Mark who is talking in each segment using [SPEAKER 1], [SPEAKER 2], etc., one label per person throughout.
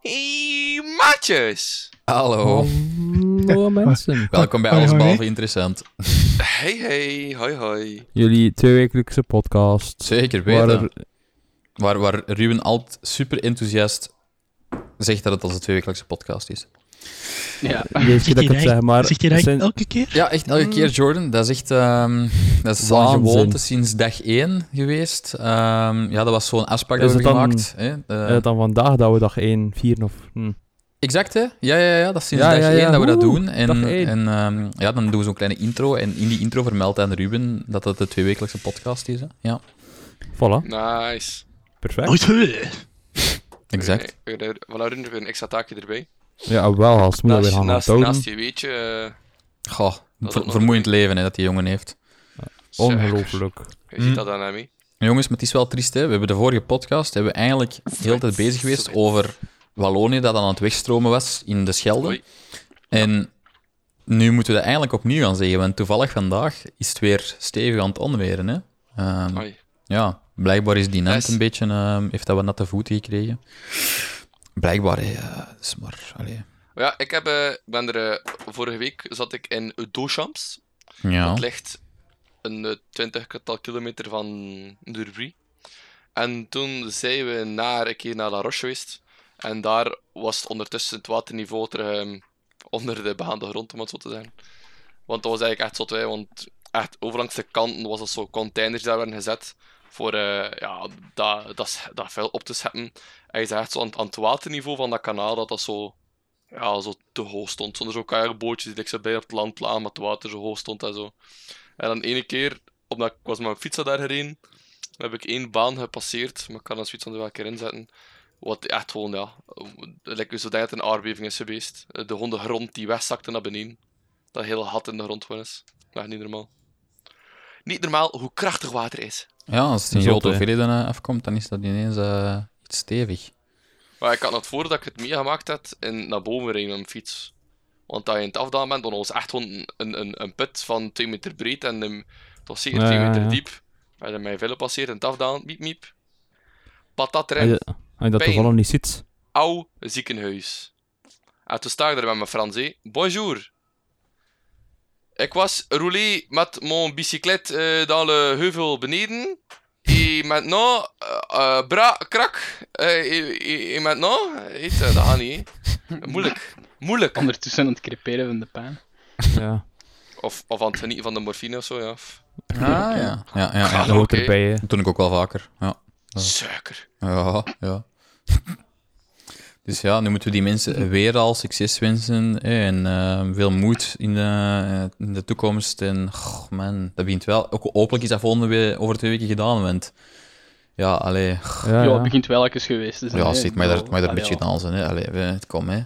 [SPEAKER 1] Hey, maatjes! Oh.
[SPEAKER 2] Hallo.
[SPEAKER 3] Hallo mensen.
[SPEAKER 2] Welkom bij
[SPEAKER 3] Hoi,
[SPEAKER 2] Alles
[SPEAKER 3] hoi.
[SPEAKER 2] Behalve Interessant.
[SPEAKER 1] Hey, hey, hoi, hoi.
[SPEAKER 3] Jullie tweewekelijkse podcast.
[SPEAKER 2] Zeker
[SPEAKER 3] Waar
[SPEAKER 2] weten.
[SPEAKER 3] er-
[SPEAKER 2] Waar, waar Ruben altijd super enthousiast zegt dat het onze tweewekelijkse podcast is.
[SPEAKER 3] Deze keer dat ik het zeg, maar...
[SPEAKER 4] Zegt hij
[SPEAKER 3] het
[SPEAKER 4] dat
[SPEAKER 3] zijn-
[SPEAKER 4] elke keer?
[SPEAKER 2] Ja, echt elke keer, Jordan. Dat is echt... ehm, dat is al
[SPEAKER 3] Mm. Waanzin.
[SPEAKER 2] een gewoonte sinds dag één geweest. Ehm, ja, dat was zo'n afspraak
[SPEAKER 3] Is
[SPEAKER 2] dat we
[SPEAKER 3] het dan-
[SPEAKER 2] gemaakt. Hè? Eh,
[SPEAKER 3] eh, dan vandaag dat we dag 1 vieren of... Hm.
[SPEAKER 2] Exact, hè? Ja, ja, ja. Dat is sinds
[SPEAKER 3] Ja,
[SPEAKER 2] dag
[SPEAKER 3] ja,
[SPEAKER 2] één
[SPEAKER 3] ja.
[SPEAKER 2] dat we dat
[SPEAKER 3] Oeh,
[SPEAKER 2] doen. En,
[SPEAKER 3] dag één.
[SPEAKER 2] en ehm, ja, dan doen we zo'n kleine intro. En in die intro vermeldt aan Ruben dat het de tweewekelijkse podcast is. Hè? Ja,
[SPEAKER 3] Voilà.
[SPEAKER 1] Nice.
[SPEAKER 3] Perfect.
[SPEAKER 4] Nooit gehoord.
[SPEAKER 2] exact.
[SPEAKER 1] We we- we houden er een extra taakje erbij.
[SPEAKER 3] Ja, wel, als het moet dat weer
[SPEAKER 1] Naast,
[SPEAKER 3] gaan
[SPEAKER 1] naast,
[SPEAKER 3] onthouden.
[SPEAKER 1] naast je weetje. eh,
[SPEAKER 2] Goh,
[SPEAKER 1] Dat
[SPEAKER 2] ver-
[SPEAKER 1] ook nog
[SPEAKER 2] vermoeiend leven hè, dat die jongen heeft.
[SPEAKER 3] Ongelooflijk.
[SPEAKER 1] Je ziet dat dan aan mij.
[SPEAKER 2] Maar Jongens, maar het is wel triest. Hè? We hebben de vorige podcast hebben we eigenlijk de hele tijd bezig geweest over Wallonië dat aan het wegstromen was in de Schelde.
[SPEAKER 1] Oei.
[SPEAKER 2] En nu moeten we dat eigenlijk opnieuw gaan zeggen, want toevallig vandaag is het weer stevig aan het onweren. Hè? Ehm,
[SPEAKER 1] Hoi.
[SPEAKER 2] ja, blijkbaar is die net
[SPEAKER 1] Yes.
[SPEAKER 2] een beetje, ehm, heeft dat wat natte voeten gekregen. Blijkbaar, hè, eh, is maar, allee.
[SPEAKER 1] Maar ja, ik heb, eh, ik ben er, eh, vorige week zat ik in Dochamps.
[SPEAKER 2] Ja,
[SPEAKER 1] Het ligt een eh, twintigtal kilometer van Durbuy. En toen zijn we naar, een keer naar La Roche geweest. En daar was het ondertussen het waterniveau terug ehm, onder de begaande grond, om het zo te zeggen. Want dat was eigenlijk echt zot, hè, want echt overlangs de kanten was dat zo containers die daar werden gezet. Voor eh, ja, dat, dat, sch- dat vuil op te scheppen. En je zag echt zo aan, het- aan het waterniveau van dat kanaal dat dat zo, ja, zo te hoog stond. Zonder zo'n kajakbootjes die like, zo bij op het land lagen, maar het water zo hoog stond en zo. En dan ene keer, omdat ik was met mijn fiets daar gereden, dan heb ik één baan gepasseerd, maar ik kan als fiets er wel een keer inzetten. Wat echt gewoon, ja, lekker zo dat het een aardbeving is geweest. Eh, De honden grond die wegzakte naar beneden. Dat hele gat in de grond was. Nou, niet normaal. Niet normaal hoe krachtig water is.
[SPEAKER 2] ja als het in
[SPEAKER 3] Zot,
[SPEAKER 2] grote
[SPEAKER 3] hè.
[SPEAKER 2] hoeveelheden eh, afkomt, dan is dat ineens eh, iets stevig.
[SPEAKER 1] Maar ik had nog voordat ik het meegemaakt had, in, naar boven rijden met mijn fiets. Want dat je in het afdalen bent, want dat was echt gewoon een, een, een put van 2 meter breed en um, het was zeker
[SPEAKER 3] Ja,
[SPEAKER 1] 2
[SPEAKER 3] ja,
[SPEAKER 1] meter
[SPEAKER 3] ja.
[SPEAKER 1] diep. Waar je mij veel passeert in het afdalen, miep miep. Patat
[SPEAKER 3] Als
[SPEAKER 1] erin,
[SPEAKER 3] je- als je dat
[SPEAKER 1] Pijn.
[SPEAKER 3] toevallig niet ziet.
[SPEAKER 1] oud ziekenhuis. En toen sta ik er met mijn Frans, hé. Bonjour. Ik was roulé met mijn bicyclette eh dans le heuvel beneden. Et maintenant, eh, eh, bra, krak. eh, et, et- et maintenant, heet, eh, dat gaat niet, hè. Moeilijk. Moeilijk.
[SPEAKER 5] Ondertussen aan het creperen van de pijn.
[SPEAKER 3] Ja,
[SPEAKER 1] Of, of aan het genieten van de morfine of zo, ja. Of-
[SPEAKER 2] Ah, ja. Ja, ja, ja,
[SPEAKER 1] Ah,
[SPEAKER 3] dat hoort
[SPEAKER 1] oké.
[SPEAKER 3] erbij, hè.
[SPEAKER 2] Dat doe ik ook wel vaker. Ja,
[SPEAKER 1] Suiker.
[SPEAKER 2] ja. ja. Dus ja, nu moeten we die mensen weer al succes wensen hè, en eh, veel moed in de, eh, in de toekomst. En goh, man, dat begint wel. Ook hopelijk is dat volgende we- over twee weken gedaan, want ja, allee, goh,
[SPEAKER 3] Ja,
[SPEAKER 5] Ja,
[SPEAKER 3] ja.
[SPEAKER 5] het begint wel even geweest te zijn.
[SPEAKER 2] ja,
[SPEAKER 5] hè.
[SPEAKER 2] zit mij daar,
[SPEAKER 5] Bedoel,
[SPEAKER 2] mij daar een
[SPEAKER 5] allee,
[SPEAKER 2] beetje
[SPEAKER 5] ja.
[SPEAKER 2] gedaan zijn. Hè. Allee, we- het komt, hè.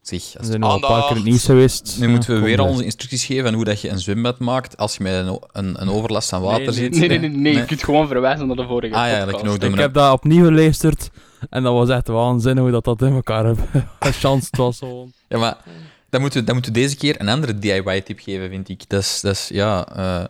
[SPEAKER 2] Zeg,
[SPEAKER 3] We
[SPEAKER 2] als
[SPEAKER 3] zijn al een paar keer in het
[SPEAKER 1] Aandacht.
[SPEAKER 3] nieuws geweest.
[SPEAKER 2] nu moeten we weer al
[SPEAKER 3] al
[SPEAKER 2] onze instructies geven aan hoe dat je een zwembad maakt als je met een, o- een, een overlast aan water
[SPEAKER 3] Nee, nee,
[SPEAKER 2] zit.
[SPEAKER 5] Nee, nee, nee, nee,
[SPEAKER 2] Nee.
[SPEAKER 5] je kunt gewoon verwijzen naar de vorige
[SPEAKER 2] Ah ja, dat
[SPEAKER 5] podcast.
[SPEAKER 2] kan ook doen.
[SPEAKER 3] Ik heb dat opnieuw geluisterd. En dat was echt waanzin hoe dat, dat in elkaar hebben. Chance, het was gewoon...
[SPEAKER 2] Ja, maar dan moeten we, dan moeten we deze keer een andere DIY-tip geven, vind ik. Dat is, dat is ja... eh,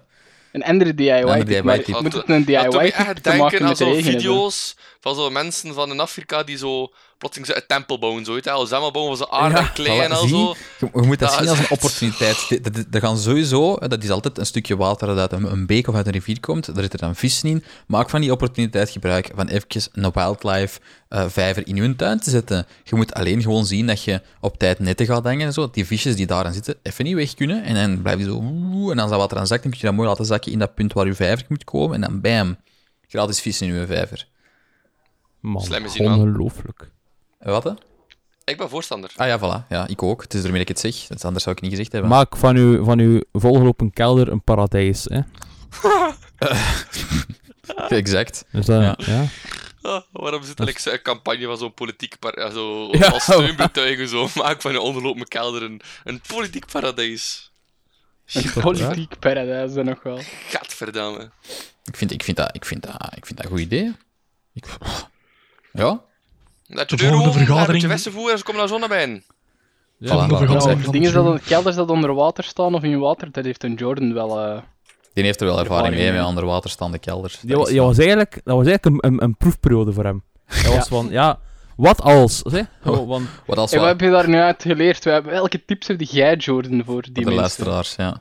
[SPEAKER 5] Een andere DIY.
[SPEAKER 2] Een andere
[SPEAKER 5] maar
[SPEAKER 2] DIY-tip.
[SPEAKER 5] Moet het een
[SPEAKER 1] Dat doet
[SPEAKER 5] DIY
[SPEAKER 1] me
[SPEAKER 5] te
[SPEAKER 1] echt denken
[SPEAKER 5] maken
[SPEAKER 1] aan
[SPEAKER 5] met de
[SPEAKER 1] zo'n
[SPEAKER 5] regen hebben?
[SPEAKER 1] video's van zo'n mensen van in Afrika die zo plotseling zo een tempel bouwen, zo, weet je, wel. Zama bouwen van zo'n aarde
[SPEAKER 2] ja,
[SPEAKER 1] en klei en
[SPEAKER 2] voilà,
[SPEAKER 1] al
[SPEAKER 2] zie,
[SPEAKER 1] zo.
[SPEAKER 2] Je, je moet dat,
[SPEAKER 1] Dat
[SPEAKER 2] zien
[SPEAKER 1] is
[SPEAKER 2] als een
[SPEAKER 1] echt-
[SPEAKER 2] opportuniteit. Dit- dit- Er gaan sowieso, eh, dat is altijd een stukje water dat uit een, een beek of uit een rivier komt, daar zitten dan vissen in. Maak van die opportuniteit gebruik van eventjes een wildlife eh, vijver in je tuin te zetten. Je moet alleen gewoon zien dat je op tijd netten gaat hangen en zo, dat die visjes die daarin zitten even niet weg kunnen. En dan blijf je zo, oeh, en als dat water aan zakt, dan kun je dat mooi laten zakken in dat punt waar je vijver moet komen. En dan bam, gratis vissen in je vijver.
[SPEAKER 3] Man,
[SPEAKER 1] Slim is die man.
[SPEAKER 3] ongelooflijk.
[SPEAKER 2] Eh, Wat? hè?
[SPEAKER 1] Ik ben voorstander.
[SPEAKER 2] Ah ja, voilà. Ja, ik ook. Het is ermee dat ik het zeg. Dat- Anders zou ik het niet gezegd hebben.
[SPEAKER 3] Maak van uw, van uw volgelopen kelder een paradijs. Hè?
[SPEAKER 2] Exact.
[SPEAKER 3] Dus dat,
[SPEAKER 2] Ja.
[SPEAKER 3] ja.
[SPEAKER 1] Ah, waarom zit er like, zo'n campagne van zo'n politiek par- ja, zo,
[SPEAKER 3] Ja.
[SPEAKER 1] als steunbetuiging zo? Maak van je onderlopende kelder een, een politiek paradijs.
[SPEAKER 5] Een politiek paradijs dan nog wel.
[SPEAKER 1] Gadverdamme.
[SPEAKER 2] Ik vind, ik vind, dat, ik vind, dat, ik vind dat een goed idee. Ik, ja,
[SPEAKER 1] Dat je
[SPEAKER 4] De
[SPEAKER 1] deur
[SPEAKER 4] volgende
[SPEAKER 1] opent, daar heb
[SPEAKER 4] vergadering-
[SPEAKER 1] je westenvoer en ze komen daar zo naar binnen.
[SPEAKER 2] voilà,
[SPEAKER 4] de
[SPEAKER 2] voilà.
[SPEAKER 4] vergadering.
[SPEAKER 5] Ja,
[SPEAKER 4] zeggen
[SPEAKER 5] de
[SPEAKER 4] van
[SPEAKER 5] dingen
[SPEAKER 4] Jordan.
[SPEAKER 5] dat kelders dat onder water staan of in water, dat heeft een Jordan wel. eh,
[SPEAKER 2] Die heeft er wel ervaring
[SPEAKER 5] Ervaring,
[SPEAKER 2] mee,
[SPEAKER 5] ja.
[SPEAKER 2] met onderwaterstaande kelders.
[SPEAKER 3] Die, wa-
[SPEAKER 2] Dat is
[SPEAKER 3] die was eigenlijk, dat was eigenlijk een, een, een proefperiode voor hem. Hij was van, ja, Wat als? Zeg? Oh, want
[SPEAKER 2] Wat als
[SPEAKER 5] En wat
[SPEAKER 2] we
[SPEAKER 5] heb je daar nu uit geleerd? We hebben- Welke tips heb jij, Jordan, voor die
[SPEAKER 2] de
[SPEAKER 5] mensen?
[SPEAKER 2] luisteraars, ja.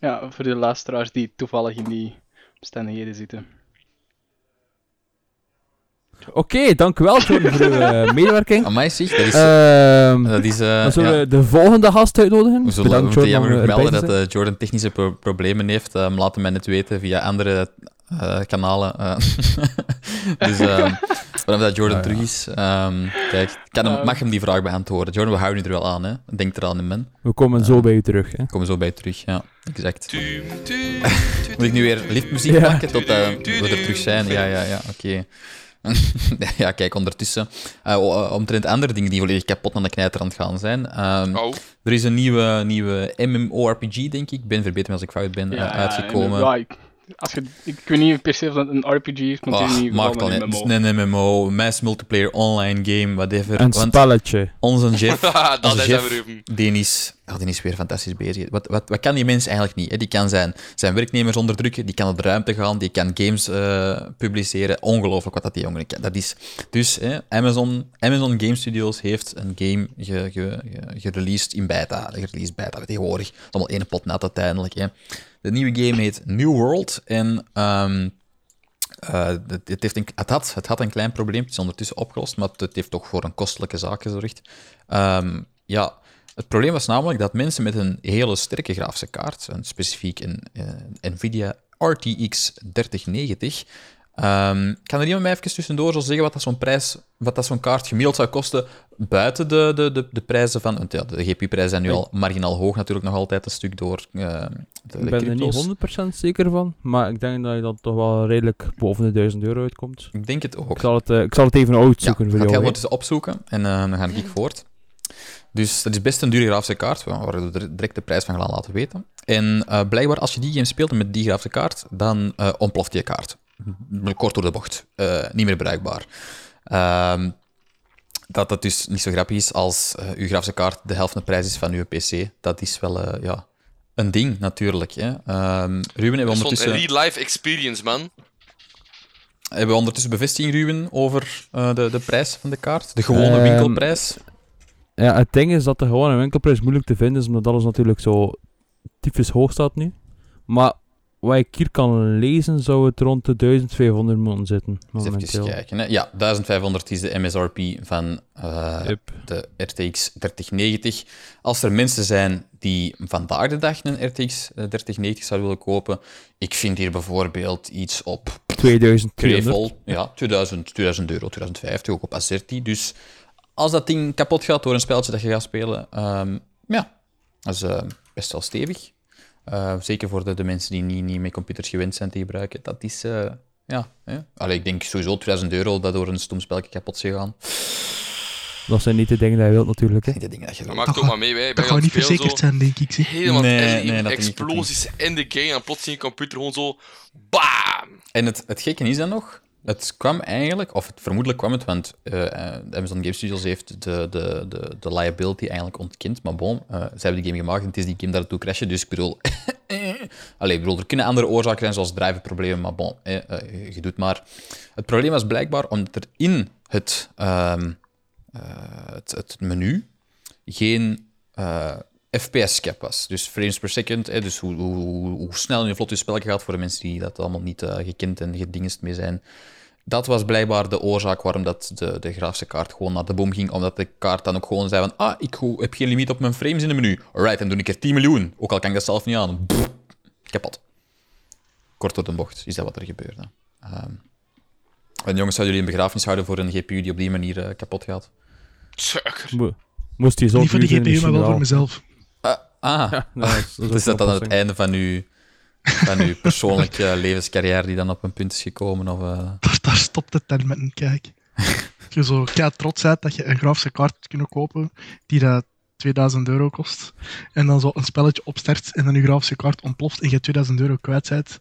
[SPEAKER 5] Ja, voor de luisteraars die toevallig in die omstandigheden zitten.
[SPEAKER 3] Oké, dank u wel Jordan, voor uw eh, medewerking.
[SPEAKER 2] Amai, zeg, dat is...
[SPEAKER 3] Ehm,
[SPEAKER 2] dat is eh,
[SPEAKER 3] dan zullen
[SPEAKER 2] ja.
[SPEAKER 3] we de volgende gast uitnodigen.
[SPEAKER 2] We zullen
[SPEAKER 3] Bedankt
[SPEAKER 2] moeten
[SPEAKER 3] Jordan om
[SPEAKER 2] jammer
[SPEAKER 3] erbij
[SPEAKER 2] melden
[SPEAKER 3] te
[SPEAKER 2] dat
[SPEAKER 3] zijn.
[SPEAKER 2] eh, Jordan technische pro- problemen heeft. Ehm, laat hem mij net weten via andere eh, kanalen. eh. dus ehm waarom dat Jordan
[SPEAKER 3] Ah, ja.
[SPEAKER 2] terug is. ehm, kijk, kan
[SPEAKER 5] Eh.
[SPEAKER 2] hem, mag hem die vraag beantwoorden. Jordan, we houden je er wel aan. Hè? Denk er aan in, man.
[SPEAKER 3] We komen zo bij u terug. Hè.
[SPEAKER 2] Komen we zo bij je terug. Ja, exact.
[SPEAKER 1] Tuum, tuum,
[SPEAKER 2] Moet ik nu weer liftmuziek
[SPEAKER 3] Ja.
[SPEAKER 2] pakken tot eh, we er terug zijn? Ja, ja, ja, oké. ja, kijk, ondertussen. eh, o- eh, omtrent andere dingen die volledig kapot aan de knijterrand gaan zijn. Ehm,
[SPEAKER 1] Oh,
[SPEAKER 2] er is een nieuwe, nieuwe MMORPG, denk ik. Ben verbeter me als ik fout ben. eh, uitgekomen.
[SPEAKER 5] en- Ja, ik, als je, ik weet niet per se of dat een RPG is, maar het is
[SPEAKER 2] Ah,
[SPEAKER 5] niet
[SPEAKER 2] maakt al
[SPEAKER 5] gewoon
[SPEAKER 2] niet.
[SPEAKER 5] een
[SPEAKER 2] Het is
[SPEAKER 5] MMO.
[SPEAKER 2] een MMO, mass multiplayer online game, whatever.
[SPEAKER 3] Een
[SPEAKER 2] Want
[SPEAKER 3] spelletje.
[SPEAKER 2] onze Jeff,
[SPEAKER 1] dat
[SPEAKER 2] onze
[SPEAKER 1] is
[SPEAKER 2] Jeff,
[SPEAKER 1] hem, Ruben.
[SPEAKER 2] die is, ah, die is weer fantastisch bezig. Wat, wat, wat kan die mens eigenlijk niet? Hè? Die kan zijn, zijn werknemers onderdrukken, die kan op de ruimte gaan, die kan games eh, publiceren. Ongelooflijk wat dat die jongen kan. Dat is, dus hè, Amazon, Amazon Game Studios heeft een game ge, ge, ge- gereleased in beta. Gereleased beta tegenwoordig. Allemaal één pot nat uiteindelijk. Hè. De nieuwe game heet New World en... ehm, eh, het, het heeft een, het, had, het had een klein probleem, het is ondertussen opgelost, maar het, het heeft toch voor een kostelijke zaak gezorgd. Ehm, ja, het probleem was namelijk dat mensen met een hele sterke grafische kaart, een specifiek een eh, NVIDIA RTX 3090, ehm, kan er iemand mij even tussendoor zo zeggen wat dat zo'n prijs, wat dat zo'n kaart gemiddeld zou kosten buiten de, de, de, de prijzen van, want ja, de GPU-prijzen zijn nu al marginaal hoog natuurlijk nog altijd een stuk door eh, de, de
[SPEAKER 3] Ik ben er
[SPEAKER 2] crypto's.
[SPEAKER 3] niet 100% zeker van, maar ik denk dat je dan toch wel redelijk boven de 1000 euro uitkomt.
[SPEAKER 2] Ik denk het ook.
[SPEAKER 3] Ik zal het, eh, ik zal het even uitzoeken
[SPEAKER 2] ja,
[SPEAKER 3] voor
[SPEAKER 2] ga ik
[SPEAKER 3] jou.
[SPEAKER 2] heel
[SPEAKER 3] hè.
[SPEAKER 2] wat eens opzoeken en eh, dan ga ik voort. Dus dat is best een dure grafische kaart, waar waar we er direct de prijs van gaan laten weten. En eh, blijkbaar, als je die game speelt met die grafische kaart, dan eh, ontploft je kaart. Kort door de bocht. Eh, niet meer bruikbaar. Ehm, dat dat dus niet zo grappig is als eh uw grafische kaart de helft van de prijs is van uw PC. Dat is wel eh, ja, een ding, natuurlijk. Hè. Ehm, Ruben, hebben we,
[SPEAKER 1] Er stond een
[SPEAKER 2] ondertussen,
[SPEAKER 1] real-life experience, man.
[SPEAKER 2] hebben we ondertussen bevestiging, Ruben, over eh, de, de prijs van de kaart? De gewone
[SPEAKER 3] Ehm,
[SPEAKER 2] winkelprijs?
[SPEAKER 3] Ja, het ding is dat de gewone winkelprijs moeilijk te vinden is, omdat alles natuurlijk zo typisch hoog staat nu. Maar wat ik hier kan lezen, zou het rond de 1500 moeten zitten.
[SPEAKER 2] Eens
[SPEAKER 3] Momenteel.
[SPEAKER 2] even kijken. Hè. Ja, 1500 is de MSRP van eh,
[SPEAKER 3] Yep.
[SPEAKER 2] de RTX 3090. Als er mensen zijn die vandaag de dag een RTX eh, 3090 zouden willen kopen, ik vind hier bijvoorbeeld iets op
[SPEAKER 3] 2200.
[SPEAKER 2] Krevel, ja, 2000, 2000 euro, 2050, ook op Azerti. Dus als dat ding kapot gaat door een spelletje dat je gaat spelen, ehm, ja, dat is eh, best wel stevig. Eh, zeker voor de, de mensen die niet, niet met computers gewend zijn te gebruiken. Dat is, eh, ja. Hè? Allee, ik denk sowieso 2000 euro dat door een stom spelletje kapot zou gaan.
[SPEAKER 3] Dat zijn niet de dingen die je wilt natuurlijk. Hè.
[SPEAKER 2] Niet de dingen dat je
[SPEAKER 1] Maar
[SPEAKER 2] wilt.
[SPEAKER 1] maak
[SPEAKER 4] Dat
[SPEAKER 1] toch maar mee, wij.
[SPEAKER 4] Dat
[SPEAKER 1] Bij
[SPEAKER 4] gaat
[SPEAKER 1] dat
[SPEAKER 4] niet
[SPEAKER 1] speel
[SPEAKER 4] verzekerd
[SPEAKER 1] zo
[SPEAKER 4] zijn, denk ik. Zeg.
[SPEAKER 1] helemaal
[SPEAKER 2] Nee,
[SPEAKER 1] en-
[SPEAKER 2] nee, dat denk ik ook
[SPEAKER 1] explosies in de game en plots in je computer gewoon zo... Bam!
[SPEAKER 2] En het, het gekke is dan nog, het kwam eigenlijk, of het, vermoedelijk kwam het, want eh, eh, Amazon Game Studios heeft de, de, de, de liability eigenlijk ontkend, maar bon, eh, ze hebben die game gemaakt en het is die game daartoe crashen, dus ik bedoel... Allee, ik bedoel, er kunnen andere oorzaken zijn, zoals driverproblemen, maar bon, eh, eh, je- je doet maar. Het probleem was blijkbaar omdat er in het, ehm, eh, het, het menu geen eh, FPS-cap was. Dus frames per second, hè, dus hoe, hoe, hoe- hoe snel en hoe vlot je spelletje gaat voor de mensen die dat allemaal niet eh, gekend en gedingest mee zijn. Dat was blijkbaar de oorzaak waarom dat de, de grafische kaart gewoon naar de boom ging. Omdat de kaart dan ook gewoon zei van... Ah, ik ho- heb geen limiet op mijn frames in het menu. Alright, dan doe ik er 10 miljoen. Ook al kan ik dat zelf niet aan. Pff, kapot. Kort door de bocht is dat wat er gebeurde. Ehm, en jongens, zouden jullie een begrafenis houden voor een GPU die op die manier eh, kapot gaat?
[SPEAKER 1] Zeker.
[SPEAKER 3] Mo- Moest hij zo
[SPEAKER 4] Niet voor de
[SPEAKER 3] duur zijn,
[SPEAKER 4] GPU, maar wel voor
[SPEAKER 3] misschien
[SPEAKER 4] mezelf.
[SPEAKER 2] Ah,
[SPEAKER 3] wel. Ja, dat is- dat
[SPEAKER 2] Dus dat dan aan
[SPEAKER 3] ook een
[SPEAKER 2] het
[SPEAKER 3] oplossing.
[SPEAKER 2] einde van uw, van uw persoonlijke levenscarrière die dan op een punt is gekomen? Of, eh,
[SPEAKER 4] Daar, daar stopt het dan met een kijk. Als je zo kei trots bent dat je een grafische kaart kunt kopen die dat 2000 euro kost. En dan zo een spelletje opstart en dan je grafische kaart ontploft en je 2000 euro kwijt bent.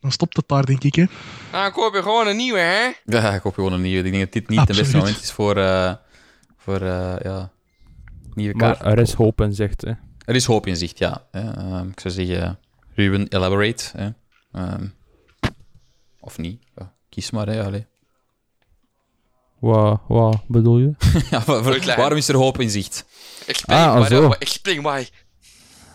[SPEAKER 4] Dan stopt het daar, denk ik. Hè.
[SPEAKER 1] Nou, ik hoop je gewoon een nieuwe, hè?
[SPEAKER 2] Ja, ik hoop gewoon een nieuwe. Ik denk dat dit niet het beste
[SPEAKER 4] Absoluut.
[SPEAKER 2] moment is voor, eh, voor eh, ja, nieuwe kaart.
[SPEAKER 3] Maar er is hoop en zicht. Hè.
[SPEAKER 2] Er is hoop in zicht, ja. hè. Ehm, ik zou zeggen, Ruben, elaborate. hè. Ehm, of niet. Ja, kies maar, hè. Allee.
[SPEAKER 3] Wat, wat bedoel je?
[SPEAKER 2] Ja, wa- wa-
[SPEAKER 1] Uitleggen.
[SPEAKER 2] waarom is er hoop in zicht?
[SPEAKER 1] Explain
[SPEAKER 3] Ah,
[SPEAKER 1] why,
[SPEAKER 3] zo.
[SPEAKER 1] why- explain why.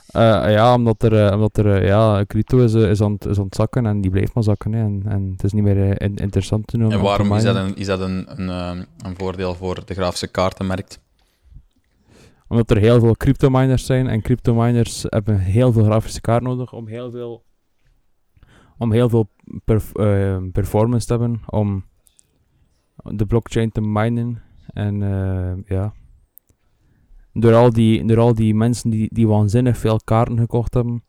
[SPEAKER 3] Eh, ja, omdat er, eh, omdat er eh, ja, crypto is, eh, is, aan, het- is aan het zakken en die blijft maar zakken. hè. En, en het is niet meer eh, in- interessant te noemen.
[SPEAKER 2] En waarom is dat een, is dat een, een, ehm, een voordeel voor de grafische kaartenmarkt?
[SPEAKER 3] Omdat er heel veel cryptominers zijn en cryptominers hebben heel veel grafische kaart nodig om heel veel, om heel veel perf- eh, performance te hebben om de blockchain te minen. En eh, ja, door al die, door al die mensen die, die waanzinnig veel kaarten gekocht hebben,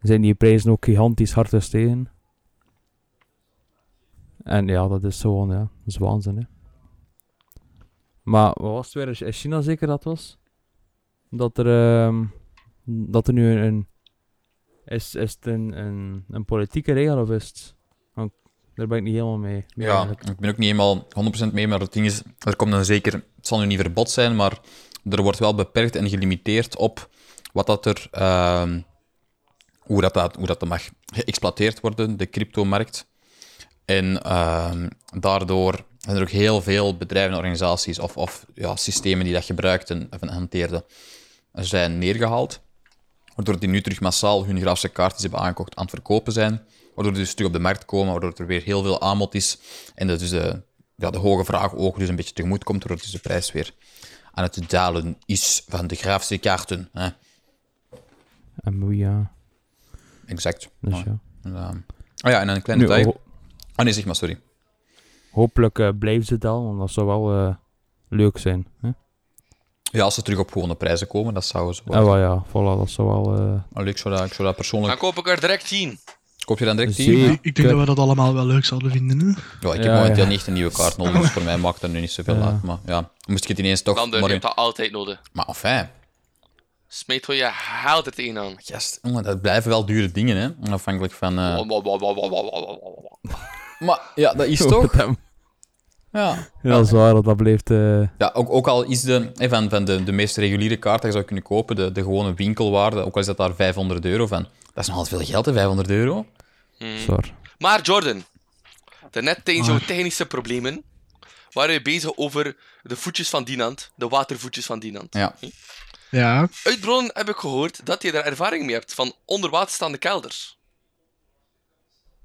[SPEAKER 3] zijn die prijzen ook gigantisch hard gestegen. En ja, dat is gewoon, ja, dat is waanzin, hè. Maar wat was het weer? In China zeker dat was? dat er, ehm, dat er nu een, een- is, is het een, een, een politieke regel of is het... want daar ben ik niet helemaal mee. mee
[SPEAKER 2] Ja,
[SPEAKER 3] eigenlijk.
[SPEAKER 2] ik ben ook niet helemaal 100% mee, maar het ding is, er komt een zeker, het zal nu niet verbod zijn, maar er wordt wel beperkt en gelimiteerd op wat dat er, ehm, hoe, dat, dat, hoe dat dat mag geëxploiteerd worden, de cryptomarkt. En ehm, daardoor zijn er ook heel veel bedrijven en organisaties of, of ja, systemen die dat gebruikten of hanteerden, zijn neergehaald. Waardoor die nu terug massaal hun grafische kaartjes hebben aangekocht aan het verkopen zijn. Waardoor die dus terug op de markt komen, waardoor er weer heel veel aanbod is. En dat dus de, ja, de hoge vraag ook dus een beetje tegemoet komt, waardoor dus de prijs weer aan het dalen is van de grafische kaarten. Hè?
[SPEAKER 3] En moe, ja.
[SPEAKER 2] Exact.
[SPEAKER 3] Dus
[SPEAKER 2] Ja.
[SPEAKER 3] ja.
[SPEAKER 2] En, ehm, ah ja, en een klein
[SPEAKER 3] Nu, oh,
[SPEAKER 2] detail.
[SPEAKER 3] ho-
[SPEAKER 2] Ah nee, zeg maar, sorry.
[SPEAKER 3] hopelijk eh, blijven ze het al, want dat zou wel eh, leuk zijn. Hè?
[SPEAKER 2] Ja, als ze terug op gewone prijzen komen, dat zou zo...
[SPEAKER 3] Ah, wel ja, voilà, dat zou wel... eh,
[SPEAKER 2] Allee, ik, zou dat, ik zou dat
[SPEAKER 1] Dan
[SPEAKER 2] persoonlijk...
[SPEAKER 1] koop ik er direct 10.
[SPEAKER 2] Koop je dan direct
[SPEAKER 3] Zeker.
[SPEAKER 2] die?
[SPEAKER 3] Ja.
[SPEAKER 4] Ik, ik denk dat we dat allemaal wel leuk zouden vinden. Hè?
[SPEAKER 2] Ja, ik heb
[SPEAKER 3] Ja,
[SPEAKER 2] momenteel
[SPEAKER 3] ja.
[SPEAKER 2] niet echt een nieuwe kaart nodig, dus voor mij maakt dat nu niet zoveel
[SPEAKER 3] Ja.
[SPEAKER 2] uit. Maar ja, moest ik het ineens toch...
[SPEAKER 1] Lander,
[SPEAKER 2] maar,
[SPEAKER 1] je hebt dat altijd nodig.
[SPEAKER 2] maar enfin,
[SPEAKER 1] Smeet voor je haalt het een aan.
[SPEAKER 2] Yes, jongen, dat blijven wel dure dingen, hè? Afhankelijk van. eh,
[SPEAKER 1] Wa- wa- wa- wa- wa- wa- wa- wa- wa- wa.
[SPEAKER 2] Maar ja, dat is toch? Ah. Ja.
[SPEAKER 3] ja, dat is waar, dat dat blijft... eh,
[SPEAKER 2] ja ook, ook al is de, hè, van, van de, de meest reguliere kaart dat je zou kunnen kopen, de, de gewone winkelwaarde, ook al is dat daar 500 euro van. Dat is nogal veel geld, hè, 500 euro. Mm.
[SPEAKER 3] zwaar.
[SPEAKER 1] Maar Jordan, daarnet tijdens jouw
[SPEAKER 3] Ah.
[SPEAKER 4] Maar.
[SPEAKER 1] technische problemen waren we bezig over de voetjes van Dinant, de watervoetjes van Dinant.
[SPEAKER 2] Ja.
[SPEAKER 4] Ja,
[SPEAKER 1] Uit bronnen heb ik gehoord dat je daar ervaring mee hebt van onderwaterstaande kelders.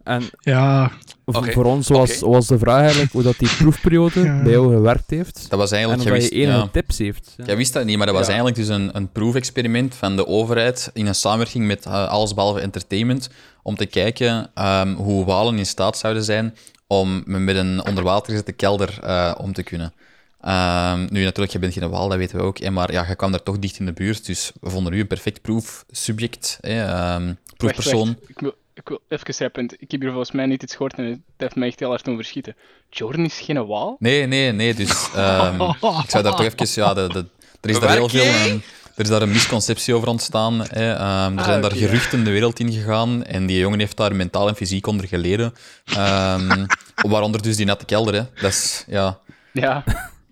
[SPEAKER 3] En
[SPEAKER 4] ja.
[SPEAKER 3] v-
[SPEAKER 1] Oké,
[SPEAKER 3] voor ons was, was de vraag eigenlijk hoe dat die proefperiode
[SPEAKER 4] Ja.
[SPEAKER 3] bij jou gewerkt heeft.
[SPEAKER 2] Dat was
[SPEAKER 3] En
[SPEAKER 2] eigenlijk.
[SPEAKER 3] of
[SPEAKER 2] jij
[SPEAKER 3] dat je
[SPEAKER 2] wist- ja.
[SPEAKER 3] enige tips heeft. Ja.
[SPEAKER 2] Jij wist dat niet, maar dat was
[SPEAKER 3] Ja.
[SPEAKER 2] eigenlijk dus een, een proefexperiment van de overheid in een samenwerking met eh, alles behalve entertainment om te kijken ehm, hoe walen in staat zouden zijn om me met een onderwater gezette kelder eh, om te kunnen. Ehm, nu natuurlijk, je bent geen waal, dat weten we ook, hè, maar ja, je kwam daar toch dicht in de buurt, dus we vonden u een perfect proefsubject, hè, ehm, proefpersoon.
[SPEAKER 5] Wacht, wacht. Ik, wil, ik wil even schrijven. Ik heb hier volgens mij niet iets gehoord en het heeft mij echt heel hard doen verschieten. Jordan is geen waal?
[SPEAKER 2] Nee, nee, nee, dus ehm, ik zou daar toch even, ja, de, de- er is daar heel veel,
[SPEAKER 1] Werking?
[SPEAKER 2] ehm, er is daar een misconceptie over ontstaan. Hè. ehm, er
[SPEAKER 5] Ah,
[SPEAKER 2] zijn daar
[SPEAKER 5] oké, ja.
[SPEAKER 2] geruchten de wereld in gegaan en die jongen heeft daar mentaal en fysiek onder geleden. Ehm, waaronder dus die natte kelder, hè. Dat is, ja...
[SPEAKER 5] Ja,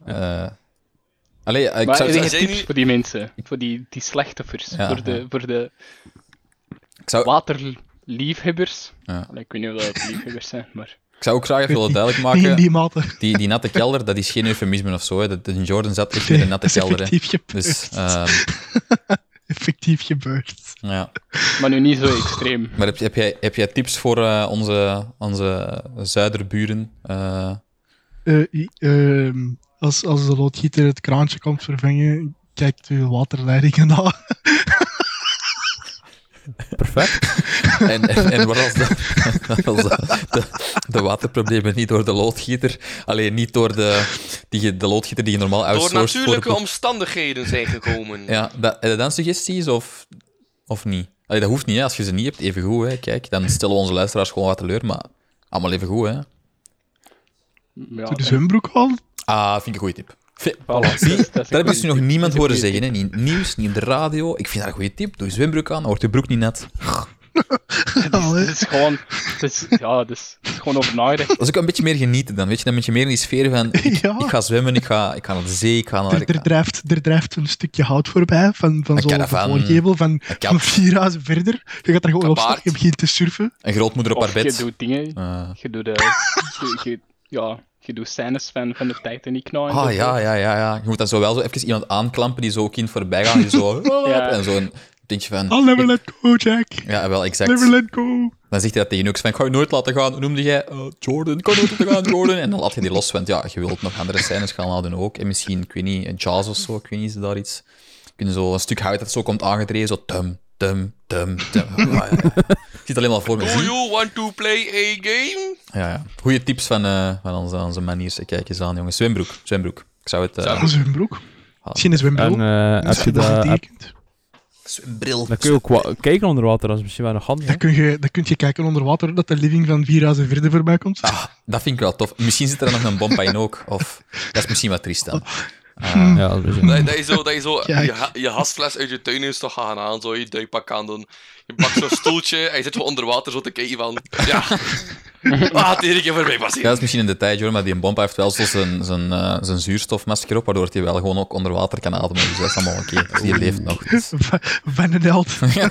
[SPEAKER 2] eh Allee, ik
[SPEAKER 5] maar
[SPEAKER 2] zou,
[SPEAKER 5] er
[SPEAKER 1] zou-
[SPEAKER 5] zijn
[SPEAKER 1] zou-
[SPEAKER 5] tips
[SPEAKER 1] nu-
[SPEAKER 5] voor die mensen. Voor die, die slachtoffers.
[SPEAKER 2] Ja,
[SPEAKER 5] voor, de,
[SPEAKER 2] ja.
[SPEAKER 5] voor de
[SPEAKER 2] ik, zou,
[SPEAKER 5] waterliefhebbers.
[SPEAKER 2] Ja.
[SPEAKER 5] Allee, ik weet niet of dat liefhebbers zijn, maar...
[SPEAKER 2] ik zou ook graag even willen duidelijk
[SPEAKER 4] Niet in
[SPEAKER 2] maken,
[SPEAKER 4] die mate.
[SPEAKER 2] die, die natte kelder, dat is geen eufemisme of zo. Hè. Dat, dat- Jordan zat echt in een natte
[SPEAKER 4] Dat is
[SPEAKER 2] kelder, hè.
[SPEAKER 4] effectief gebeurd.
[SPEAKER 2] Dus, ehm,
[SPEAKER 4] Effectief gebeurd.
[SPEAKER 2] ja.
[SPEAKER 5] Maar nu niet zo extreem.
[SPEAKER 2] Maar heb, heb, jij, heb jij tips voor eh, onze, onze zuiderburen? Eh,
[SPEAKER 4] Eh, i- ehm, als, als de loodgieter het kraantje komt vervangen, kijkt u waterleidingen na.
[SPEAKER 3] Perfect.
[SPEAKER 2] En, en, en wat als de, wat als de, de, de waterproblemen niet door de loodgieter, alleen niet door de, die, de loodgieter die je normaal
[SPEAKER 1] Door
[SPEAKER 2] outsourced voor de
[SPEAKER 1] natuurlijke
[SPEAKER 2] pro-
[SPEAKER 1] omstandigheden zijn gekomen.
[SPEAKER 2] Ja, dat, heb je dan suggesties of, of niet? Allee, dat hoeft niet, hè. als je ze niet hebt, even goed. Hè. Kijk, dan stellen we onze luisteraars gewoon wat teleur, maar allemaal even goed. Hè.
[SPEAKER 5] Ja,
[SPEAKER 4] Doe de zwembroek aan.
[SPEAKER 2] Ah, vind ik een goede tip. Vind-
[SPEAKER 5] dat- dat-
[SPEAKER 2] Zie,
[SPEAKER 5] dat is een
[SPEAKER 2] daar heb
[SPEAKER 5] goeie
[SPEAKER 2] ik nu nog
[SPEAKER 5] tip. Dat
[SPEAKER 2] niemand
[SPEAKER 5] is een
[SPEAKER 2] horen
[SPEAKER 5] goeie
[SPEAKER 2] zeggen. Hè. Niet in het nieuws, niet in de radio. Ik vind dat een goede tip. Doe je zwembroek aan, dan wordt je broek niet nat.
[SPEAKER 5] Dat is, dat is gewoon... Dat is, ja, dat is, dat is gewoon over nagedacht.
[SPEAKER 2] Dat is ook een beetje meer genieten dan. Weet je, dan ben je meer in die sfeer van... Ik,
[SPEAKER 4] Ja.
[SPEAKER 2] ik ga zwemmen, ik ga, ik ga naar de zee, ik ga naar...
[SPEAKER 4] Er,
[SPEAKER 2] ik
[SPEAKER 4] er,
[SPEAKER 2] ga-
[SPEAKER 4] drijft, er drijft een stukje hout voorbij van, van
[SPEAKER 2] Een
[SPEAKER 4] zo'n
[SPEAKER 2] caravan.
[SPEAKER 4] voorgevel van,
[SPEAKER 2] Een kat.
[SPEAKER 4] van vier huizen verder. Je gaat daar gewoon
[SPEAKER 1] Een
[SPEAKER 4] op staan,
[SPEAKER 1] paard.
[SPEAKER 4] je begint te surfen.
[SPEAKER 2] Een grootmoeder op haar
[SPEAKER 5] Of je
[SPEAKER 2] bed.
[SPEAKER 5] doet dingen.
[SPEAKER 2] Eh,
[SPEAKER 5] Je doet... eh, je- je- ja, Je doet scènes van, van de Titanic nou. en
[SPEAKER 2] Ah
[SPEAKER 5] zo.
[SPEAKER 2] ja, ja, ja, ja. Je moet dan zo wel zo even iemand aanklampen die zo ook in voorbij gaat. Die zo.
[SPEAKER 5] Ja.
[SPEAKER 2] En zo'n dingetje van.
[SPEAKER 4] I'll never let go, Jack.
[SPEAKER 2] Ja, wel, exact.
[SPEAKER 4] Never let go.
[SPEAKER 2] Dan zegt hij dat tegen Nux van, ik ga je nooit laten gaan. Noemde jij eh, Jordan, ik ga je nooit laten gaan, Jordan. En dan laat je die los, want ja, je wilt nog andere scènes gaan houden ook. En misschien, ik weet niet, een jazz of zo, ik weet niet, is er daar iets... Kunnen zo een stuk hout dat zo komt aangedreven, zo tum, tum, tum, tum. Ja, Ah, ja, ja. Ik zit alleen maar voor me.
[SPEAKER 1] Do
[SPEAKER 2] Zie-
[SPEAKER 1] you want to play a game?
[SPEAKER 2] Ja, ja. Goeie tips van, eh, van onze, onze maniers. Kijk eens aan, jongens. Zwembroek, zwembroek. Ik zou het... eh
[SPEAKER 4] Dat is hun broek.
[SPEAKER 2] Ah,
[SPEAKER 4] Misschien is hun broek.
[SPEAKER 3] En eh, heb je
[SPEAKER 4] Misschien dat
[SPEAKER 3] dat...
[SPEAKER 4] is
[SPEAKER 3] heb-
[SPEAKER 4] getekend.
[SPEAKER 2] zwembril.
[SPEAKER 3] Dan kun je ook wa- kijken onder water, dat is misschien wel nog handig. hè?
[SPEAKER 4] Dan kun, je, dan kun je kijken onder water dat de living van Vira zijn verder voorbij komt.
[SPEAKER 2] Ah, dat vind ik wel tof. Misschien zit er dan nog een bompa in ook. Of, dat is misschien wat triest dan. Ah.
[SPEAKER 3] Ja, dat is misschien-
[SPEAKER 1] Dat, dat is zo, dat is zo
[SPEAKER 4] Kijk.
[SPEAKER 1] je, ha- je hasfles uit je tuinhuis toch gaan aan, zo je duikpak aan doen. Je pakt zo'n stoeltje en je zit gewoon onder water zo te kijken van, ja, Ah, laat iedere keer voorbij
[SPEAKER 2] Ja,
[SPEAKER 1] passeren.
[SPEAKER 2] dat is misschien een detail, hoor, maar die bompa heeft wel zo zijn, zijn, eh, zijn zuurstofmasker op, waardoor hij wel gewoon ook onder water kan ademen. Dus dat is allemaal oké. Dus die leeft nog. Dus-
[SPEAKER 4] Va- Van den Held.
[SPEAKER 2] Ja.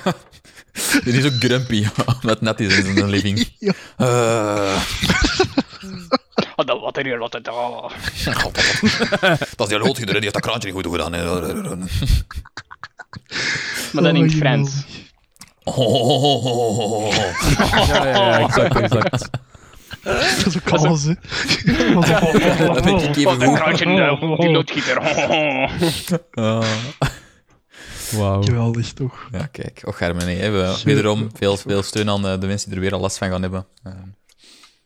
[SPEAKER 2] Dit is ook grumpy, ja, omdat net is in zijn living.
[SPEAKER 4] Ja.
[SPEAKER 2] Eh,
[SPEAKER 5] Oh, dat water hier, wat het. Oh.
[SPEAKER 2] dat is die loodgieter, hè, die heeft dat kraantje niet goed gedaan. hè.
[SPEAKER 5] Maar dan in
[SPEAKER 4] Oh,
[SPEAKER 5] het Frans.
[SPEAKER 4] jawel.
[SPEAKER 2] Oh, oh, oh, oh, oh, oh, oh.
[SPEAKER 3] Ja, ja, ja, exact, exact.
[SPEAKER 4] Dat is ook alles, hè. Dat is ook
[SPEAKER 2] Dat denk ik even
[SPEAKER 5] Een
[SPEAKER 2] goed.
[SPEAKER 5] kraantje, eh, die loodgieter.
[SPEAKER 3] Oh.
[SPEAKER 2] Eh,
[SPEAKER 3] Wauw.
[SPEAKER 4] Geweldig, toch?
[SPEAKER 2] Ja, kijk. Och, Germany, hè, we- wederom veel, veel steun aan eh, de mensen die er weer al last van gaan hebben. Eh,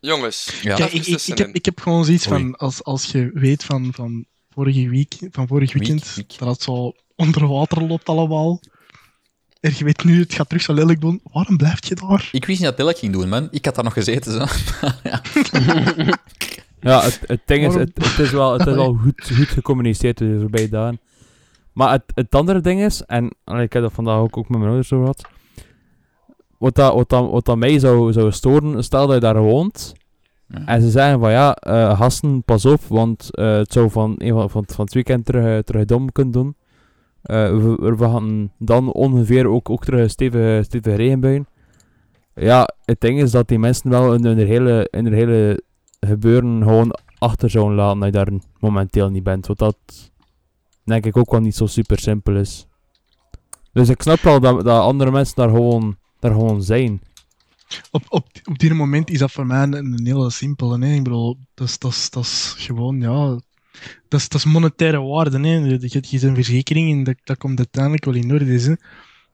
[SPEAKER 1] Jongens,
[SPEAKER 2] Ja.
[SPEAKER 4] Kijk,
[SPEAKER 1] dat is
[SPEAKER 4] ik, ik, ik, heb,
[SPEAKER 1] tussenin.
[SPEAKER 4] ik heb gewoon zoiets
[SPEAKER 2] Oei.
[SPEAKER 4] van, als, als je weet van, van, vorige week, van vorig
[SPEAKER 2] Week,
[SPEAKER 4] weekend,
[SPEAKER 2] week.
[SPEAKER 4] dat het zo onder water loopt allemaal. En je weet nu, het gaat terug zo lelijk doen. Waarom blijf je daar?
[SPEAKER 2] ik wist niet dat Dilek ging doen, man. Ik had daar nog gezeten, zo.
[SPEAKER 3] Ja, het, het ding is,
[SPEAKER 4] Waarom?
[SPEAKER 3] het, het is wel, het is wel goed, goed gecommuniceerd de voorbije dagen. Maar het, het andere ding is, en allee, ik heb dat vandaag ook, ook met mijn ouders over gehad, wat, dat, wat, dat, wat dat mij zou, zou storen, stel dat je daar woont,
[SPEAKER 2] Ja.
[SPEAKER 3] en ze zeggen van ja, eh gasten, pas op, want eh, het zou van, een van, van, van het weekend terug, eh, terug dom kunnen doen. Eh, we, we gaan dan ongeveer ook, ook terug een stevige, stevige regenbuien. Ja, het ding is dat die mensen wel in hun hele, in hun hele gebeuren gewoon achter zo'n laten dat je daar momenteel niet bent. Wat dat denk ik ook wel niet zo super simpel is. Dus ik snap wel dat, dat andere mensen daar gewoon, daar gewoon zijn.
[SPEAKER 4] Op, op, op dit moment is dat voor mij een, een hele simpele. Hè? Ik bedoel, dat is, dat, is, dat is gewoon, ja... Dat is, dat is monetaire waarde. Hè? Je, je, je hebt een verzekering en dat, dat komt uiteindelijk wel in orde. Hè?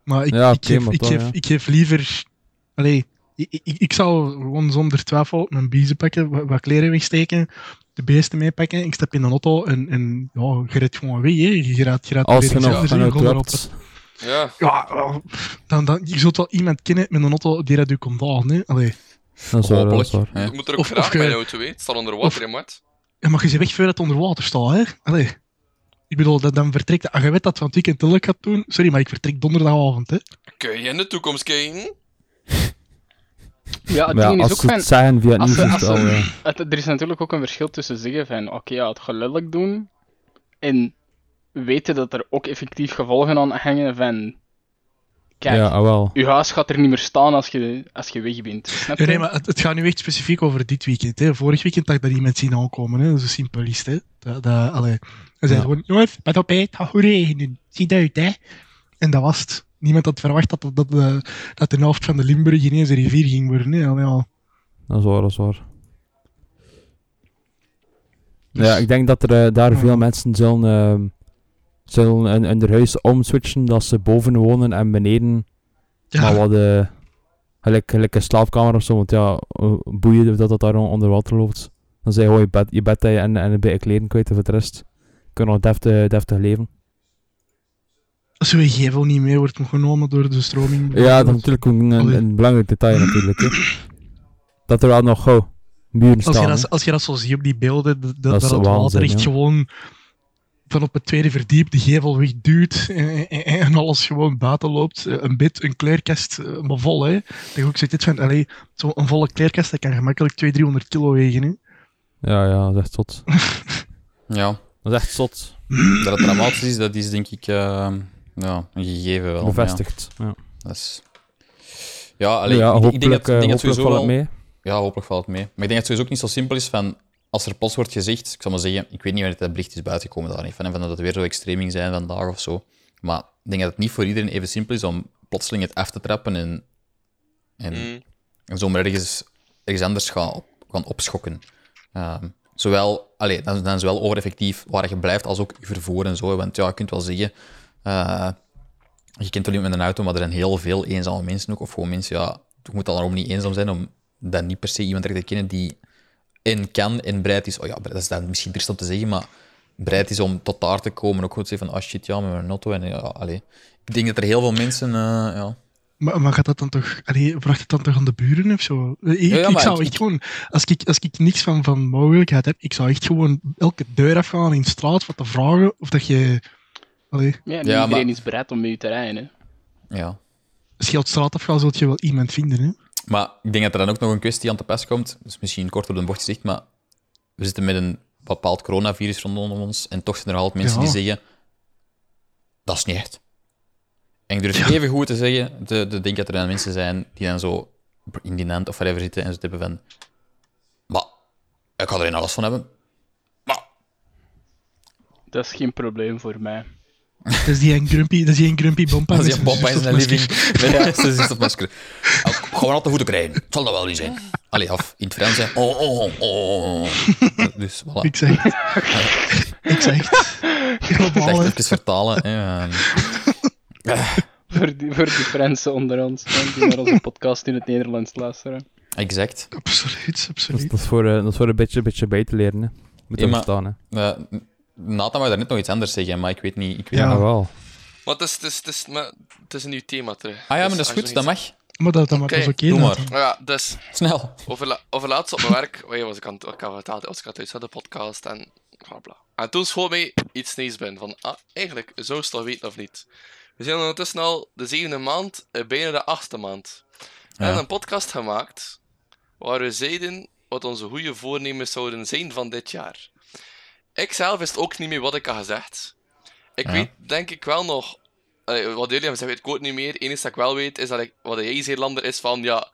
[SPEAKER 4] Maar ik,
[SPEAKER 3] Ja,
[SPEAKER 4] ik,
[SPEAKER 3] oké,
[SPEAKER 4] geef,
[SPEAKER 3] maar
[SPEAKER 4] ik,
[SPEAKER 3] toch,
[SPEAKER 4] geef,
[SPEAKER 3] ja.
[SPEAKER 4] ik geef liever... Allee, ik, ik, ik zou gewoon zonder twijfel mijn biezen pakken, wat, wat kleren wegsteken, de beesten meepakken. Ik stap in de auto en, en ja, je redt gewoon weg. Hè? Je raadt, je raadt
[SPEAKER 3] Als
[SPEAKER 4] weer
[SPEAKER 3] je
[SPEAKER 4] iets
[SPEAKER 3] nog
[SPEAKER 4] anders in,
[SPEAKER 3] vanuit
[SPEAKER 4] gewoon erop.
[SPEAKER 3] hebt.
[SPEAKER 1] Ja,
[SPEAKER 4] Ja, wel, dan, dan, je zult wel iemand kennen met een auto die dat u komt halen. Hè? Allee.
[SPEAKER 3] Dat is waar, dat is waar.
[SPEAKER 2] Hopelijk. hè.
[SPEAKER 1] ik moet er ook
[SPEAKER 4] Of-
[SPEAKER 1] graag
[SPEAKER 4] of je-
[SPEAKER 1] bij jou te weten. Het staat onder water, hè, maat.
[SPEAKER 4] Ja, maar je ze weg voor het onder water staat, hè? Allee. Ik bedoel, dat dan vertrekt... Ah, je weet dat van het weekend telk gaat doen. Sorry, maar ik vertrek donderdagavond, hè.
[SPEAKER 1] Kun je in de toekomst kijken?
[SPEAKER 5] Ja, het
[SPEAKER 3] Maar
[SPEAKER 5] ding
[SPEAKER 3] ja,
[SPEAKER 5] Ah, is
[SPEAKER 3] als
[SPEAKER 5] ook
[SPEAKER 3] ze
[SPEAKER 5] van.
[SPEAKER 3] het zeggen via het
[SPEAKER 5] als
[SPEAKER 3] nieuws,
[SPEAKER 5] ze-
[SPEAKER 3] is
[SPEAKER 5] als
[SPEAKER 3] het wel...
[SPEAKER 5] ze-
[SPEAKER 3] ja.
[SPEAKER 5] Het- er is natuurlijk ook een verschil tussen zeggen van oké, ja, het gelullig doen en weten dat er ook effectief gevolgen aan hangen van kijk,
[SPEAKER 3] Ja, ah, wel.
[SPEAKER 5] je huis gaat er niet meer staan als je, als je weg bent. Snap je?
[SPEAKER 4] Nee, maar het, het gaat nu echt specifiek over dit weekend, hè. Vorig weekend had ik dat iemand zien aankomen, hè. Zo simpel is het, hè. Dat, dat, allee. Hij zei
[SPEAKER 3] Ja.
[SPEAKER 4] gewoon, jongens, pas op, hè. Het gaat goed regenen. Ziet uit, hè. En dat was het. Niemand had verwacht dat, dat, de, dat de helft van de Limburg ineens een rivier ging worden, hè. Allee, ja.
[SPEAKER 3] Dat is waar, dat is waar.
[SPEAKER 5] Dus-
[SPEAKER 3] Ja, ik denk dat er eh, daar
[SPEAKER 4] Ja.
[SPEAKER 3] veel mensen zullen, ehm, zullen hun, hun huis omswitchen dat ze boven wonen en beneden
[SPEAKER 4] Ja,
[SPEAKER 3] Maar wat eh gelijk, gelijk een slaapkamer of zo, want ja, eh, boeien of dat dat daar on- onder water loopt. Dan zijn je gewoon je bed, je bed en, en een beetje kleden kwijt en voor de rest. Kun je nog deftig, deftig leven.
[SPEAKER 4] Als uw gevel niet mee wordt genomen door de stroming...
[SPEAKER 3] Ja, dat is natuurlijk ook een, een, een belangrijk detail natuurlijk. Hè. Dat er wel nog gauw muren
[SPEAKER 4] Als je,
[SPEAKER 3] staan. hè.
[SPEAKER 4] dat, als je dat zo ziet op die beelden, dat,
[SPEAKER 3] Dat
[SPEAKER 4] dat,
[SPEAKER 3] is
[SPEAKER 4] dat het water
[SPEAKER 3] waanzin,
[SPEAKER 4] echt
[SPEAKER 3] ja.
[SPEAKER 4] gewoon van op het tweede verdiep de gevel wegduwt en, en, en alles gewoon buiten loopt. Eh, Een bed, een kleerkast, eh, maar vol. Hè. Dat je ook zegt, dit van, allee, zo'n volle kleerkast dat kan gemakkelijk 200, 300 kilo wegen. Hè.
[SPEAKER 3] Ja, ja, dat is echt zot.
[SPEAKER 2] Ja,
[SPEAKER 3] Dat is echt zot.
[SPEAKER 2] dat het dramatisch is, dat is denk ik eh, ja, een gegeven wel. Ja.
[SPEAKER 3] Bevestigd. Ja,
[SPEAKER 2] Dat is... Ja,
[SPEAKER 3] Allee,
[SPEAKER 2] alleen,
[SPEAKER 3] ja
[SPEAKER 2] ik, ik
[SPEAKER 3] hopelijk,
[SPEAKER 2] denk dat, ik
[SPEAKER 3] eh,
[SPEAKER 2] denk dat
[SPEAKER 3] hopelijk
[SPEAKER 2] sowieso
[SPEAKER 3] valt
[SPEAKER 2] wel...
[SPEAKER 3] het mee.
[SPEAKER 2] Ja, hopelijk valt het mee. Maar ik denk dat het sowieso ook niet zo simpel is van... als er plots wordt gezegd, ik zal maar zeggen, ik weet niet wanneer dat bericht is buitengekomen daar niet van, en van dat het weer zo extreem ging zijn vandaag of zo. Maar ik denk dat het niet voor iedereen even simpel is om plotseling het af te trappen en, en,
[SPEAKER 1] Mm.
[SPEAKER 2] en zomaar ergens, ergens anders gaan, op- gaan opschokken. Ehm, zowel, allee, dan, dan is wel overeffectief waar je blijft, als ook je vervoer en zo. hè. Want ja, je kunt wel zeggen, eh, je kent wel iemand met een auto, maar er zijn heel veel eenzame mensen ook. Of gewoon mensen, ja, je moet dan daarom niet eenzaam zijn om dan niet per se iemand echt te kennen die en kan en bereid is. Oh ja, dat is dan misschien triest om te zeggen, maar bereid is om tot daar te komen. Ook goed zeggen van, ah shit, ja, met mijn auto. En, ja, allee. Ik denk dat er heel veel mensen, eh, ja.
[SPEAKER 4] Maar, maar gaat dat dan toch, allee, bracht het dan toch aan de buren of zo? Eh, Ik,
[SPEAKER 2] ja,
[SPEAKER 4] ik
[SPEAKER 2] maar
[SPEAKER 4] zou
[SPEAKER 2] ik-
[SPEAKER 4] echt
[SPEAKER 2] ik-
[SPEAKER 4] gewoon, als ik, als ik niks van, van mogelijkheid heb, ik zou echt gewoon elke deur afgaan in de straat wat te vragen of dat je. Allee,
[SPEAKER 5] Ja, niet
[SPEAKER 2] Ja,
[SPEAKER 5] iedereen
[SPEAKER 2] maar-
[SPEAKER 5] is bereid om mee te rijden. Hè.
[SPEAKER 2] ja.
[SPEAKER 4] als je op de straat afgaat, zult je wel iemand vinden. Hè?
[SPEAKER 2] Maar ik denk dat er dan ook nog een kwestie aan te pas komt. Dus misschien kort op de bocht gezegd, maar we zitten met een bepaald coronavirus rondom ons. En toch zijn er altijd mensen
[SPEAKER 4] Ja.
[SPEAKER 2] die zeggen: dat is niet echt. En ik durf even goed te zeggen: de, de, ik denk dat er dan mensen zijn die dan zo in die land of whatever zitten en zo hebben van: maar ik ga er in alles van hebben.
[SPEAKER 5] Dat is geen probleem voor mij.
[SPEAKER 4] Dat is die een grumpy, dat is die een grumpy bompa.
[SPEAKER 2] Dat is een bompa in zijn living. Ja, ze zit op masker. Ja, Gewoon altijd goed krijgen. Het zal dat wel niet zijn. Allee, af in het Frans. hè. Oh, oh, oh, oh, oh. Dus voilà.
[SPEAKER 4] Ik zeg het. ik zeg het. Globaal,
[SPEAKER 2] Echt
[SPEAKER 4] hè.
[SPEAKER 2] even vertalen. hè. Ehm,
[SPEAKER 5] Voor die, voor die Fransen onder ons, hè, die naar onze podcast in het Nederlands luisteren.
[SPEAKER 2] Exact.
[SPEAKER 4] Absoluut,
[SPEAKER 3] Dat is,
[SPEAKER 4] absoluut.
[SPEAKER 3] dat is voor, eh, dat is voor een beetje, beetje bij te leren. Hè. Moet
[SPEAKER 2] Ja,
[SPEAKER 3] je
[SPEAKER 2] maar-
[SPEAKER 3] verstaan, hè.
[SPEAKER 2] Eh, Nathan wou daar net nog iets anders zeggen, maar ik weet niet. Ik weet
[SPEAKER 4] Ja.
[SPEAKER 3] Ja, Ah, wel.
[SPEAKER 1] Maar het is, het is, het is, maar het is een nieuw thema terug.
[SPEAKER 2] Ah ja, maar
[SPEAKER 1] Dus
[SPEAKER 2] dat is
[SPEAKER 1] als
[SPEAKER 2] goed,
[SPEAKER 1] je
[SPEAKER 2] dat
[SPEAKER 1] nog
[SPEAKER 2] mag.
[SPEAKER 4] Maar dat, dat, dat is
[SPEAKER 1] Oké,
[SPEAKER 4] oké.
[SPEAKER 2] doe
[SPEAKER 4] dan.
[SPEAKER 2] maar.
[SPEAKER 1] iets- Ja, dus
[SPEAKER 2] Snel.
[SPEAKER 1] Overla overlaatst op mijn werk, oh ja, was ik aan het, ik had het verteld, was ik aan het uitzetten, podcast en bla bla. En toen schoot mij iets nieuws binnen van, ah, eigenlijk, zou ze het toch weten of niet? We zijn ondertussen al de zevende maand, eh, bijna de achtste maand. We
[SPEAKER 2] Ja.
[SPEAKER 1] hebben een podcast gemaakt, waar we zeiden wat onze goede voornemens zouden zijn van dit jaar. Ik zelf wist ook niet meer wat ik had gezegd. Ik
[SPEAKER 2] Ja.
[SPEAKER 1] weet, denk ik wel nog, eh, wat jullie hebben gezegd, weet ik ook niet meer. Het enige dat ik wel weet, is dat ik, wat de Zeelander is van, ja,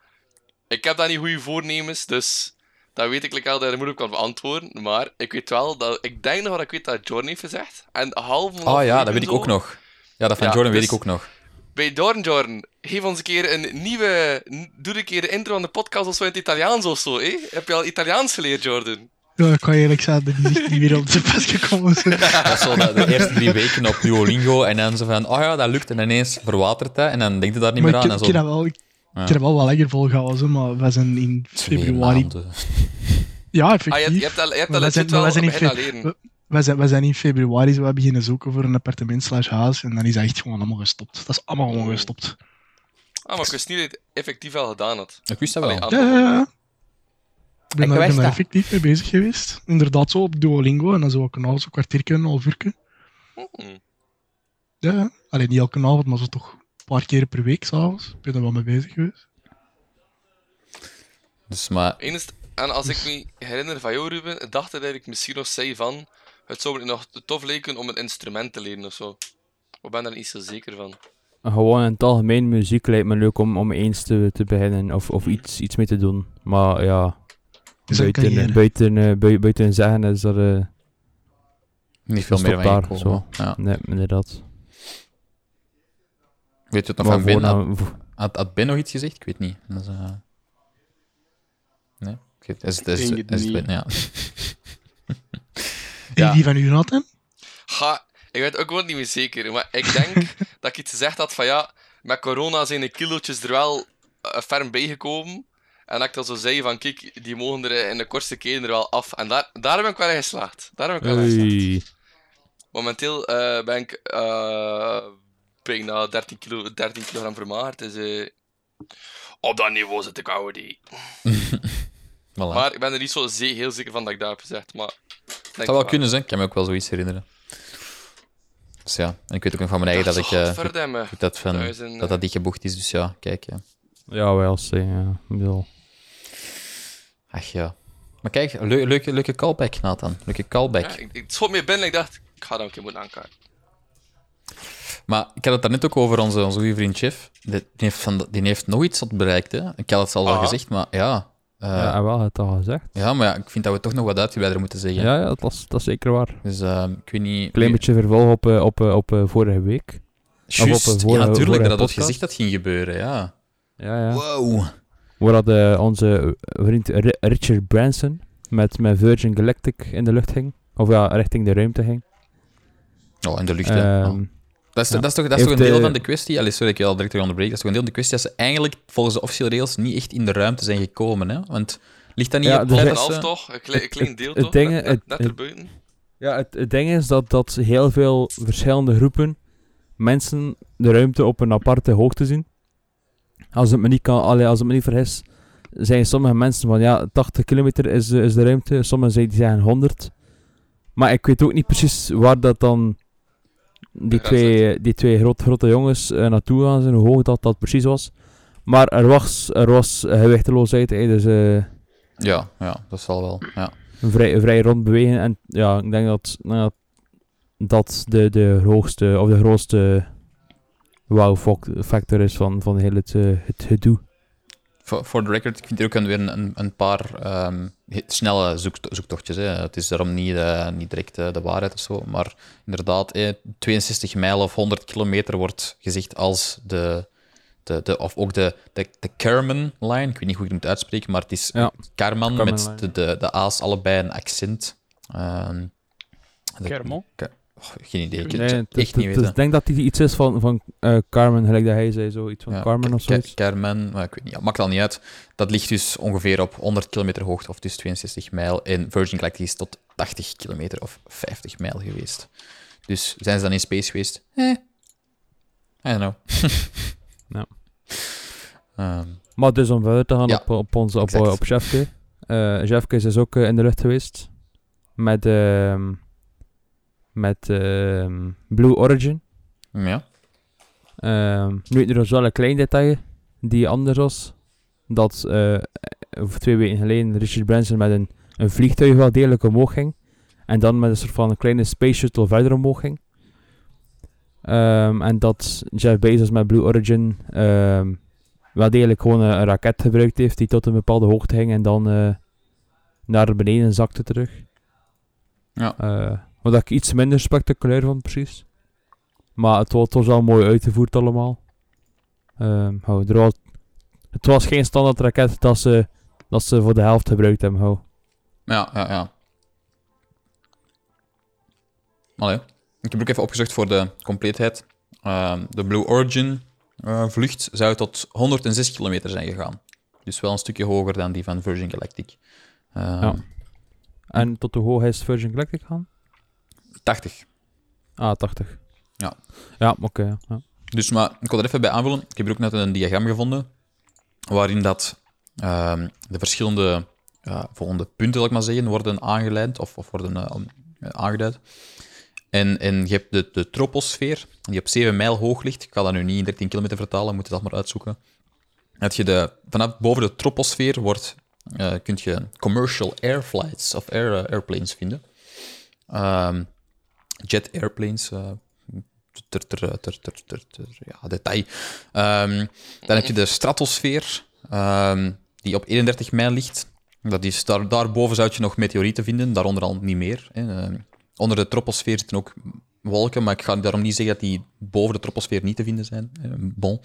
[SPEAKER 1] ik heb daar niet goede voornemens, dus dat weet ik lekker al dat ik moeilijk kan beantwoorden. Maar ik weet wel dat ik denk nog dat ik weet dat Jordan heeft gezegd. En half van
[SPEAKER 2] Ah ja, dat
[SPEAKER 1] aflevering
[SPEAKER 2] weet ik
[SPEAKER 1] zo,
[SPEAKER 2] ook nog. Ja, dat van
[SPEAKER 1] Ja,
[SPEAKER 2] Jordan weet
[SPEAKER 1] dus-
[SPEAKER 2] ik ook nog.
[SPEAKER 1] Bij Jordan, Jordan, geef ons een keer een nieuwe. n- Doe een keer de intro aan de podcast of zo in het Italiaans of zo, hè? Heb je al Italiaans geleerd, Jordan?
[SPEAKER 4] Ja, ik kan eerlijk zijn, dat is echt niet weer op zijn pas gekomen. zo.
[SPEAKER 2] Dat is zo de, de eerste drie weken op Duolingo en dan zo van, oh ja, dat lukt. En ineens verwatert dat en dan denkt je daar niet
[SPEAKER 4] Maar
[SPEAKER 2] meer
[SPEAKER 4] ik,
[SPEAKER 2] aan.
[SPEAKER 4] ik,
[SPEAKER 2] En
[SPEAKER 4] ik
[SPEAKER 2] zo
[SPEAKER 4] heb dat wel, ik, ik heb dat wel wat lekker volgehouden, zo, maar we zijn in
[SPEAKER 2] twee
[SPEAKER 4] februari.
[SPEAKER 2] maanden.
[SPEAKER 4] Ja,
[SPEAKER 1] Ah, je, hebt- je
[SPEAKER 4] effectief.
[SPEAKER 1] hebt al, je hebt
[SPEAKER 4] Maar
[SPEAKER 1] al
[SPEAKER 4] wij
[SPEAKER 1] legit
[SPEAKER 4] zijn-
[SPEAKER 1] wel
[SPEAKER 4] maar wij zijn
[SPEAKER 1] aan
[SPEAKER 4] in
[SPEAKER 1] het begin
[SPEAKER 4] fe-
[SPEAKER 1] al leren.
[SPEAKER 4] we- We zijn, we zijn in februari zo, we beginnen zoeken voor een appartement slash huis en dan is dat echt gewoon allemaal gestopt. Dat is allemaal gewoon gestopt.
[SPEAKER 1] Ah, maar ik wist niet dat je het effectief al gedaan had.
[SPEAKER 2] Ik wist dat
[SPEAKER 1] Allee,
[SPEAKER 2] wel.
[SPEAKER 1] aan-
[SPEAKER 4] Ja, ja, ja. Ik ben,
[SPEAKER 2] Ik
[SPEAKER 4] daar- ik ben
[SPEAKER 2] wist
[SPEAKER 4] daar
[SPEAKER 2] dat.
[SPEAKER 4] effectief mee bezig geweest. Inderdaad, zo op Duolingo en dan zo elke avond, zo'n kwartiertje, een half uurtje.
[SPEAKER 1] Hm.
[SPEAKER 4] Hmm. Ja, ja. Alleen niet elke avond, maar zo toch een paar keer per week s'avonds. Ik ben er wel mee bezig geweest.
[SPEAKER 2] Dus maar,
[SPEAKER 1] Enes- en als ik me herinner van jou, Ruben, dacht ik dat ik misschien nog zei van. Het zou me nog te tof lijken om een instrument te leren of zo. Ik ben daar niet zo zeker van.
[SPEAKER 3] Gewoon in het algemeen muziek lijkt me leuk om, om eens te, te beginnen of, of iets, iets mee te doen. Maar ja,
[SPEAKER 4] Dus dat
[SPEAKER 3] buiten,
[SPEAKER 4] kan je.
[SPEAKER 3] eh, buiten, eh, bui- buiten zeggen is dat... eh,
[SPEAKER 2] niet veel
[SPEAKER 3] Stop
[SPEAKER 2] meer van je
[SPEAKER 3] daar,
[SPEAKER 2] komen. Ja.
[SPEAKER 3] nee, inderdaad.
[SPEAKER 2] Weet je het nog
[SPEAKER 3] maar
[SPEAKER 2] van Ben?
[SPEAKER 3] gewoon...
[SPEAKER 2] Had,
[SPEAKER 3] eh, aan- voor-
[SPEAKER 2] had, had Ben nog iets gezegd? Ik weet niet. Dat is, eh, Nee? Ik weet- Is, het- is,
[SPEAKER 5] denk
[SPEAKER 2] is,
[SPEAKER 5] het
[SPEAKER 2] is,
[SPEAKER 5] niet.
[SPEAKER 2] ja.
[SPEAKER 4] En
[SPEAKER 2] Ja.
[SPEAKER 4] die van u, Nathan?
[SPEAKER 1] Ga, ik weet ook wel niet meer zeker, maar ik denk dat ik iets gezegd had van ja, met corona zijn de kilootjes er wel eh, ferm bijgekomen. En dat ik dan zo zei van kijk, die mogen er eh, in de kortste keren er wel af. En daar, daar ben ik wel in geslaagd. Daar ben ik wel in geslaagd.
[SPEAKER 3] Oei.
[SPEAKER 1] Momenteel eh, ben ik eh bijna 13, kilo, 13 kilogram vermagerd. Dus eh, op dat niveau zit ik oude die.
[SPEAKER 2] Voilà.
[SPEAKER 1] Maar ik ben er niet zo ze- heel zeker van dat ik dat heb gezegd. Maar
[SPEAKER 2] Het zou wel kunnen zijn, ik kan me ook wel zoiets herinneren. Dus ja, en ik weet ook nog van mijn eigen dat, ik eh,
[SPEAKER 1] Godverdamme.
[SPEAKER 2] dat, van,
[SPEAKER 1] Dat is een,
[SPEAKER 2] dat dat niet geboekt is, dus ja, kijk. Ja.
[SPEAKER 3] Ja, wel, see, ja. Ik bedoel,
[SPEAKER 2] Ach ja. Maar kijk, leu- leuke, leuke callback, Nathan. Leuke callback.
[SPEAKER 1] Ja, ik, ik schoot meer binnen en ik dacht, ik ga dat een keer moeten aankaarten.
[SPEAKER 2] Maar ik had het daarnet ook over onze, onze goede vriend Chef. Die die heeft, van, die heeft nog iets wat bereikt, hè. Ik had het zelf al
[SPEAKER 1] Aha.
[SPEAKER 2] gezegd, maar ja. Eh,
[SPEAKER 3] ja, en wel, het al gezegd.
[SPEAKER 2] ja, maar ja, ik vind dat we toch nog wat uitgebreider moeten zeggen.
[SPEAKER 3] Ja, ja, dat, was, dat is zeker waar.
[SPEAKER 2] Dus ehm, ik weet niet...
[SPEAKER 3] Klein beetje vervolg op, eh, op, eh, op eh, vorige week.
[SPEAKER 2] Juist,
[SPEAKER 3] op een
[SPEAKER 2] ja,
[SPEAKER 3] vorige-
[SPEAKER 2] natuurlijk,
[SPEAKER 3] vorige
[SPEAKER 2] dat had
[SPEAKER 3] podcast.
[SPEAKER 2] gezegd dat ging gebeuren, ja.
[SPEAKER 3] Ja, ja.
[SPEAKER 2] Wow.
[SPEAKER 3] Waar dat, eh, onze vriend Ri- Richard Branson met, met Virgin Galactic in de lucht ging. Of ja, richting de ruimte ging.
[SPEAKER 2] Oh, in de lucht, hè.
[SPEAKER 3] Ehm,
[SPEAKER 2] Oh. Dat is,
[SPEAKER 3] ja.
[SPEAKER 2] dat is toch, dat is toch een
[SPEAKER 3] Heeft,
[SPEAKER 2] deel
[SPEAKER 3] eh,
[SPEAKER 2] van de kwestie... Allee, sorry, ik wil al direct weer onderbreken. Dat is toch een deel van de kwestie dat ze eigenlijk volgens de officiële rails niet echt in de ruimte zijn gekomen, hè. Want ligt dat niet
[SPEAKER 3] Ja,
[SPEAKER 2] op
[SPEAKER 3] dus
[SPEAKER 2] eh, het
[SPEAKER 1] Een half
[SPEAKER 2] feit dat ze-
[SPEAKER 1] toch? Een klein, een klein
[SPEAKER 3] het-
[SPEAKER 1] deel
[SPEAKER 3] het
[SPEAKER 1] toch?
[SPEAKER 3] ding-
[SPEAKER 1] net, net,
[SPEAKER 3] het-
[SPEAKER 1] net
[SPEAKER 3] het-
[SPEAKER 1] erbuiten.
[SPEAKER 3] Ja, het, het ding is dat, dat heel veel verschillende groepen mensen de ruimte op een aparte hoogte zien. Als het me niet, kan, allee, als het me niet vergis, zijn sommige mensen van ja, 80 kilometer is, eh, is de ruimte, sommigen zeggen, die zeggen 100. Maar ik weet ook niet precies waar dat dan die
[SPEAKER 1] Ja,
[SPEAKER 3] twee, die twee grote, grote jongens eh, naartoe gaan zijn, hoe hoog dat, dat precies was. Maar er was, er was gewichteloosheid, hè, dus... eh,
[SPEAKER 2] Ja, ja, dat zal wel, ja.
[SPEAKER 3] vrij, vrij rond bewegen. En ja, ik denk dat nou ja, dat de, de hoogste of de grootste wow foc- factor is van, van heel het, eh, het gedoe.
[SPEAKER 2] Voor voor de record, ik vind er ook een- weer een- een, een paar ehm, he- snelle zoekt- zoektochtjes. Hè. Het is daarom niet, eh, niet direct eh, de waarheid of zo. Maar inderdaad, eh, 62 mijl of 100 kilometer wordt gezegd als de. de, de of ook de, de, de Kerman-line. Ik weet niet hoe ik het moet uitspreken, maar het is
[SPEAKER 3] Ja,
[SPEAKER 2] Karman
[SPEAKER 3] Karman
[SPEAKER 2] met
[SPEAKER 3] line.
[SPEAKER 2] de, de, de A's allebei een accent. Ehm, dat-
[SPEAKER 5] Kermel?
[SPEAKER 2] Ke- Oh, geen idee. Ik
[SPEAKER 5] Nee,
[SPEAKER 2] zou
[SPEAKER 3] het-
[SPEAKER 2] echt
[SPEAKER 3] het-
[SPEAKER 2] niet
[SPEAKER 3] het-
[SPEAKER 2] weten.
[SPEAKER 3] Ik denk dat dit iets is van, van eh, Carmen, gelijk dat hij zei, zoiets van
[SPEAKER 2] Ja,
[SPEAKER 3] Carmen
[SPEAKER 2] Ke-
[SPEAKER 3] of
[SPEAKER 2] Ke-
[SPEAKER 3] zoiets.
[SPEAKER 2] Kermen, maar ik weet niet, ja, maakt al niet uit. Dat ligt dus ongeveer op 100 kilometer hoogte, of dus 62 mijl. En Virgin Galactic is tot 80 kilometer of 50 mijl geweest. Dus zijn ze dan in space geweest? Eh, I don't know.
[SPEAKER 3] Ja.
[SPEAKER 2] Ehm,
[SPEAKER 3] Maar dus om verder te gaan
[SPEAKER 2] Ja,
[SPEAKER 3] op, op, onze, op,
[SPEAKER 2] exact.
[SPEAKER 3] op Jeffke. Eh Jeffke is dus ook eh, in de lucht geweest. Met, ehm, met ehm, Blue Origin.
[SPEAKER 2] ja.
[SPEAKER 3] Ehm, nu, er was wel een klein detail die anders was. Dat eh, over twee weken geleden Richard Branson met een, een vliegtuig wel degelijk omhoog ging. En dan met een soort van een kleine space shuttle verder omhoog ging. Ehm, en dat Jeff Bezos met Blue Origin ehm, wel degelijk gewoon een, een raket gebruikt heeft die tot een bepaalde hoogte ging en dan eh, naar beneden zakte terug.
[SPEAKER 2] Ja.
[SPEAKER 3] Eh, wat ik iets minder spectaculair vond precies. Maar het was, het was wel mooi uitgevoerd allemaal. Ehm, hou, er was, het was geen standaard raket dat ze, dat ze voor de helft gebruikt hebben. Hou.
[SPEAKER 2] Ja, ja, ja. Allee. Ik heb ook even opgezocht voor de compleetheid. Ehm, de Blue Origin eh, vlucht zou tot 106 kilometer zijn gegaan. Dus wel een stukje hoger dan die van Virgin Galactic. Ehm,
[SPEAKER 3] Ja. En tot hoe hoog is Virgin Galactic gaan?
[SPEAKER 2] 80.
[SPEAKER 3] Ah, 80.
[SPEAKER 2] Ja.
[SPEAKER 3] Ja, oké. ja, ja.
[SPEAKER 2] Dus maar ik wil er even bij aanvullen. Ik heb er ook net een diagram gevonden. Waarin dat ehm, de verschillende ja, volgende punten, zal ik maar zeggen, worden aangeleid of, of worden eh, om- eh, aangeduid. En, en je hebt de, de troposfeer, die op 7 mijl hoog ligt. Ik kan dat nu niet in 13 kilometer vertalen, moet je dat maar uitzoeken. Dat je de, vanaf boven de troposfeer wordt, eh kun je commercial airflights of air, eh, airplanes vinden. Ehm, jet airplanes, eh, ter, ter, ter, ter, ter, ter- ja, detail. Ehm, dan heb je de stratosfeer, ehm, die op 31 mijl ligt. Dat is, daar, daarboven zou je nog meteorieten vinden, daaronder al niet meer. Hè. Ehm, onder de troposfeer zitten ook wolken, maar ik ga daarom niet zeggen dat die boven de troposfeer niet te vinden zijn. Eh, Bon.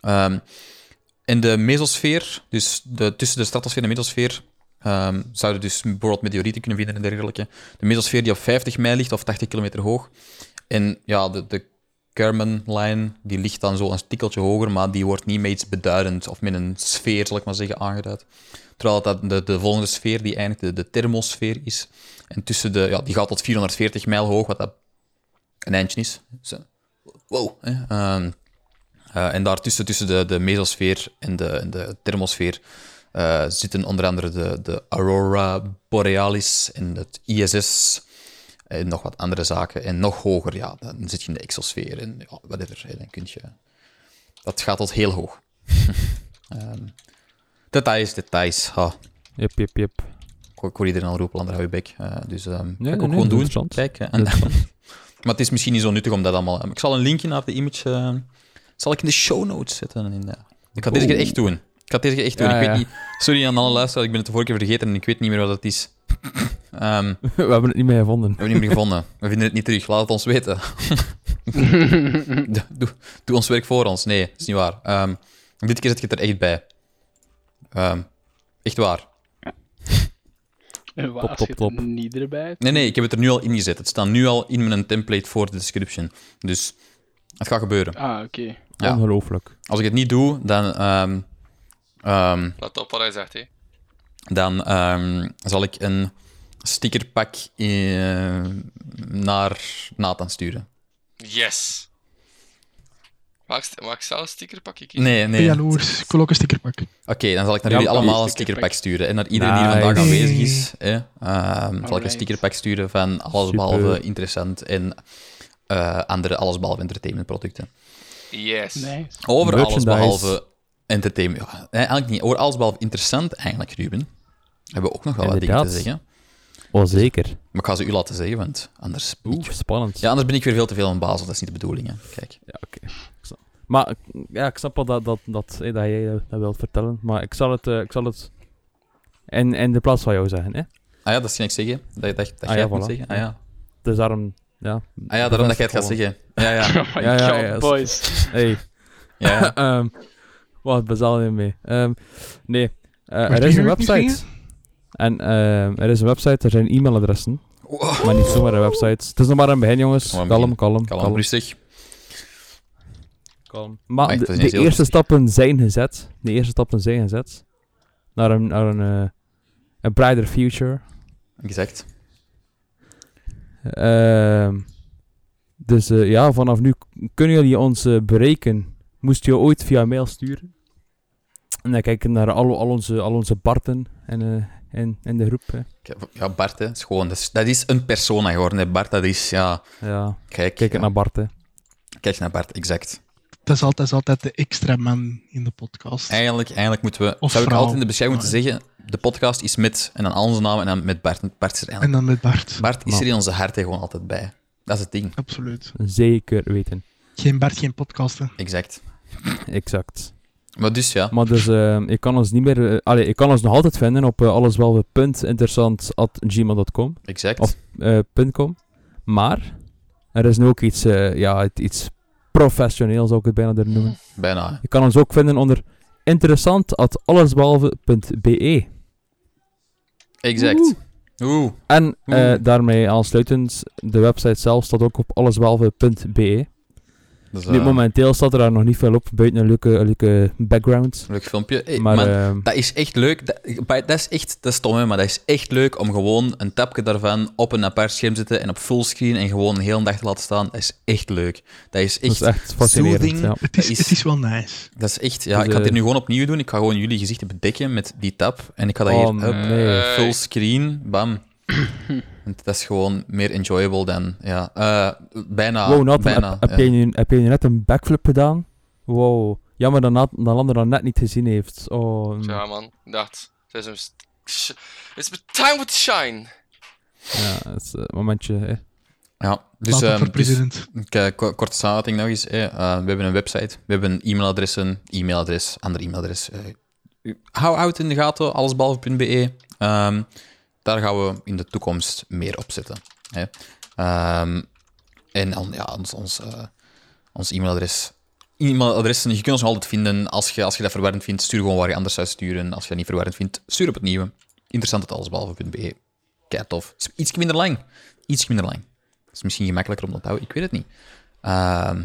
[SPEAKER 2] Ehm, en de mesosfeer, dus de, tussen de stratosfeer en de mesosfeer, ehm, zouden dus bijvoorbeeld meteorieten kunnen vinden en dergelijke. De mesosfeer die op 50 mijl ligt of 80 kilometer hoog, en ja, de, de Kerman-lijn die ligt dan zo een tikkeltje hoger, maar die wordt niet met iets beduidend of met een sfeer, zal ik maar zeggen, aangeduid. Terwijl dat de, de volgende sfeer, die eigenlijk de, de thermosfeer is. En tussen de, ja, die gaat tot 440 mijl hoog, wat dat een eindje is. Dus, eh, wow. Hè? Ehm, eh, en daartussen, tussen de, de mesosfeer en de, en de thermosfeer, eh, zitten onder andere de, de Aurora Borealis en het ISS en Eh, nog wat andere zaken. En nog hoger, ja, dan zit je in de exosfeer en ja, whatever. hè, Dan kun je... Dat gaat tot heel hoog. Ehm, details, details. Ha.
[SPEAKER 3] Yep, yep, yep.
[SPEAKER 2] Ik hoor ik hoor iedereen al roepen, ander hou je bek. Eh, dus ehm ga ik
[SPEAKER 3] nee,
[SPEAKER 2] ook
[SPEAKER 3] nee,
[SPEAKER 2] gewoon doen.
[SPEAKER 3] interessant.
[SPEAKER 2] Kijk, eh, en- maar het is misschien niet zo nuttig om dat allemaal... ehm,
[SPEAKER 3] Oh.
[SPEAKER 2] Ik zal een linkje naar de image... eh, zal ik in de show notes zetten. In de... Ik ga dit keer echt doen. Ik Ik had deze keer echt door.
[SPEAKER 3] Ja,
[SPEAKER 2] ik
[SPEAKER 3] ja.
[SPEAKER 2] weet niet. Sorry aan alle luisteraars, ik ben het de vorige keer vergeten en ik weet niet meer wat het is. Ehm, we
[SPEAKER 3] We hebben het niet meer gevonden.
[SPEAKER 2] hebben het niet meer gevonden. We vinden het niet terug. Laat het ons weten. Doe- doe, doe ons werk voor ons. Nee, dat is niet waar. Ehm, dit keer zit je het er echt bij. Ehm, echt waar.
[SPEAKER 5] En waar
[SPEAKER 3] Plop, plop,
[SPEAKER 5] zit er
[SPEAKER 3] plop.
[SPEAKER 5] niet erbij?
[SPEAKER 2] Nee, nee, ik heb het er nu al in gezet. Het staat nu al in mijn template voor de description. Dus het gaat gebeuren.
[SPEAKER 5] Ah, oké.
[SPEAKER 2] Ja.
[SPEAKER 3] Ongelooflijk.
[SPEAKER 2] Als ik het niet doe, dan, ehm, ehm,
[SPEAKER 1] Let op wat hij zegt, hè.
[SPEAKER 2] dan ehm, zal ik een stickerpak eh, naar Nathan sturen.
[SPEAKER 1] Yes! Maak, maak zelf een sticker, pak ik hier.
[SPEAKER 2] Nee, nee. Oké,
[SPEAKER 4] Jaloers, ik wil ook een stickerpak.
[SPEAKER 2] dan zal ik naar jullie
[SPEAKER 3] Ja,
[SPEAKER 5] maar-
[SPEAKER 2] allemaal een stickerpak
[SPEAKER 5] stickerpak.
[SPEAKER 2] sturen. En naar iedereen die
[SPEAKER 3] Nice.
[SPEAKER 2] vandaag aanwezig is, hè, ehm, zal ik een
[SPEAKER 5] Alright.
[SPEAKER 2] stickerpak sturen van alles
[SPEAKER 3] Super.
[SPEAKER 2] behalve interessant en eh, andere alles behalve entertainment producten.
[SPEAKER 1] Yes.
[SPEAKER 5] Nice.
[SPEAKER 2] Over alles
[SPEAKER 3] Merchandise.
[SPEAKER 2] behalve entertainment. Ja, nee, eigenlijk niet. Over alles behalve interessant, eigenlijk, Ruben. Hebben we ook nog wel wat dingen te
[SPEAKER 3] Inderdaad.
[SPEAKER 2] zeggen.
[SPEAKER 3] Oh, zeker.
[SPEAKER 2] Maar ik ga ze u laten zeggen, want anders. ben
[SPEAKER 3] Oeh,
[SPEAKER 2] ik-
[SPEAKER 3] spannend.
[SPEAKER 2] Ja, anders ben ik weer veel te veel in Basel. Dat is niet de bedoeling, hè. Kijk.
[SPEAKER 3] Ja, oké. Ik snap- Maar ik- ja, ik snap wel dat, dat, dat, eh, dat jij eh, dat wilt vertellen. Maar ik zal het, eh, ik zal het in, in de plaats van jou zeggen. Hè?
[SPEAKER 2] Ah ja, dat ging ik zeggen. Dat, dat, dat jij
[SPEAKER 3] ja,
[SPEAKER 2] het moet
[SPEAKER 3] voilà.
[SPEAKER 2] zeggen. Ah ja,
[SPEAKER 3] Dus daarom, ja.
[SPEAKER 2] ah, ja daarom dat jij het gaat zeggen. Ja, ja.
[SPEAKER 5] Oh my
[SPEAKER 3] Ja, ja,
[SPEAKER 5] god,
[SPEAKER 3] ja, dat is-
[SPEAKER 5] boys.
[SPEAKER 3] Hey,
[SPEAKER 2] ja, ja.
[SPEAKER 3] ehm, wat bezaal je mee? Ehm, nee, eh, er
[SPEAKER 4] die
[SPEAKER 3] is een
[SPEAKER 4] huurt niet
[SPEAKER 3] website. En ehm, er is een website, er zijn e-mailadressen. Maar niet zomaar een website. Het is nog maar een begin, jongens.
[SPEAKER 2] Nog maar
[SPEAKER 3] Kalm,
[SPEAKER 2] een
[SPEAKER 3] kalm,
[SPEAKER 2] begin.
[SPEAKER 3] kalm.
[SPEAKER 2] Kalm,
[SPEAKER 3] kalm,
[SPEAKER 2] rustig.
[SPEAKER 3] Maar
[SPEAKER 2] Echt,
[SPEAKER 3] de,
[SPEAKER 2] dat is
[SPEAKER 3] de
[SPEAKER 2] heel
[SPEAKER 3] eerste stappen zijn gezet. De eerste stappen zijn gezet. Naar een, naar een, eh, een brighter future.
[SPEAKER 2] Exact.
[SPEAKER 3] Ehm, dus eh, ja, vanaf nu k- kunnen jullie ons eh, bereiken. Moest je ooit via mail sturen. En dan kijken naar al, al, onze, al onze Barten en, eh, in, in de groep. Hè.
[SPEAKER 2] Ik- Ja, Bart, hè. Dat is gewoon... Dat is, dat is een persona geworden, hè. Bart, dat is... Ja,
[SPEAKER 3] Ja,
[SPEAKER 2] kijk.
[SPEAKER 3] kijk
[SPEAKER 2] ja.
[SPEAKER 3] naar Barten.
[SPEAKER 2] Kijk naar Bart, exact.
[SPEAKER 4] Dat is altijd, dat is altijd de extra man in de podcast.
[SPEAKER 2] Eigenlijk, eigenlijk moeten we.
[SPEAKER 4] Of
[SPEAKER 2] zou ik
[SPEAKER 4] vrouw.
[SPEAKER 2] altijd in de beschrijving moeten zeggen: de podcast is met en dan al onze namen en dan met Bart. Bart is er
[SPEAKER 4] En
[SPEAKER 2] eigenlijk.
[SPEAKER 4] dan met Bart.
[SPEAKER 2] Bart is
[SPEAKER 3] Nou.
[SPEAKER 2] er in onze harten gewoon altijd bij. Dat is het ding.
[SPEAKER 4] Absoluut.
[SPEAKER 3] Zeker weten.
[SPEAKER 4] Geen Bart, geen podcast. Hè.
[SPEAKER 2] Exact.
[SPEAKER 3] Exact.
[SPEAKER 2] Maar dus ja.
[SPEAKER 3] Maar dus, eh, je kan ons niet meer... eh, allee, je kan ons nog altijd vinden op eh, alleswelwe.interessant.gmail.com
[SPEAKER 2] Exact.
[SPEAKER 3] Of- eh, punt .com. Maar, er is nu ook iets, eh, ja, het- iets professioneel, zou ik het bijna durven noemen.
[SPEAKER 2] Bijna. hè.
[SPEAKER 3] Je kan ons ook vinden onder interessant.allesbehalve.be.
[SPEAKER 2] Exact. Oeh.
[SPEAKER 3] En eh,
[SPEAKER 2] Oeh.
[SPEAKER 3] daarmee aansluitend, de website zelf staat ook op allesbehalve.be.
[SPEAKER 2] Dat is
[SPEAKER 3] Nu,
[SPEAKER 2] eh,
[SPEAKER 3] momenteel staat er daar nog niet veel op, buiten een leuke, leuke background.
[SPEAKER 2] een leuk filmpje. Hey,
[SPEAKER 3] Maar
[SPEAKER 2] man,
[SPEAKER 3] ehm,
[SPEAKER 2] dat is echt leuk. Dat, bij- dat is echt dat is stom, hè, maar dat is echt leuk om gewoon een tapje daarvan op een apart scherm te zetten en op fullscreen en gewoon een hele dag te laten staan. Dat is echt leuk. Dat is
[SPEAKER 3] dat
[SPEAKER 2] echt.
[SPEAKER 3] is echt fascinerend.
[SPEAKER 2] soothing.
[SPEAKER 3] Ja.
[SPEAKER 4] Het is,
[SPEAKER 2] Is-
[SPEAKER 4] het is wel nice.
[SPEAKER 2] Dat is echt, ja,
[SPEAKER 3] Dus,
[SPEAKER 2] ik ga het hier
[SPEAKER 3] eh,
[SPEAKER 2] nu gewoon opnieuw doen. Ik ga gewoon jullie gezichten bedekken met die tab. En ik ga dat eh,
[SPEAKER 3] Oh,
[SPEAKER 2] hier, up,
[SPEAKER 3] nee.
[SPEAKER 2] full screen, bam. Want dat is gewoon meer enjoyable dan, ja. Eh, bijna,
[SPEAKER 3] wow, nou Nathan,
[SPEAKER 2] bijna.
[SPEAKER 3] heb, heb
[SPEAKER 2] ja.
[SPEAKER 3] jij nu, heb jij nu net een backflip gedaan? Wow. Jammer dat, Nat, dat Lander dat net niet gezien heeft. Oh, mm,
[SPEAKER 1] Ja, man. Dat. Het is een... st- sh- It's my time with shine.
[SPEAKER 3] ja, dat is een momentje. hè.
[SPEAKER 2] Ja,
[SPEAKER 4] Dus,
[SPEAKER 2] dus, ehm,
[SPEAKER 4] voor
[SPEAKER 2] dus
[SPEAKER 4] president.
[SPEAKER 2] ik, eh, ko- korte samenvatting nog eens. eh, eh, we hebben een website, we hebben e-mailadressen, e-mailadres, ander e-mailadres. eh. hou hou het in de gaten, allesbehalve.be. Ehm, daar gaan we in de toekomst meer op zetten. Hè. Ehm, en dan, ja, ons, ons, eh, ons e-mailadres. E-mailadressen, je kunt ons nog altijd vinden. Als je, als je dat verwarrend vindt, stuur gewoon waar je anders zou sturen. Als je dat niet verwarrend vindt, stuur op het nieuwe. Interessant het allesbehalve.be. Kijk tof. Is Iets minder lang. Iets minder lang. Dat is misschien gemakkelijker om te onthouden. Ik weet het niet. Ehm,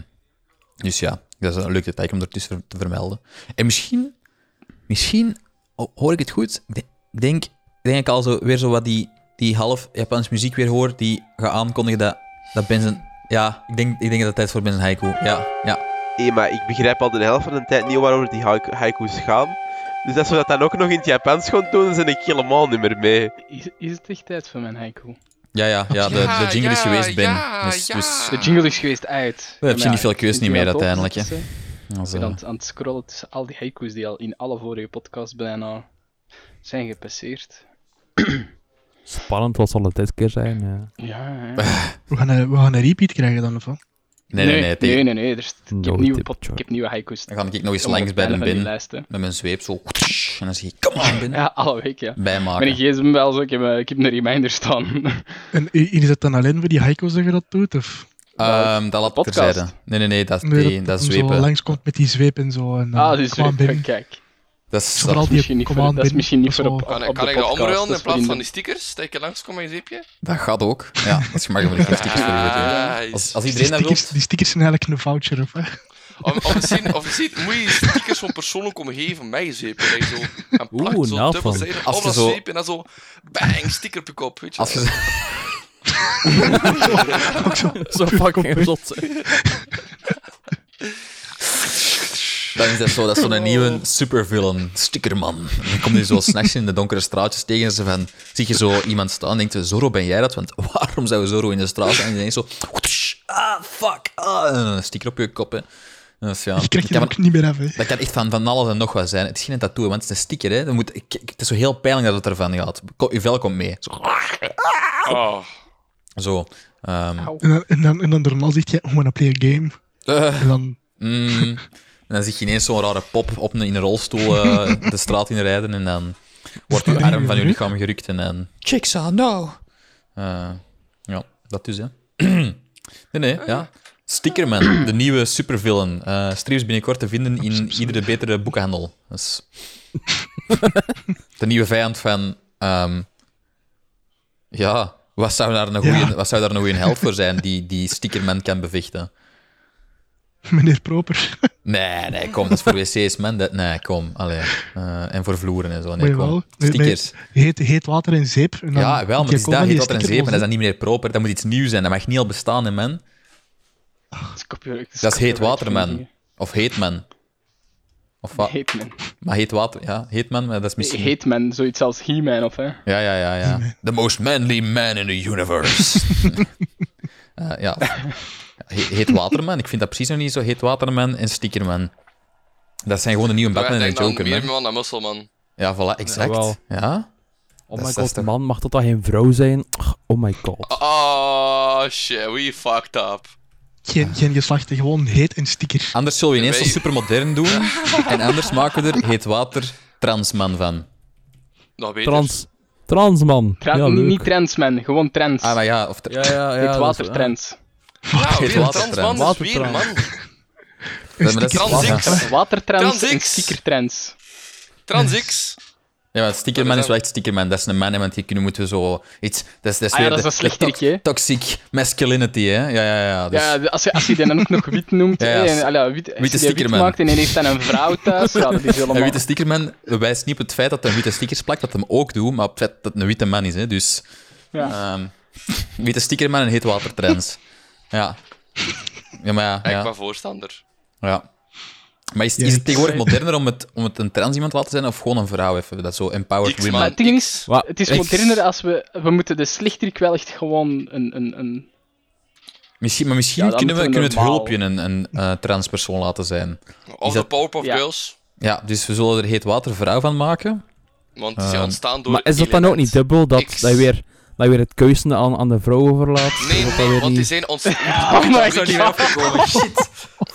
[SPEAKER 2] dus ja, dat is een leuk detail om ertussen te vermelden. En misschien, misschien ho- hoor ik het goed. Ik de- Ik denk, ik denk ik al zo, weer zo wat die, die half Japanse muziek weer hoor, die gaat aankondigen dat, dat Benzen... Ja, ik denk, ik denk dat het tijd is voor Benzen Haiku. Ja, ja.
[SPEAKER 6] Hé, Eh, maar ik begrijp al de helft van de tijd niet waarover die haiku- haiku's gaan. Dus als we dat dan ook nog in het Japans gaan doen, dan ben ik helemaal niet meer mee.
[SPEAKER 5] Is, is het echt tijd voor mijn haiku?
[SPEAKER 2] Ja, ja, ja, de, de jingle is
[SPEAKER 1] ja,
[SPEAKER 2] geweest, Ben.
[SPEAKER 1] ja,
[SPEAKER 2] dus,
[SPEAKER 1] ja.
[SPEAKER 2] dus,
[SPEAKER 5] De jingle is geweest uit.
[SPEAKER 2] Dan heb je
[SPEAKER 5] Maar
[SPEAKER 2] niet veel keus
[SPEAKER 5] ik
[SPEAKER 2] niet
[SPEAKER 5] ben
[SPEAKER 2] meer
[SPEAKER 5] aan het
[SPEAKER 2] uiteindelijk, hè.
[SPEAKER 5] opzoeken.
[SPEAKER 2] als,
[SPEAKER 5] Ik
[SPEAKER 2] eh,
[SPEAKER 5] ben aan het- aan het scrollen tussen al die haiku's die al in alle vorige podcasts bijna zijn gepasseerd.
[SPEAKER 3] Spannend, wat zal het dit keer zijn? Ja.
[SPEAKER 5] Ja, hè.
[SPEAKER 4] We gaan, een, we gaan een repeat krijgen dan, of wat?
[SPEAKER 2] Nee, nee, nee. tegen-
[SPEAKER 5] nee, nee, nee, er is- ik, heb
[SPEAKER 3] No
[SPEAKER 5] nieuwe
[SPEAKER 3] tip,
[SPEAKER 5] pot,
[SPEAKER 3] joh.
[SPEAKER 5] ik heb nieuwe haiku's.
[SPEAKER 2] Dan ga ik nog eens
[SPEAKER 5] Sommige
[SPEAKER 2] langs bij de
[SPEAKER 5] van die
[SPEAKER 2] bin
[SPEAKER 5] lijsten.
[SPEAKER 2] met mijn zweep zo. En dan zeg ik, kom aan, bin.
[SPEAKER 5] Ja, alle week, ja.
[SPEAKER 2] Bijmaken.
[SPEAKER 5] Mijn gsm wel zo, ik heb, eh, ik heb een reminder staan.
[SPEAKER 4] En i- is het dan alleen voor die haiko's dat je dat doet? Of
[SPEAKER 2] Ehm, dat laat ik
[SPEAKER 5] Podcast.
[SPEAKER 2] terzijde. Nee, nee, nee, dat, nee,
[SPEAKER 4] nee, dat
[SPEAKER 2] dat is
[SPEAKER 4] hem zo
[SPEAKER 2] zwepen.
[SPEAKER 4] langskomt met die zweep en zo. En, dan
[SPEAKER 5] ah, dus
[SPEAKER 4] kom aan binnen.
[SPEAKER 5] kijk.
[SPEAKER 2] Dat is,
[SPEAKER 4] Vooral
[SPEAKER 2] dat,
[SPEAKER 5] Dat is misschien niet
[SPEAKER 4] Kom
[SPEAKER 5] voor,
[SPEAKER 4] aan,
[SPEAKER 5] dat is
[SPEAKER 4] binnen.
[SPEAKER 5] misschien
[SPEAKER 4] Dat
[SPEAKER 5] niet voor
[SPEAKER 4] is
[SPEAKER 5] op,
[SPEAKER 4] wel-
[SPEAKER 5] op,
[SPEAKER 1] Kan,
[SPEAKER 5] op
[SPEAKER 1] ik- kan
[SPEAKER 5] de
[SPEAKER 1] ik dat
[SPEAKER 5] podcast, dus
[SPEAKER 1] omruilen
[SPEAKER 5] dat
[SPEAKER 1] in
[SPEAKER 5] is voor
[SPEAKER 1] plaats
[SPEAKER 5] de-
[SPEAKER 1] van die stickers? Dat ik er langs kom met een zeepje? Ah,
[SPEAKER 2] dat gaat ook. Ja, dat is gemakkelijk. Dat is voor u, weet je.
[SPEAKER 1] Nice.
[SPEAKER 2] Als, als
[SPEAKER 4] Die
[SPEAKER 2] iedereen dat wil.
[SPEAKER 4] stickers, die stickers zijn eigenlijk een voucher. Of, hè?
[SPEAKER 1] Of, of, misschien, of misschien moet je stickers van persoonlijk komen geven met je zeep. En zo, en plakt
[SPEAKER 3] Oeh,
[SPEAKER 1] zo
[SPEAKER 3] nou,
[SPEAKER 1] dubbel
[SPEAKER 3] van-
[SPEAKER 1] zeep
[SPEAKER 2] als
[SPEAKER 1] op
[SPEAKER 2] je
[SPEAKER 1] dat
[SPEAKER 2] zo-
[SPEAKER 1] zeep en dan zo bang, sticker op je kop. Weet je
[SPEAKER 2] Als
[SPEAKER 1] wel.
[SPEAKER 2] je,
[SPEAKER 3] Zo fucking zot.
[SPEAKER 2] dan is dat zo, dat is zo'n nieuwe supervillain, stickerman. En dan kom je zo s'nachts in de donkere straatjes tegen ze van, zie je zo iemand staan en denkt, je, Zorro, ben jij dat? Want waarom zou Zorro in de straat zijn? En je denkt zo, ah, fuck, ah, en een sticker op je kop, hè. Dus ja,
[SPEAKER 4] Je krijgt
[SPEAKER 2] ik heb
[SPEAKER 4] het
[SPEAKER 2] een-
[SPEAKER 4] ook niet meer af. hè.
[SPEAKER 2] Dat kan echt van, van alles en nog wat zijn. Het is geen tattoo, want het is een sticker. Hè. Dat moet, ik- ik- het is zo heel pijnlijk dat het ervan gaat. Ko- Je vel komt mee. Zo.
[SPEAKER 1] Ah.
[SPEAKER 2] zo. Ehm,
[SPEAKER 4] En dan, en dan, en dan daarna zegt jij, oh, wanna play a game.
[SPEAKER 2] eh,
[SPEAKER 4] En dan,
[SPEAKER 2] mm. En dan zie je ineens zo'n rare pop op een, in een rolstoel eh, de straat in rijden. En dan wordt je arm van je lichaam gerukt. En dan... Chicksaw, no! Eh, ja, dat dus, hè. nee, nee, ja. Stickerman, de nieuwe supervillain. Eh streams binnenkort te vinden in iedere betere boekhandel. Dat is de nieuwe vijand van. ehm, ja, wat zou daar een goeie,
[SPEAKER 4] Ja.
[SPEAKER 2] wat zou daar een goeie held voor zijn die, die stickerman kan bevechten?
[SPEAKER 4] meneer Proper.
[SPEAKER 2] Nee, nee, kom, dat is voor wc's, man. Dat, nee, kom, allee. Eh, en voor vloeren en zo. Nee,
[SPEAKER 4] Maar jawel,
[SPEAKER 2] kom.
[SPEAKER 4] met- met
[SPEAKER 2] Stickers.
[SPEAKER 4] Heet, heet water en zeep. En dan
[SPEAKER 2] Ja, wel, maar
[SPEAKER 4] moet
[SPEAKER 2] het
[SPEAKER 4] je
[SPEAKER 2] is
[SPEAKER 4] komen
[SPEAKER 2] daar
[SPEAKER 4] en
[SPEAKER 2] heet
[SPEAKER 4] die
[SPEAKER 2] dat er een zeep en
[SPEAKER 4] sticker
[SPEAKER 2] dat is dan niet meer proper. Dat moet iets nieuws zijn. Dat mag niet al bestaan, hè, man.
[SPEAKER 5] Dat is copyright-
[SPEAKER 2] Dat is heet
[SPEAKER 5] copyright
[SPEAKER 2] water,
[SPEAKER 5] van
[SPEAKER 2] man.
[SPEAKER 5] dingen.
[SPEAKER 2] Of heet man. Of wat?
[SPEAKER 5] Heet man.
[SPEAKER 2] Maar heet water, ja. Heet man, maar dat is misschien...
[SPEAKER 5] Heet man, zoiets als He-Man of hè.
[SPEAKER 2] Ja, ja, ja, ja. The most manly man in the universe. Eh, ja. He- Heet Waterman. Ik vind dat precies nog niet zo. Heet Waterman en Stickerman. Dat zijn gewoon de nieuwe Batman en
[SPEAKER 1] Wij
[SPEAKER 2] de
[SPEAKER 1] denken dan
[SPEAKER 2] Joker,
[SPEAKER 1] meer
[SPEAKER 2] man.
[SPEAKER 1] man dan Musselman.
[SPEAKER 2] Ja, voilà,
[SPEAKER 3] Jawel.
[SPEAKER 2] exact. Ja?
[SPEAKER 3] Oh
[SPEAKER 2] Dat
[SPEAKER 3] my
[SPEAKER 2] is
[SPEAKER 3] god,
[SPEAKER 2] zestig.
[SPEAKER 3] man, mag dat dan geen vrouw zijn? Oh my god.
[SPEAKER 1] Oh shit, we fucked up.
[SPEAKER 4] Geen, geen geslachten, gewoon heet en sticker.
[SPEAKER 2] Anders zullen we ineens zo
[SPEAKER 1] Wij-
[SPEAKER 2] supermodern doen. en anders maken we er Heet Water Transman van.
[SPEAKER 1] Dat weet
[SPEAKER 3] Trans. Trans, man.
[SPEAKER 5] Tra-
[SPEAKER 3] ja, leuk.
[SPEAKER 5] niet trends, man. Gewoon trends.
[SPEAKER 2] Ah, maar ja. Of tra-
[SPEAKER 3] ja, ja, ja.
[SPEAKER 5] heet
[SPEAKER 3] dat is-
[SPEAKER 5] watertrends.
[SPEAKER 1] Ja,
[SPEAKER 2] Heet
[SPEAKER 1] Nou, weer een
[SPEAKER 2] water
[SPEAKER 1] trans man, dat is weer
[SPEAKER 3] Watertrans.
[SPEAKER 1] man.
[SPEAKER 2] Ja, maar dat is-
[SPEAKER 1] Trans
[SPEAKER 2] ja.
[SPEAKER 1] X.
[SPEAKER 2] Ja,
[SPEAKER 5] Watertrends
[SPEAKER 1] Trans
[SPEAKER 5] en
[SPEAKER 1] X.
[SPEAKER 5] stickertrends.
[SPEAKER 1] Trans X.
[SPEAKER 2] maar Stickerman is wel echt Stickerman. Dat is een man, hè, want hier kunnen moeten we zo iets... Dat is, dat is
[SPEAKER 5] Ah ja,
[SPEAKER 2] weer
[SPEAKER 5] dat is
[SPEAKER 2] de-
[SPEAKER 5] een
[SPEAKER 2] de
[SPEAKER 5] slechterik,
[SPEAKER 2] tox-
[SPEAKER 5] hè?
[SPEAKER 2] Toxic masculinity, hè. Ja, ja, ja. Dus...
[SPEAKER 5] Ja, als je, als je die dan ook nog wit noemt,
[SPEAKER 2] Ja,
[SPEAKER 5] hè,
[SPEAKER 2] ja,
[SPEAKER 5] en, allee, wit, als je die wit
[SPEAKER 2] stickerman.
[SPEAKER 5] maakt en hij heeft dan een vrouw thuis, ja, dat is
[SPEAKER 2] Een
[SPEAKER 5] helemaal...
[SPEAKER 2] witte stickerman wijst niet op het feit dat hij witte stickers plakt, dat hem ook doet, maar op het feit dat het een witte man is. Hè. Dus
[SPEAKER 5] Ja.
[SPEAKER 2] ehm, witte stickerman en heet watertrends. Ja. Ja, maar ja.
[SPEAKER 1] Ik
[SPEAKER 2] ja,
[SPEAKER 1] ben voorstander.
[SPEAKER 2] ja. Maar is,
[SPEAKER 4] Ja,
[SPEAKER 2] is het
[SPEAKER 4] ik-
[SPEAKER 2] tegenwoordig moderner om het, om het een trans iemand te laten zijn of gewoon een vrouw even? Dat zo empowered
[SPEAKER 1] X
[SPEAKER 5] Maar
[SPEAKER 1] man
[SPEAKER 2] women.
[SPEAKER 5] het ding
[SPEAKER 1] X.
[SPEAKER 3] Wa-
[SPEAKER 5] Het is
[SPEAKER 2] Echt?
[SPEAKER 5] moderner als we... We moeten de slechterik wel echt gewoon een... een, een
[SPEAKER 2] Misschien, maar misschien
[SPEAKER 5] Ja, dan
[SPEAKER 2] kunnen we,
[SPEAKER 5] moeten
[SPEAKER 2] kunnen
[SPEAKER 5] we
[SPEAKER 2] we het
[SPEAKER 5] normaal.
[SPEAKER 2] hulpje een, een eh, transpersoon laten zijn.
[SPEAKER 1] Of de
[SPEAKER 2] dat-
[SPEAKER 1] Powerpuff
[SPEAKER 5] Ja.
[SPEAKER 1] Girls.
[SPEAKER 2] Ja, dus we zullen er heet watervrouw van maken.
[SPEAKER 1] Want die zijn
[SPEAKER 2] Ehm,
[SPEAKER 1] ontstaan door...
[SPEAKER 3] Maar is dat dan ook niet
[SPEAKER 1] element.
[SPEAKER 3] dubbel dat,
[SPEAKER 1] X.
[SPEAKER 3] dat, je weer, dat je weer het keuzen aan, aan de vrouw overlaat?
[SPEAKER 1] Nee,
[SPEAKER 3] Is
[SPEAKER 1] nee,
[SPEAKER 3] dat dan weer
[SPEAKER 1] want die
[SPEAKER 3] niet-
[SPEAKER 1] zijn ons.
[SPEAKER 5] Oh my
[SPEAKER 1] Ik zou niet
[SPEAKER 5] God.
[SPEAKER 1] afgekomen.
[SPEAKER 2] Shit.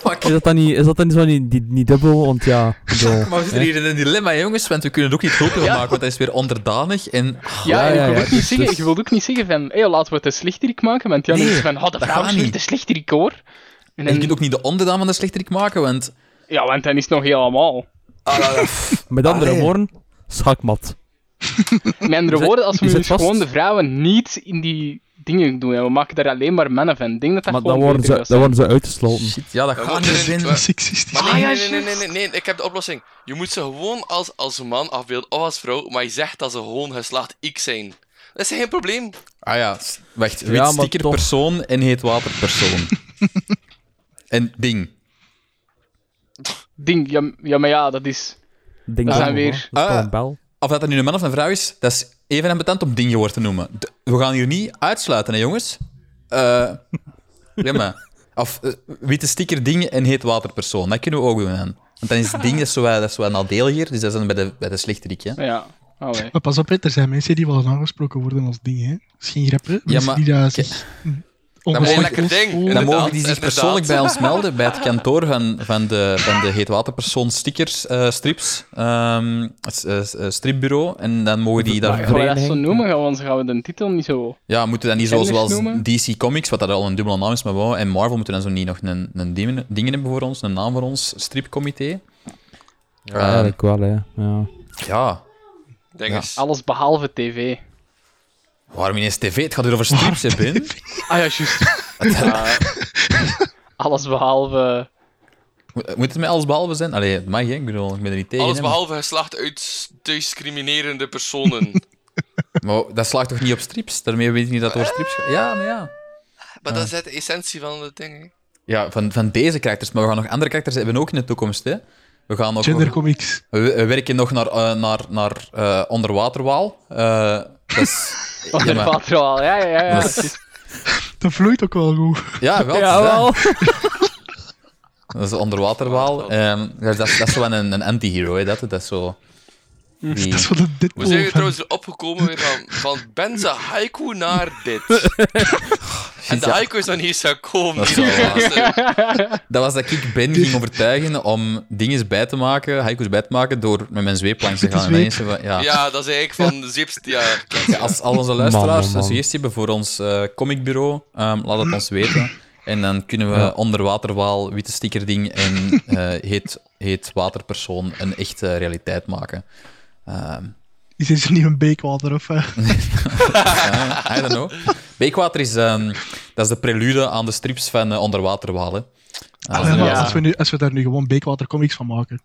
[SPEAKER 2] Fuck.
[SPEAKER 3] is dat dan niet, is dat dan niet, zo niet, die- niet dubbel? Want ja, ik bedoel,
[SPEAKER 2] Maar we zitten
[SPEAKER 3] hè?
[SPEAKER 2] hier in een dilemma, jongens, want we kunnen er ook niet hulpje van
[SPEAKER 5] Ja.
[SPEAKER 2] maken, want hij is weer onderdanig en... Ah,
[SPEAKER 3] Ja,
[SPEAKER 5] Ja, en ik
[SPEAKER 3] ja,
[SPEAKER 5] wil
[SPEAKER 3] ja,
[SPEAKER 5] ook
[SPEAKER 3] dus-
[SPEAKER 5] niet zeggen,
[SPEAKER 3] dus-
[SPEAKER 5] ik wil ook niet zeggen van, hé, laten we het een slechterik maken, want Jan
[SPEAKER 2] Nee,
[SPEAKER 5] is van, oh, de
[SPEAKER 2] dat
[SPEAKER 5] vrouw
[SPEAKER 2] gaat
[SPEAKER 5] is weer
[SPEAKER 2] niet.
[SPEAKER 5] de slechterik, hoor. En
[SPEAKER 2] En je
[SPEAKER 5] dan,
[SPEAKER 2] kunt ook niet de onderdaan van de slechterik maken, want...
[SPEAKER 5] Ja, want dan is het nog helemaal.
[SPEAKER 3] Met andere
[SPEAKER 2] Allee.
[SPEAKER 3] woorden, schakmat.
[SPEAKER 5] Met andere
[SPEAKER 3] Zet-
[SPEAKER 5] woorden, als
[SPEAKER 3] je
[SPEAKER 5] we nu
[SPEAKER 3] zet
[SPEAKER 5] dus
[SPEAKER 3] vast.
[SPEAKER 5] gewoon de vrouwen niet in die dingen doen en we maken daar alleen maar mannen van, ik denk dat dat
[SPEAKER 3] Maar dan
[SPEAKER 5] gewoon
[SPEAKER 3] worden, ze, dan
[SPEAKER 5] beter zou
[SPEAKER 3] worden ze uitgesloten.
[SPEAKER 2] Shit, ja, dat
[SPEAKER 1] Dan
[SPEAKER 2] gaat
[SPEAKER 1] wordt
[SPEAKER 2] niet
[SPEAKER 1] er
[SPEAKER 2] zijn.
[SPEAKER 1] niet-
[SPEAKER 4] Dat is seksistisch.
[SPEAKER 1] Maar
[SPEAKER 5] Ah,
[SPEAKER 1] nee,
[SPEAKER 5] ja,
[SPEAKER 1] nee, nee, nee,
[SPEAKER 5] juist.
[SPEAKER 1] nee, nee, ik heb de oplossing. Je moet ze gewoon als, als een man afbeelden of als vrouw, maar je zegt dat ze gewoon geslacht X zijn. Dat is geen probleem.
[SPEAKER 2] Ah ja, s- wacht. Wit
[SPEAKER 3] maar
[SPEAKER 2] sticker
[SPEAKER 3] toch.
[SPEAKER 2] persoon en heet water persoon. en ding.
[SPEAKER 5] zijn. Ding, ja, m- ja, maar ja, dat is...
[SPEAKER 3] Ding
[SPEAKER 5] Dat
[SPEAKER 3] dong,
[SPEAKER 5] zijn weer-
[SPEAKER 3] hoor. Dat is toch
[SPEAKER 2] Ah.
[SPEAKER 3] een bel.
[SPEAKER 2] Of dat er nu een man of een vrouw is, dat is even ambetant om ding je woord te noemen. D- we gaan hier niet uitsluiten, hè, jongens? Eh ja, maar. Of eh, witte sticker ding en heet water persoon. Dat kunnen we ook doen. aan. Want dan is ding dat is zo, wat- dat is zo nadeliger, dus dat is dan bij de, bij de slechterik, hè.
[SPEAKER 5] Ja, allee.
[SPEAKER 4] Maar pas op, hè, er zijn mensen die wel eens aangesproken worden als dingen. Hè. Misschien rappen.
[SPEAKER 2] Ja,
[SPEAKER 4] Mensen
[SPEAKER 2] maar-
[SPEAKER 4] die daar
[SPEAKER 2] Ja.
[SPEAKER 4] zich
[SPEAKER 1] moeilijk ding.
[SPEAKER 4] cool.
[SPEAKER 2] Dan
[SPEAKER 1] Inderdaad,
[SPEAKER 2] mogen die zich
[SPEAKER 1] inderdaad.
[SPEAKER 2] persoonlijk bij ons melden, bij het kantoor van, van de, van de heetwaterpersoon stickers, eh, strips, ehm, s- eh, s- eh, stripbureau. En dan mogen die
[SPEAKER 3] Maar
[SPEAKER 5] Maar
[SPEAKER 2] daar...
[SPEAKER 5] gaan we dat zo
[SPEAKER 3] vereniging.
[SPEAKER 5] noemen? Gaan we, anders gaan we de titel niet zo...
[SPEAKER 2] Ja, moeten we dan niet zo,
[SPEAKER 5] Kennis
[SPEAKER 2] zoals
[SPEAKER 5] noemen?
[SPEAKER 2] DC Comics, wat dat al een dubbele naam is, maar wow, en Marvel moeten dan zo niet nog een, een ding, ding hebben voor ons, een naam voor ons stripcomité. Ehm,
[SPEAKER 3] Ja,
[SPEAKER 2] Ah.
[SPEAKER 3] eigenlijk wel, hè. Ja.
[SPEAKER 2] ja,
[SPEAKER 1] Ding
[SPEAKER 2] Ja.
[SPEAKER 1] is.
[SPEAKER 5] Alles behalve tv.
[SPEAKER 2] waarom ineens tv? Het gaat hier over strips, hè, Ben?
[SPEAKER 5] Ah ja, juist. Eh, alles behalve...
[SPEAKER 2] Moet moet het met alles behalve zijn? Allee, het mag, hè. Ik bedoel, ik ben er niet tegen.
[SPEAKER 1] Alles
[SPEAKER 2] hè, maar-
[SPEAKER 1] behalve geslacht uit discriminerende personen.
[SPEAKER 2] Maar dat slaagt toch niet op strips? Daarmee weet ik niet dat het over strips gaat. Ja, maar ja.
[SPEAKER 1] maar dat is het de essentie van het ding. hè.
[SPEAKER 2] Ja, van, van deze karakters. Maar we gaan nog andere karakters hebben ook in de toekomst, hè. We gaan nog...
[SPEAKER 4] Gendercomics.
[SPEAKER 2] We, we werken nog naar, eh, naar, naar eh, onderwaterwaal. Eh, dat is...
[SPEAKER 5] Onder
[SPEAKER 2] maar-
[SPEAKER 5] water al. Ja, ja, ja. ja.
[SPEAKER 2] Dat is-
[SPEAKER 5] precies.
[SPEAKER 4] Dat vloeit ook wel goed.
[SPEAKER 2] Ja, wel. het is dat. Dat is onderwaterwaal. Ehm, dat, is- dat is- dat is zo een, een anti-hero, hè, dat, dat is zo... die-
[SPEAKER 4] Mm. Dat is wat een
[SPEAKER 1] Hoe zijn we
[SPEAKER 4] Deadpool van...
[SPEAKER 1] trouwens opgekomen weer van, van Benza Haiku naar dit? en de Haiku is nog niet eens gekomen.
[SPEAKER 2] Dat is
[SPEAKER 1] hier
[SPEAKER 2] wel
[SPEAKER 1] al. Dus, eh,
[SPEAKER 2] Dat was dat ik Ben ging overtuigen om dingen bij te maken, haiku's bij te maken, door met mijn zweep langs te
[SPEAKER 4] Met de
[SPEAKER 2] gaan. En ineens van, ja.
[SPEAKER 1] Ja, dat is eigenlijk van de zips. Ja,
[SPEAKER 2] Ja, Als al onze luisteraars
[SPEAKER 3] Man, oh, man, man.
[SPEAKER 2] een suggestie hebben voor ons eh, comicbureau, ehm, laat het ons weten. En dan kunnen we
[SPEAKER 3] Ja.
[SPEAKER 2] onderwaterwaal, witte stickerding en eh heet, heet waterpersoon een echte realiteit maken. Ehm,
[SPEAKER 4] Is er niet een beekwater of... eh,
[SPEAKER 2] Eh, I don't know. Beekwater is, ehm, dat is de prelude aan de strips van eh, Onderwaterwaal. hè.
[SPEAKER 4] Ah,
[SPEAKER 2] Eh,
[SPEAKER 4] maar
[SPEAKER 5] ja.
[SPEAKER 4] als, we nu, als we daar nu gewoon beekwatercomics van maken,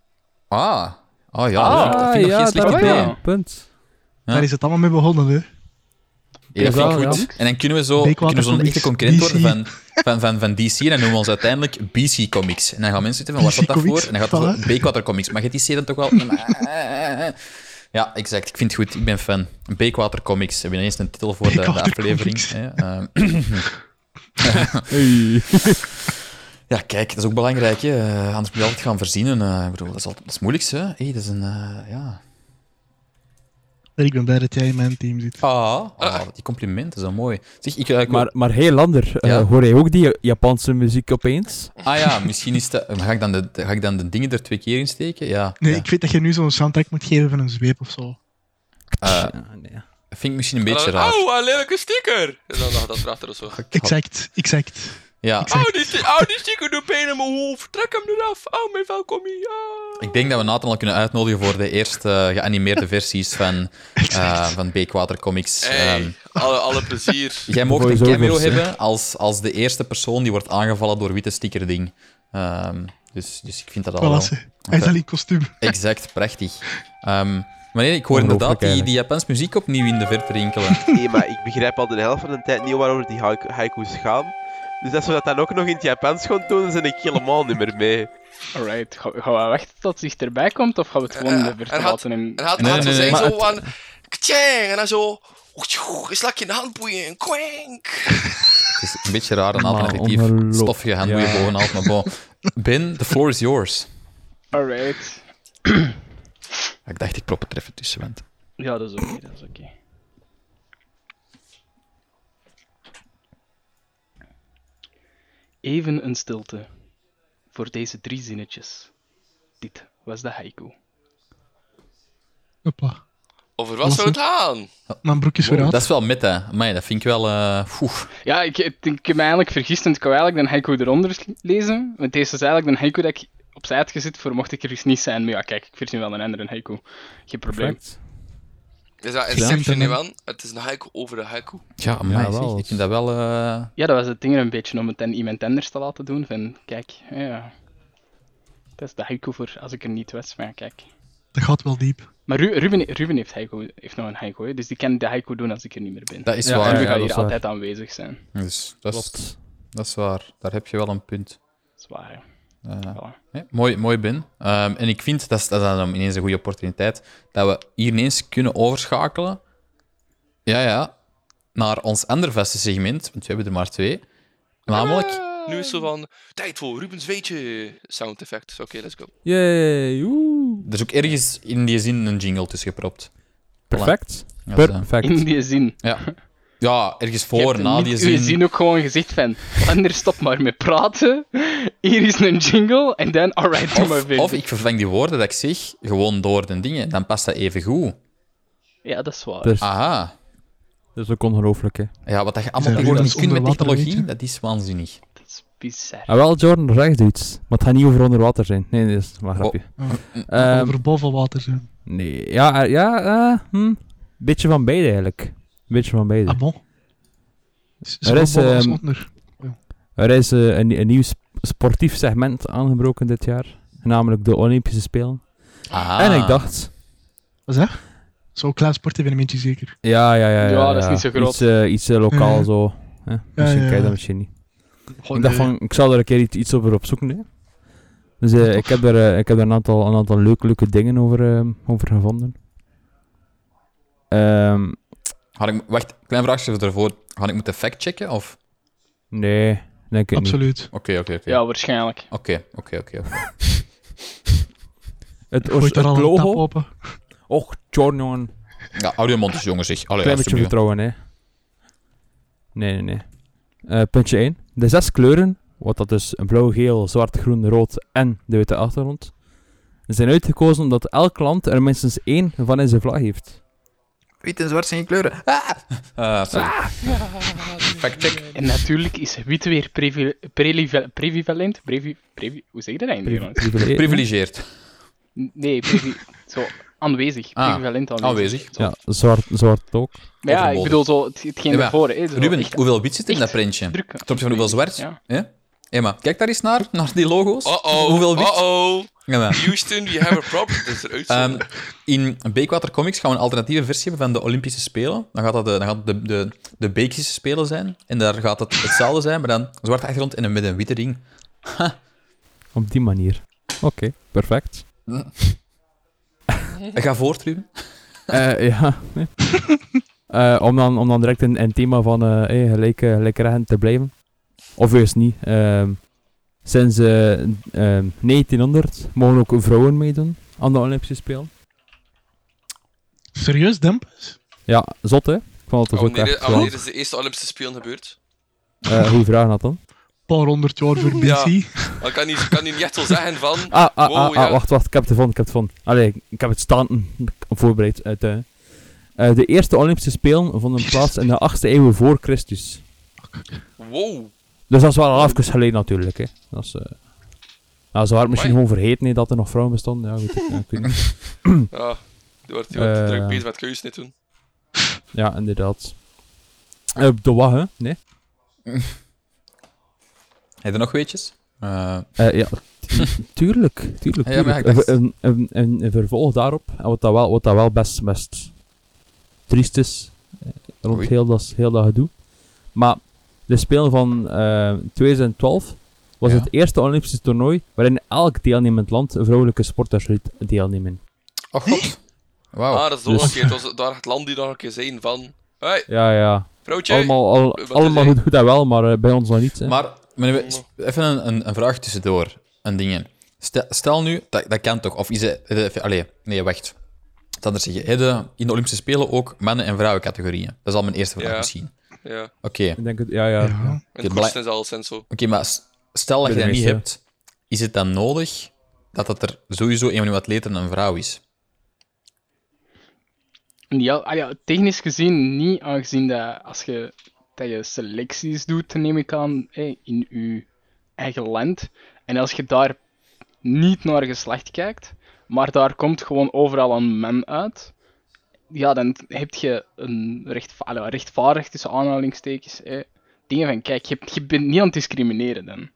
[SPEAKER 2] Ah, oh ja,
[SPEAKER 5] Ah,
[SPEAKER 2] dat vind ik nog geen slecht
[SPEAKER 5] daar-
[SPEAKER 2] idee.
[SPEAKER 5] ja.
[SPEAKER 3] Punt.
[SPEAKER 2] Ja.
[SPEAKER 4] daar is het allemaal mee begonnen. Hè.
[SPEAKER 2] Ja, dat vind ik
[SPEAKER 3] Ja, ja.
[SPEAKER 2] goed. En dan kunnen we zo,
[SPEAKER 4] Beekwater
[SPEAKER 2] kunnen we zo'n
[SPEAKER 4] Comics,
[SPEAKER 2] echte concurrent worden
[SPEAKER 4] DC.
[SPEAKER 2] van, van, van, van DC. En dan noemen we ons uiteindelijk BC Comics. En dan gaan mensen zitten van, waar
[SPEAKER 4] BC
[SPEAKER 2] staat dat voor?
[SPEAKER 4] Comics,
[SPEAKER 2] En dan gaat het
[SPEAKER 4] voilà.
[SPEAKER 2] zo, Beekwater Comics. Maar je DC dan toch wel... Ja, exact. Ik vind het goed. Ik ben fan. Beekwater Comics. We hebben ineens een titel voor de, de
[SPEAKER 4] Beekwater
[SPEAKER 2] aflevering.
[SPEAKER 4] Comics.
[SPEAKER 2] hè. Ehm, Ja, kijk, dat is ook belangrijk. Hè. Eh, Anders moet je altijd gaan verzinnen. eh. ik bedoel, dat is, altijd, dat is het moeilijkste. Hè. Hey, dat is een... eh, ja.
[SPEAKER 4] En ik ben blij dat jij in mijn team zit.
[SPEAKER 2] Ah, ah, die complimenten, zo mooi. Zeg, ik, eh, ik-
[SPEAKER 3] Maar, maar heel ander. eh,
[SPEAKER 2] Ja.
[SPEAKER 3] hoor jij ook die Japanse muziek opeens?
[SPEAKER 2] Ah ja, misschien is dat... Ga ik dan de, ga ik dan de dingen er twee keer in steken? Ja.
[SPEAKER 4] Nee,
[SPEAKER 2] ja.
[SPEAKER 4] ik vind dat je nu zo'n soundtrack moet geven van een zweep of zo.
[SPEAKER 2] Eh,
[SPEAKER 3] Ja, nee.
[SPEAKER 2] Dat vind ik misschien een
[SPEAKER 1] En
[SPEAKER 2] beetje
[SPEAKER 1] dan-
[SPEAKER 2] raar.
[SPEAKER 1] Oh, een lelijke sticker! En dan dacht dat erachter of zo.
[SPEAKER 4] Exact, exact.
[SPEAKER 2] Ja,
[SPEAKER 1] Oh, die, sti- oh, die sticker doet pijn in mijn hoofd. Trek hem eraf. Oh, mijn welkom hier. Ah.
[SPEAKER 2] ik denk dat we Nathan al kunnen uitnodigen voor de eerste eh, geanimeerde versies van, eh van Beekwater Comics.
[SPEAKER 1] Hey,
[SPEAKER 2] Ehm,
[SPEAKER 1] alle, alle plezier.
[SPEAKER 2] jij mag een
[SPEAKER 3] Voice-overs,
[SPEAKER 2] cameo
[SPEAKER 3] hè.
[SPEAKER 2] hebben als, als de eerste persoon die wordt aangevallen door witte stickerding. Ehm, dus, dus ik vind dat al
[SPEAKER 4] Voilà,
[SPEAKER 2] wel...
[SPEAKER 4] ze. Hij is al in kostuum.
[SPEAKER 2] Exact, prachtig. Ehm, maar nee, ik hoor inderdaad die,
[SPEAKER 3] eigenlijk.
[SPEAKER 2] die Japans muziek opnieuw in de verte rinkelen.
[SPEAKER 6] Nee, Eh, maar ik begrijp al de helft van de tijd niet waarover die haiku- haiku's gaan. Dus als we dat dan ook nog in het Japans gaan doen, dan ben ik helemaal niet meer mee.
[SPEAKER 3] Dus-
[SPEAKER 5] Alright. Ga- Gaan we wachten tot het zich erbij komt? Of gaan we het gewoon
[SPEAKER 1] Eh,
[SPEAKER 5] in
[SPEAKER 1] er
[SPEAKER 5] de
[SPEAKER 1] had-
[SPEAKER 5] verte laten in...
[SPEAKER 1] En had
[SPEAKER 2] Nee,
[SPEAKER 1] had
[SPEAKER 2] nee,
[SPEAKER 1] ze
[SPEAKER 2] nee,
[SPEAKER 1] zijn
[SPEAKER 2] maar
[SPEAKER 1] zo aan. Ktjeng! En dan zo. Je slak je in de handboeien. Kwenk!
[SPEAKER 2] Het is een beetje raar, een
[SPEAKER 3] Maar
[SPEAKER 2] aantal effectief
[SPEAKER 3] ongeloo-
[SPEAKER 2] stoffige handboeien
[SPEAKER 3] Ja.
[SPEAKER 2] bovenaf, maar bon. Ben, the floor is yours.
[SPEAKER 5] Alright.
[SPEAKER 2] Ik dacht, ik prop het er even tussen, want...
[SPEAKER 5] Ja, dat is oké, dat is oké. Even een stilte voor deze drie zinnetjes. Dit was de haiku.
[SPEAKER 4] Hoppa.
[SPEAKER 1] Over wat zou het gaan?
[SPEAKER 4] Mijn broek is weer
[SPEAKER 2] dat
[SPEAKER 4] uit.
[SPEAKER 2] is wel meta. Maar dat vind ik wel... eh, poeh.
[SPEAKER 5] Ja, ik, ik, ik heb me eigenlijk vergist en ik wou eigenlijk de haiku eronder s- lezen. Want deze is eigenlijk de haiku dat ik opzij had gezet voor mocht ik er eens niet zijn. Maar ja, kijk, ik verzin wel een andere haiku. Geen probleem.
[SPEAKER 3] Perfect.
[SPEAKER 1] Is dat
[SPEAKER 4] Ja,
[SPEAKER 1] Inception,
[SPEAKER 4] dan-
[SPEAKER 1] Johan? Het is een haiku over de haiku.
[SPEAKER 2] Ja, amai,
[SPEAKER 3] Ja, wel,
[SPEAKER 2] zeg,
[SPEAKER 3] dat
[SPEAKER 2] Ik
[SPEAKER 3] is-
[SPEAKER 2] vind dat wel... eh,
[SPEAKER 5] Ja, dat was het ding er een beetje om het aan iemand anders te laten doen. Van, kijk, ja. Dat is de haiku voor als ik er niet was. Maar ja, kijk.
[SPEAKER 4] Dat gaat wel diep.
[SPEAKER 5] Maar Ru- Ruben, Ruben heeft, haiku, heeft nog een haiku, hè, dus die kan de haiku doen als ik er niet meer ben.
[SPEAKER 2] dat is
[SPEAKER 3] Ja,
[SPEAKER 5] en
[SPEAKER 2] waar.
[SPEAKER 5] Ruben
[SPEAKER 3] ja,
[SPEAKER 5] gaat
[SPEAKER 2] Ja,
[SPEAKER 3] dat
[SPEAKER 5] hier
[SPEAKER 3] is waar.
[SPEAKER 5] altijd aanwezig zijn.
[SPEAKER 2] Dus dat is,
[SPEAKER 3] Klopt.
[SPEAKER 2] dat is waar. Daar heb je wel een punt.
[SPEAKER 5] Dat is waar. hè.
[SPEAKER 2] Eh,
[SPEAKER 5] Voilà.
[SPEAKER 2] hè, mooi, mooi, Ben. Ehm, en ik vind, dat is, dat is dan ineens een goede opportuniteit, dat we hier ineens kunnen overschakelen ja, ja, naar ons andere vaste segment, want we hebben er maar twee. Namelijk...
[SPEAKER 1] Nu is zo van. Tijd voor Rubens Weetje. Sound effect. Oké, let's go.
[SPEAKER 3] Yay, woe.
[SPEAKER 2] Er is ook ergens in die zin een jingle tussen gepropt.
[SPEAKER 3] Perfect.
[SPEAKER 2] Ja, zo.
[SPEAKER 3] Perfect.
[SPEAKER 5] In die zin.
[SPEAKER 2] Ja. Ja, ergens
[SPEAKER 5] Je
[SPEAKER 2] voor,
[SPEAKER 5] hebt
[SPEAKER 2] na
[SPEAKER 5] niet
[SPEAKER 2] die
[SPEAKER 5] uw
[SPEAKER 2] zin.
[SPEAKER 5] zin ook gewoon gezegd van, anders stop maar met praten. Hier is een jingle en dan alright, doe maar
[SPEAKER 2] Of,
[SPEAKER 5] weer.
[SPEAKER 2] of ik vervang die woorden dat ik zeg gewoon door de dingen. Dan past dat even goed.
[SPEAKER 5] Ja, dat is waar.
[SPEAKER 3] Dus
[SPEAKER 2] Ah. Aha.
[SPEAKER 3] dat is ook ongelooflijk, hè.
[SPEAKER 2] Ja, wat dat je
[SPEAKER 4] Zijn
[SPEAKER 2] allemaal
[SPEAKER 4] jullie
[SPEAKER 2] tegenwoordig
[SPEAKER 4] dat
[SPEAKER 2] kunt met
[SPEAKER 4] onder water
[SPEAKER 2] technologie,
[SPEAKER 4] weten?
[SPEAKER 2] dat is waanzinnig.
[SPEAKER 5] Dat is bizar.
[SPEAKER 3] Ah, wel, Jordan, daar zegt iets. Maar het gaat niet over onder water zijn. Nee, nee, dat is maar een grapje. Ehm,
[SPEAKER 4] over boven water zijn.
[SPEAKER 3] nee, ja, eh, ja, eh, hm. Beetje van beide, eigenlijk. Beetje van beide.
[SPEAKER 4] Ah bon? Z-
[SPEAKER 3] Er is,
[SPEAKER 4] zowel boven als
[SPEAKER 3] ehm,
[SPEAKER 4] onder.
[SPEAKER 3] Er is eh, een, een nieuw sp- sportief segment aangebroken dit jaar. Namelijk de Olympische Spelen.
[SPEAKER 2] Aha.
[SPEAKER 3] En ik dacht...
[SPEAKER 4] Wat is dat? Zo'n klein sportevenementje zeker.
[SPEAKER 3] Ja, ja, ja.
[SPEAKER 5] Ja, dat is niet zo groot.
[SPEAKER 3] Iets, eh, iets eh, lokaal
[SPEAKER 4] Ja.
[SPEAKER 3] zo. hè. misschien
[SPEAKER 4] ja,
[SPEAKER 3] kijk je
[SPEAKER 4] ja.
[SPEAKER 3] dat misschien niet.
[SPEAKER 4] Goh,
[SPEAKER 3] ik dacht
[SPEAKER 4] nee.
[SPEAKER 3] van, ik zal er een keer iets, iets over opzoeken. Hè. Dus eh,
[SPEAKER 4] Tof.
[SPEAKER 3] ik heb er, eh, ik heb er een, aantal, een aantal leuke, leuke dingen over, ehm, over gevonden. Ehm,
[SPEAKER 2] Had ik, wacht, klein vraagje ervoor. Had ik moeten factchecken? Of...
[SPEAKER 3] nee, denk ik niet.
[SPEAKER 4] Absoluut.
[SPEAKER 2] Oké, oké, oké.
[SPEAKER 5] Ja, waarschijnlijk.
[SPEAKER 2] Oké, oké, oké. oké.
[SPEAKER 3] Het,
[SPEAKER 4] Gooit
[SPEAKER 3] het
[SPEAKER 4] daar al een tap
[SPEAKER 3] logo...
[SPEAKER 4] open.
[SPEAKER 3] Och, Jordan, jongen.
[SPEAKER 2] Ja, hou je mond eens, jongens, zeg. Allee,
[SPEAKER 3] Klein beetje
[SPEAKER 2] alsjeblieft.
[SPEAKER 3] vertrouwen, hè. Nee, nee, nee. Eh, puntje 1. De zes kleuren, wat dat dus blauw, geel, zwart, groen, rood en de witte achtergrond, zijn uitgekozen omdat elk land er minstens één van in zijn vlag heeft.
[SPEAKER 2] Wit en zwart zijn geen kleuren. Ah! Eh, sorry.
[SPEAKER 5] Ah.
[SPEAKER 2] Factcheck.
[SPEAKER 5] En natuurlijk is wit weer previ- prelive- prevalent. Previ- previ- hoe zeg je dat eigenlijk?
[SPEAKER 3] Privi-
[SPEAKER 5] Nederlands?
[SPEAKER 3] privilege-
[SPEAKER 2] Privilegeerd.
[SPEAKER 5] Nee, previ- zo aanwezig.
[SPEAKER 2] Ah,
[SPEAKER 5] Prevalent aanwezig.
[SPEAKER 2] aanwezig.
[SPEAKER 5] Zo.
[SPEAKER 3] Ja, zwart, zwart ook.
[SPEAKER 5] Maar ja, ik
[SPEAKER 2] Overbodig.
[SPEAKER 5] bedoel zo het, hetgeen
[SPEAKER 2] Ja, maar
[SPEAKER 5] daarvoor. Hè, zo
[SPEAKER 2] Ruben,
[SPEAKER 5] echt
[SPEAKER 2] hoeveel wit zit er in dat
[SPEAKER 5] echt
[SPEAKER 2] printje? Ten
[SPEAKER 5] druk.
[SPEAKER 2] opzichte van hoeveel zwart?
[SPEAKER 5] Ja.
[SPEAKER 2] Ja? Emma, kijk daar eens naar, naar die logo's.
[SPEAKER 1] Oh-oh.
[SPEAKER 2] Hoeveel wit?
[SPEAKER 1] Oh-oh.
[SPEAKER 2] Ja, maar.
[SPEAKER 1] Houston, we have a problem. Dat is eruit.
[SPEAKER 2] Ehm, in Beekwater Comics gaan we een alternatieve versie hebben van de Olympische Spelen. Dan gaat dat de, dan gaat de, de, de Beekische Spelen zijn. En daar gaat het hetzelfde zijn, maar dan een zwarte achtergrond en een, met een witte ring.
[SPEAKER 3] Op die manier. Oké, perfect.
[SPEAKER 5] Mhm.
[SPEAKER 2] Ga voort, Ruben.
[SPEAKER 3] Eh, ja. nee. Eh, om, dan, om dan direct in in het thema van eh hey, gelijk, eh, gelijkrechten te blijven. Of juist niet. Ehm, sinds eh, ehm, 1900 mogen ook vrouwen meedoen aan de Olympische Spelen.
[SPEAKER 4] Serieus, Dempus?
[SPEAKER 3] Ja, zot hè? Ik vond het
[SPEAKER 1] Oh,
[SPEAKER 3] dus ook
[SPEAKER 1] wanneer,
[SPEAKER 3] echt
[SPEAKER 1] ah, wanneer
[SPEAKER 3] wel.
[SPEAKER 1] is de eerste Olympische Spelen gebeurd?
[SPEAKER 3] Eh, goeie vraag, Nathan.
[SPEAKER 4] Een paar honderd jaar voor BC.
[SPEAKER 1] Ja. Ik kan niet, kan niet echt wel zeggen van...
[SPEAKER 3] Ah, ah,
[SPEAKER 1] Wow,
[SPEAKER 3] ah, ah,
[SPEAKER 1] ja.
[SPEAKER 3] wacht, wacht. Ik heb het gevonden, ik heb het gevonden. Allee, ik heb het staan mm, voorbereid. Uit, eh. Eh, de eerste Olympische Spelen vonden plaats in de 8e eeuw voor Christus.
[SPEAKER 1] Wow.
[SPEAKER 3] Dus dat is wel al even geleden natuurlijk, hè. Dat is, eh, nou, ze waren misschien
[SPEAKER 1] Amai.
[SPEAKER 3] gewoon vergeten hè, dat er nog vrouwen bestonden. Ja, goed, ja, ik weet niet.
[SPEAKER 1] Ah, die wordt, die wordt
[SPEAKER 3] Eh.
[SPEAKER 1] druk bezig met keuzes niet doen.
[SPEAKER 3] ja inderdaad. Eh, de wat, hè? Nee?
[SPEAKER 2] Heb je er nog weetjes? Eh,
[SPEAKER 3] Eh, ja, tu- tuurlijk, tuurlijk.
[SPEAKER 2] Ja, ja, maar ja,
[SPEAKER 3] tuurlijk.
[SPEAKER 2] ik dacht-
[SPEAKER 3] Een, een, een, een vervolg daarop, en wat dat wel, wat dat wel best, best triest is, eh, rond
[SPEAKER 2] Oei.
[SPEAKER 3] heel dat, heel dat gedoe. Maar de Spelen van eh 2012 was
[SPEAKER 2] Ja.
[SPEAKER 3] het eerste Olympische toernooi waarin elk deelnemend land vrouwelijke sporters liet deelnemen.
[SPEAKER 2] oh god. Wauw.
[SPEAKER 1] Ah, dat is
[SPEAKER 3] Dus-
[SPEAKER 1] ook een keer. Daar het land die nog een keer zijn van... Hoi,
[SPEAKER 3] Ja, ja.
[SPEAKER 1] vrouwtje.
[SPEAKER 3] Allemaal, al-
[SPEAKER 1] wat is
[SPEAKER 3] allemaal
[SPEAKER 1] hij?
[SPEAKER 3] goed, goed en wel, maar eh, bij ons nog niet. Hè.
[SPEAKER 2] Maar, meneer, we- sp- even een, een, een vraag tussendoor. Een ding. Stel, stel nu, dat, dat kan toch? Of is het. eh, even- Allee, nee, wacht. Het anders zeggen. Heb je in de Olympische Spelen ook mannen- en vrouwencategorieën? Dat is al mijn eerste vraag
[SPEAKER 1] Ja.
[SPEAKER 2] misschien.
[SPEAKER 1] Ja. En
[SPEAKER 2] Oké,
[SPEAKER 3] Ik denk het, ja, ja. ja.
[SPEAKER 4] Ja.
[SPEAKER 1] het
[SPEAKER 2] blij-
[SPEAKER 1] kosten is al sinds zo.
[SPEAKER 2] Oké, maar s- stel dat je
[SPEAKER 3] Bij
[SPEAKER 2] dat
[SPEAKER 3] de
[SPEAKER 2] niet
[SPEAKER 3] meeste.
[SPEAKER 2] hebt, is het dan nodig dat dat er sowieso een van uw atleten een vrouw is?
[SPEAKER 5] Ja, ah ja, technisch gezien niet, aangezien dat als je, dat je selecties doet, neem ik aan, hè, in je eigen land. En als je daar niet naar geslacht kijkt, maar daar komt gewoon overal een man uit, ja, dan heb je een rechtva allee, rechtvaardig, tussen aanhalingstekens, hè, dingen van, kijk, je, je bent niet aan het discrimineren dan.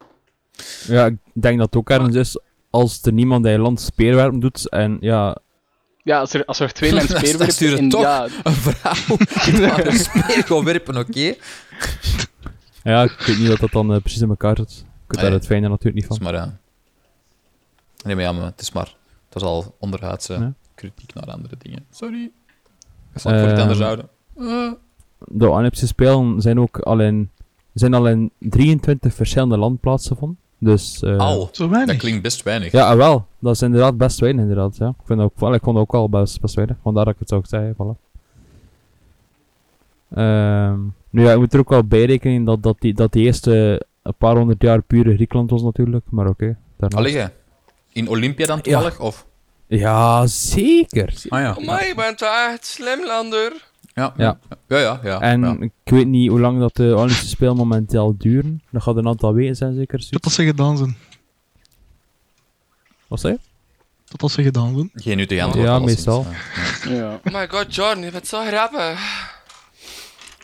[SPEAKER 3] Ja, ik denk dat het ook ergens is als er niemand in je land speerwerpen doet en ja,
[SPEAKER 5] Ja, als er, als er twee
[SPEAKER 2] Dan
[SPEAKER 5] mensen speerwerpen...
[SPEAKER 2] sturen
[SPEAKER 5] en
[SPEAKER 2] toch
[SPEAKER 5] ja,
[SPEAKER 2] Een vrouw die daar een speer gewoon werpen, oké? Dat
[SPEAKER 3] ja, ik weet niet wat dat dan eh, precies in elkaar zit. Ik weet
[SPEAKER 2] Ah, ja.
[SPEAKER 3] daar het fijne natuurlijk niet
[SPEAKER 2] is
[SPEAKER 3] van.
[SPEAKER 2] maar... eh, Nee, maar ja, maar het is maar... Het was al onderhuidse
[SPEAKER 3] Ja.
[SPEAKER 2] kritiek naar andere dingen. Sorry. Dat zal ik voor het
[SPEAKER 3] Ehm,
[SPEAKER 2] anders houden.
[SPEAKER 3] De Olympische Spelen zijn ook al in, zijn al in 23 verschillende landplaatsen van. Dus, eh,
[SPEAKER 2] Al,
[SPEAKER 4] Zo
[SPEAKER 2] dat
[SPEAKER 4] weinig.
[SPEAKER 2] klinkt best weinig.
[SPEAKER 3] Ja, ah, wel. Dat is inderdaad best weinig, inderdaad. Ja. Ik, vind dat ook, wel, ik vond het ook wel best, best weinig, vandaar dat ik het ook zei. Voilà. Ehm, nu ja, je moet er ook wel bij rekenen dat, dat, die, dat die eerste een paar honderd jaar pure Griekenland was natuurlijk, maar oké. daarna-
[SPEAKER 2] Allee, hè. in Olympia dan
[SPEAKER 3] Ja.
[SPEAKER 2] toevallig? Of?
[SPEAKER 3] ja, zeker. zeker.
[SPEAKER 2] Ah
[SPEAKER 5] Oh
[SPEAKER 2] ja.
[SPEAKER 1] Maar je bent wel echt slimlander.
[SPEAKER 2] Ja, ja,
[SPEAKER 3] Ja.
[SPEAKER 2] ja. ja, ja.
[SPEAKER 3] En
[SPEAKER 2] Ja.
[SPEAKER 3] ik weet niet hoe lang dat de Olympische Spelen momenteel duren. Dat gaat een aantal weken zijn, zeker. zoiets.
[SPEAKER 4] Totdat ze gedaan zijn.
[SPEAKER 3] Wat zei je?
[SPEAKER 4] Totdat ze gedaan zijn.
[SPEAKER 2] Geen nuttig antwoord.
[SPEAKER 3] Ja,
[SPEAKER 2] alleszins.
[SPEAKER 3] meestal.
[SPEAKER 2] Ja.
[SPEAKER 5] Ja.
[SPEAKER 1] Oh my god, Jordan, je bent zo grappig.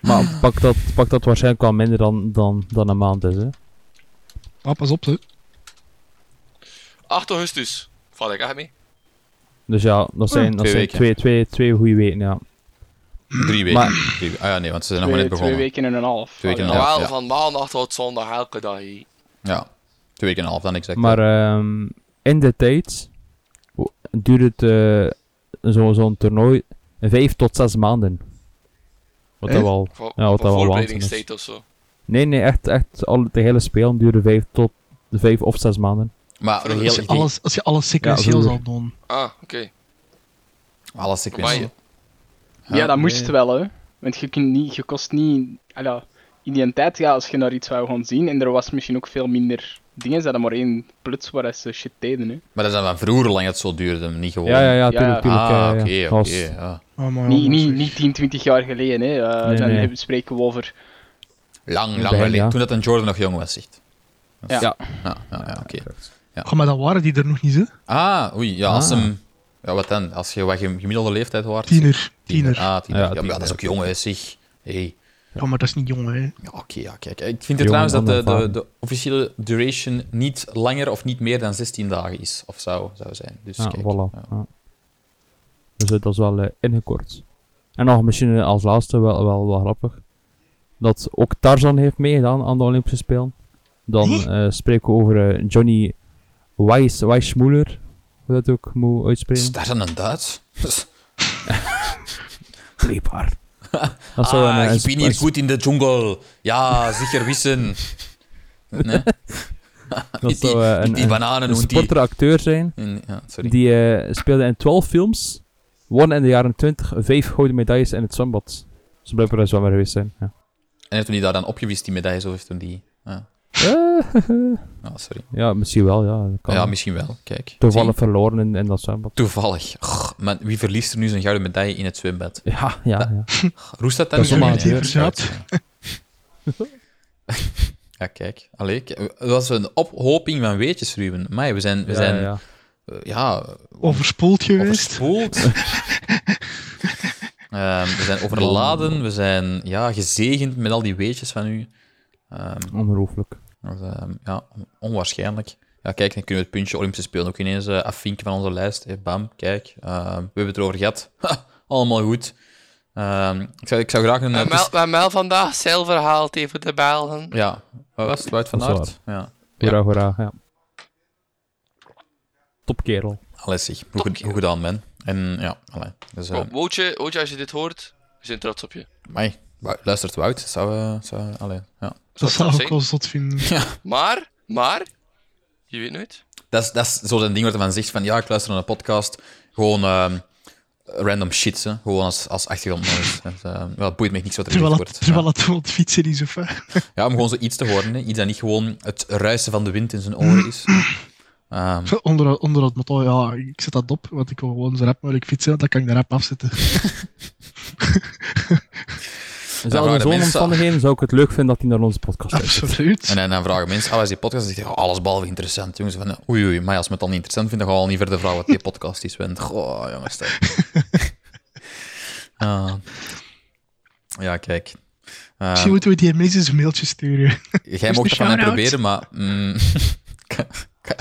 [SPEAKER 3] Maar pak dat, pak dat waarschijnlijk wel minder dan, dan, dan een maand is, hè.
[SPEAKER 4] Ah, pas op, hè.
[SPEAKER 1] 8 augustus. Val ik echt mee?
[SPEAKER 3] Dus ja, dat zijn, dat
[SPEAKER 2] twee
[SPEAKER 3] zijn
[SPEAKER 2] weken.
[SPEAKER 3] twee, twee, twee goede weken, ja.
[SPEAKER 2] Drie weken.
[SPEAKER 3] Maar-
[SPEAKER 2] Drie we- ah ja, nee, want ze zijn nog maar
[SPEAKER 5] Twee,
[SPEAKER 2] net begonnen.
[SPEAKER 5] twee weken en een half.
[SPEAKER 2] Twee weken en
[SPEAKER 5] Allee,
[SPEAKER 2] een
[SPEAKER 1] Wel,
[SPEAKER 2] ja.
[SPEAKER 1] Nou, van maandag tot zondag elke dag. hè.
[SPEAKER 2] Ja, twee weken en een half dan exact.
[SPEAKER 3] Maar ehm, in de tijd duurt het eh, zo- zo'n toernooi vijf tot zes maanden. Wat dat
[SPEAKER 4] Echt?
[SPEAKER 3] wel... dus.
[SPEAKER 1] Voor,
[SPEAKER 3] Ja, wat
[SPEAKER 1] voor
[SPEAKER 3] dat wel waanzin
[SPEAKER 1] voorbereidingstijd of zo.
[SPEAKER 3] Nee, nee, echt, echt al, de hele spelen duren vijf tot de vijf of zes maanden.
[SPEAKER 2] maar
[SPEAKER 1] Als je
[SPEAKER 2] heel
[SPEAKER 4] Als je
[SPEAKER 2] idee.
[SPEAKER 4] alles, als je alles sequentieel
[SPEAKER 3] Ja,
[SPEAKER 4] zou doen.
[SPEAKER 1] Ah, oké.
[SPEAKER 2] Alles
[SPEAKER 1] Amai.
[SPEAKER 2] sequentieel.
[SPEAKER 5] Ja,
[SPEAKER 3] Ah,
[SPEAKER 5] dat moest
[SPEAKER 3] nee.
[SPEAKER 5] wel, hè. Want je, kunt niet, je kost niet... Allee, in die tijd, ja, als je naar iets wou gaan zien, en er was misschien ook veel minder dingen, ze hadden maar één pluts waar ze shit deden, hè.
[SPEAKER 2] Maar dat is dan van vroeger lang dat zo duurde, niet gewoon.
[SPEAKER 3] Ja, ja, ja, tuurlijk,
[SPEAKER 5] ja.
[SPEAKER 3] tuurlijk. ja,
[SPEAKER 2] Ah,
[SPEAKER 3] ja.
[SPEAKER 2] oké,
[SPEAKER 3] Als-
[SPEAKER 2] oké. ja.
[SPEAKER 4] Oh, maar ja,
[SPEAKER 5] Niet,
[SPEAKER 4] maar
[SPEAKER 5] niet,
[SPEAKER 4] zeg.
[SPEAKER 5] niet 10, 20 jaar geleden, hè. Eh,
[SPEAKER 3] Nee,
[SPEAKER 5] dan
[SPEAKER 3] nee.
[SPEAKER 5] hebben- spreken we over...
[SPEAKER 2] Lang, lang
[SPEAKER 3] begin,
[SPEAKER 2] geleden.
[SPEAKER 3] ja.
[SPEAKER 2] Toen dat een Jordan nog jong was, zegt. Dat is-
[SPEAKER 5] Ja.
[SPEAKER 2] Ja, ja, ja, oké.
[SPEAKER 4] Goh, maar dat waren die er nog niet, hè?
[SPEAKER 2] Ah, oei, ja, als
[SPEAKER 3] Ah.
[SPEAKER 2] hem... Ja, wat dan? Als je wat gem- gemiddelde leeftijd was?
[SPEAKER 4] Tiener. Tiener. Ja,
[SPEAKER 2] Ah, tiener.
[SPEAKER 3] Ja,
[SPEAKER 2] Ja, maar ja, dat is
[SPEAKER 3] tiener.
[SPEAKER 2] ook jong, hè, zeg. Hey.
[SPEAKER 4] maar dat is niet jong, hè.
[SPEAKER 2] Ja, oké, ja, kijk. Ik vind het
[SPEAKER 3] Jong
[SPEAKER 2] trouwens dat de, de,
[SPEAKER 3] onervaren.
[SPEAKER 2] de officiële duration niet langer of niet meer dan 16 dagen is, of zou, zou zijn. Dus
[SPEAKER 3] Ja,
[SPEAKER 2] kijk.
[SPEAKER 3] Ah, voilà.
[SPEAKER 2] ja.
[SPEAKER 3] ja. Dus eh, dat is wel eh, ingekort. En nog misschien eh, als laatste wel, wel, wel grappig. Dat ook Tarzan heeft meegedaan aan de Olympische Spelen. Dan eh, spreken we over eh, Johnny Weiss, Weissmuller. Hoe dat ook moet
[SPEAKER 2] Is
[SPEAKER 3] uitspreken.
[SPEAKER 2] dat dan een Duits?
[SPEAKER 3] Streepbaar. Dat zou
[SPEAKER 2] ah,
[SPEAKER 3] een, eh,
[SPEAKER 2] ik ben hier
[SPEAKER 3] een-
[SPEAKER 2] goed in de jungle. Ja, sicher wissen. Nee?
[SPEAKER 3] dat
[SPEAKER 2] Eet die,
[SPEAKER 3] zou, eh,
[SPEAKER 2] eet
[SPEAKER 3] een-
[SPEAKER 2] die
[SPEAKER 3] een-
[SPEAKER 2] bananen
[SPEAKER 3] een
[SPEAKER 2] en die...
[SPEAKER 3] sporteracteur zijn.
[SPEAKER 2] en- Ja, sorry.
[SPEAKER 3] Die eh, speelde in 12 films. Won in de jaren 20 vijf gouden medailles in het zwembad. Ze blijven een zwemmer geweest zijn. Ja.
[SPEAKER 2] En heeft toen die daar dan opgewist, die medaille, zo heeft toen die... Ja,
[SPEAKER 3] Eh,
[SPEAKER 2] Ah, sorry.
[SPEAKER 3] Ja, misschien wel, ja. dat Kan.
[SPEAKER 2] Ja, misschien wel, kijk.
[SPEAKER 3] Toevallig
[SPEAKER 2] Zie,
[SPEAKER 3] verloren in, in dat zwembad.
[SPEAKER 2] Toevallig. Och, man, wie verliest er nu zijn gouden medaille in het zwembad?
[SPEAKER 3] Ja, ja, ja.
[SPEAKER 2] Roest dat dan
[SPEAKER 3] Dat is
[SPEAKER 2] niet
[SPEAKER 3] allemaal
[SPEAKER 2] meer?
[SPEAKER 4] het hier
[SPEAKER 2] Ja, kijk. Allee, k- het was een ophoping van weetjes, Ruben. Maar we zijn, we
[SPEAKER 3] Ja,
[SPEAKER 2] zijn
[SPEAKER 3] ja, ja.
[SPEAKER 2] eh, ja,
[SPEAKER 4] Overspoeld geweest.
[SPEAKER 2] overspoeld. Ehm, we zijn overladen. We zijn ja, gezegend met al die weetjes van u. Ehm,
[SPEAKER 3] Ongelooflijk.
[SPEAKER 2] dat is, ehm, ja, on- onwaarschijnlijk. Ja, kijk, dan kunnen we het puntje Olympische Spelen ook ineens eh, afvinken van onze lijst. Eh, bam, kijk. Ehm, we hebben het erover gehad. Ha, allemaal goed. Ehm, ik, zou, ik zou graag een... eh,
[SPEAKER 1] En Mel, maar Mel vandaag zilver haalt even de Belgen.
[SPEAKER 2] Ja, wat was het? Wout van
[SPEAKER 3] Dat is
[SPEAKER 2] Aert? Ja.
[SPEAKER 3] Hoera, hoera, ja. Topkerel.
[SPEAKER 2] Allee, zeg. Hoe, goed- hoe gedaan, man. En ja, allee. Dus, eh,
[SPEAKER 1] Kom, Wootje, Wootje, als je dit hoort, we zijn trots op je.
[SPEAKER 2] Amai, Wou- luistert Wout, zou... eh, zou allee, ja.
[SPEAKER 1] zou
[SPEAKER 4] Dat zou
[SPEAKER 1] het
[SPEAKER 4] ik wel zot vinden.
[SPEAKER 1] Maar, maar, je weet nooit.
[SPEAKER 2] Dat is, dat is zo'n ding wat men zegt van, ja, ik luister naar een podcast, gewoon ehm, random shit, hè. gewoon als, als achtergrondnoise. Het, eh, ja, het boeit me niks wat er gezegd
[SPEAKER 4] Terwijl het,
[SPEAKER 2] wordt. Ja.
[SPEAKER 4] terwijl het wel het fietsen is, of hè.
[SPEAKER 2] Ja, om gewoon zoiets te horen, hè. iets dat niet gewoon het ruisen van de wind in zijn oren is. Ehm,
[SPEAKER 4] Onder, onder het motto, ja, ik zet dat op, want ik wil gewoon zo rap mogelijk fietsen, want dan kan ik de rap afzetten.
[SPEAKER 3] Zelfs
[SPEAKER 2] waren
[SPEAKER 3] in zo'n
[SPEAKER 2] mensen-
[SPEAKER 3] omstandigheden zou ik het leuk vinden dat hij naar onze podcast luistert.
[SPEAKER 4] Absoluut.
[SPEAKER 2] en
[SPEAKER 3] eh,
[SPEAKER 2] dan- dan vragen mensen, ah, wat is die podcast? En dan zeg je, oh, alles behalve interessant, jongens. Van, oei, oei, maar ja, als men het dan niet interessant vindt, dan gaan we al niet verder vragen wat die podcast is. Want, goh, jongens. dat- Ah. ja, kijk. Ehm,
[SPEAKER 4] Misschien moeten we die mensen eens een mailtje sturen.
[SPEAKER 2] Jij mocht
[SPEAKER 4] de
[SPEAKER 2] dat van mij
[SPEAKER 4] shout-out.
[SPEAKER 2] proberen, maar... mm,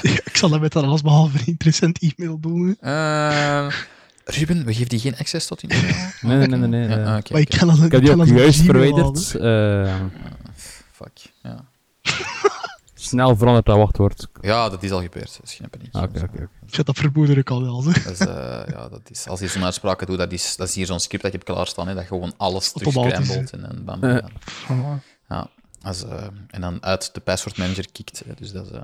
[SPEAKER 4] ik zal dat met dat alles behalve een interessant e-mail doen. hè.
[SPEAKER 2] eh, Ruben, we geven die geen access tot in.
[SPEAKER 3] Nee, nee, nee, nee. nee, nee.
[SPEAKER 2] Ja, ah, oké,
[SPEAKER 4] Eh, Maar ik
[SPEAKER 2] oké.
[SPEAKER 4] kan dat
[SPEAKER 3] Ik heb die ook
[SPEAKER 4] dat
[SPEAKER 3] juist
[SPEAKER 4] zien,
[SPEAKER 3] verwijderd. eh,
[SPEAKER 2] Fuck. Ja.
[SPEAKER 3] snel veranderd dat wachtwoord.
[SPEAKER 2] ja, dat is al gebeurd. Dus geen paniek.
[SPEAKER 3] Ah, Oké, oké. oké.
[SPEAKER 4] man. Ik had dat vermoeden ik al wel. Hè.
[SPEAKER 2] Dat is, eh, ja, dat is, als je zo'n uitspraken doet, dat is, dat is hier zo'n script dat je hebt klaarstaan. Hè, dat je gewoon alles
[SPEAKER 4] Automatisch,
[SPEAKER 2] terugscrambelt en dan bam.
[SPEAKER 3] Eh.
[SPEAKER 2] ja.
[SPEAKER 4] Ah,
[SPEAKER 2] Ja, als, eh, en dan uit de password manager kikt. hè, Dus dat is... eh,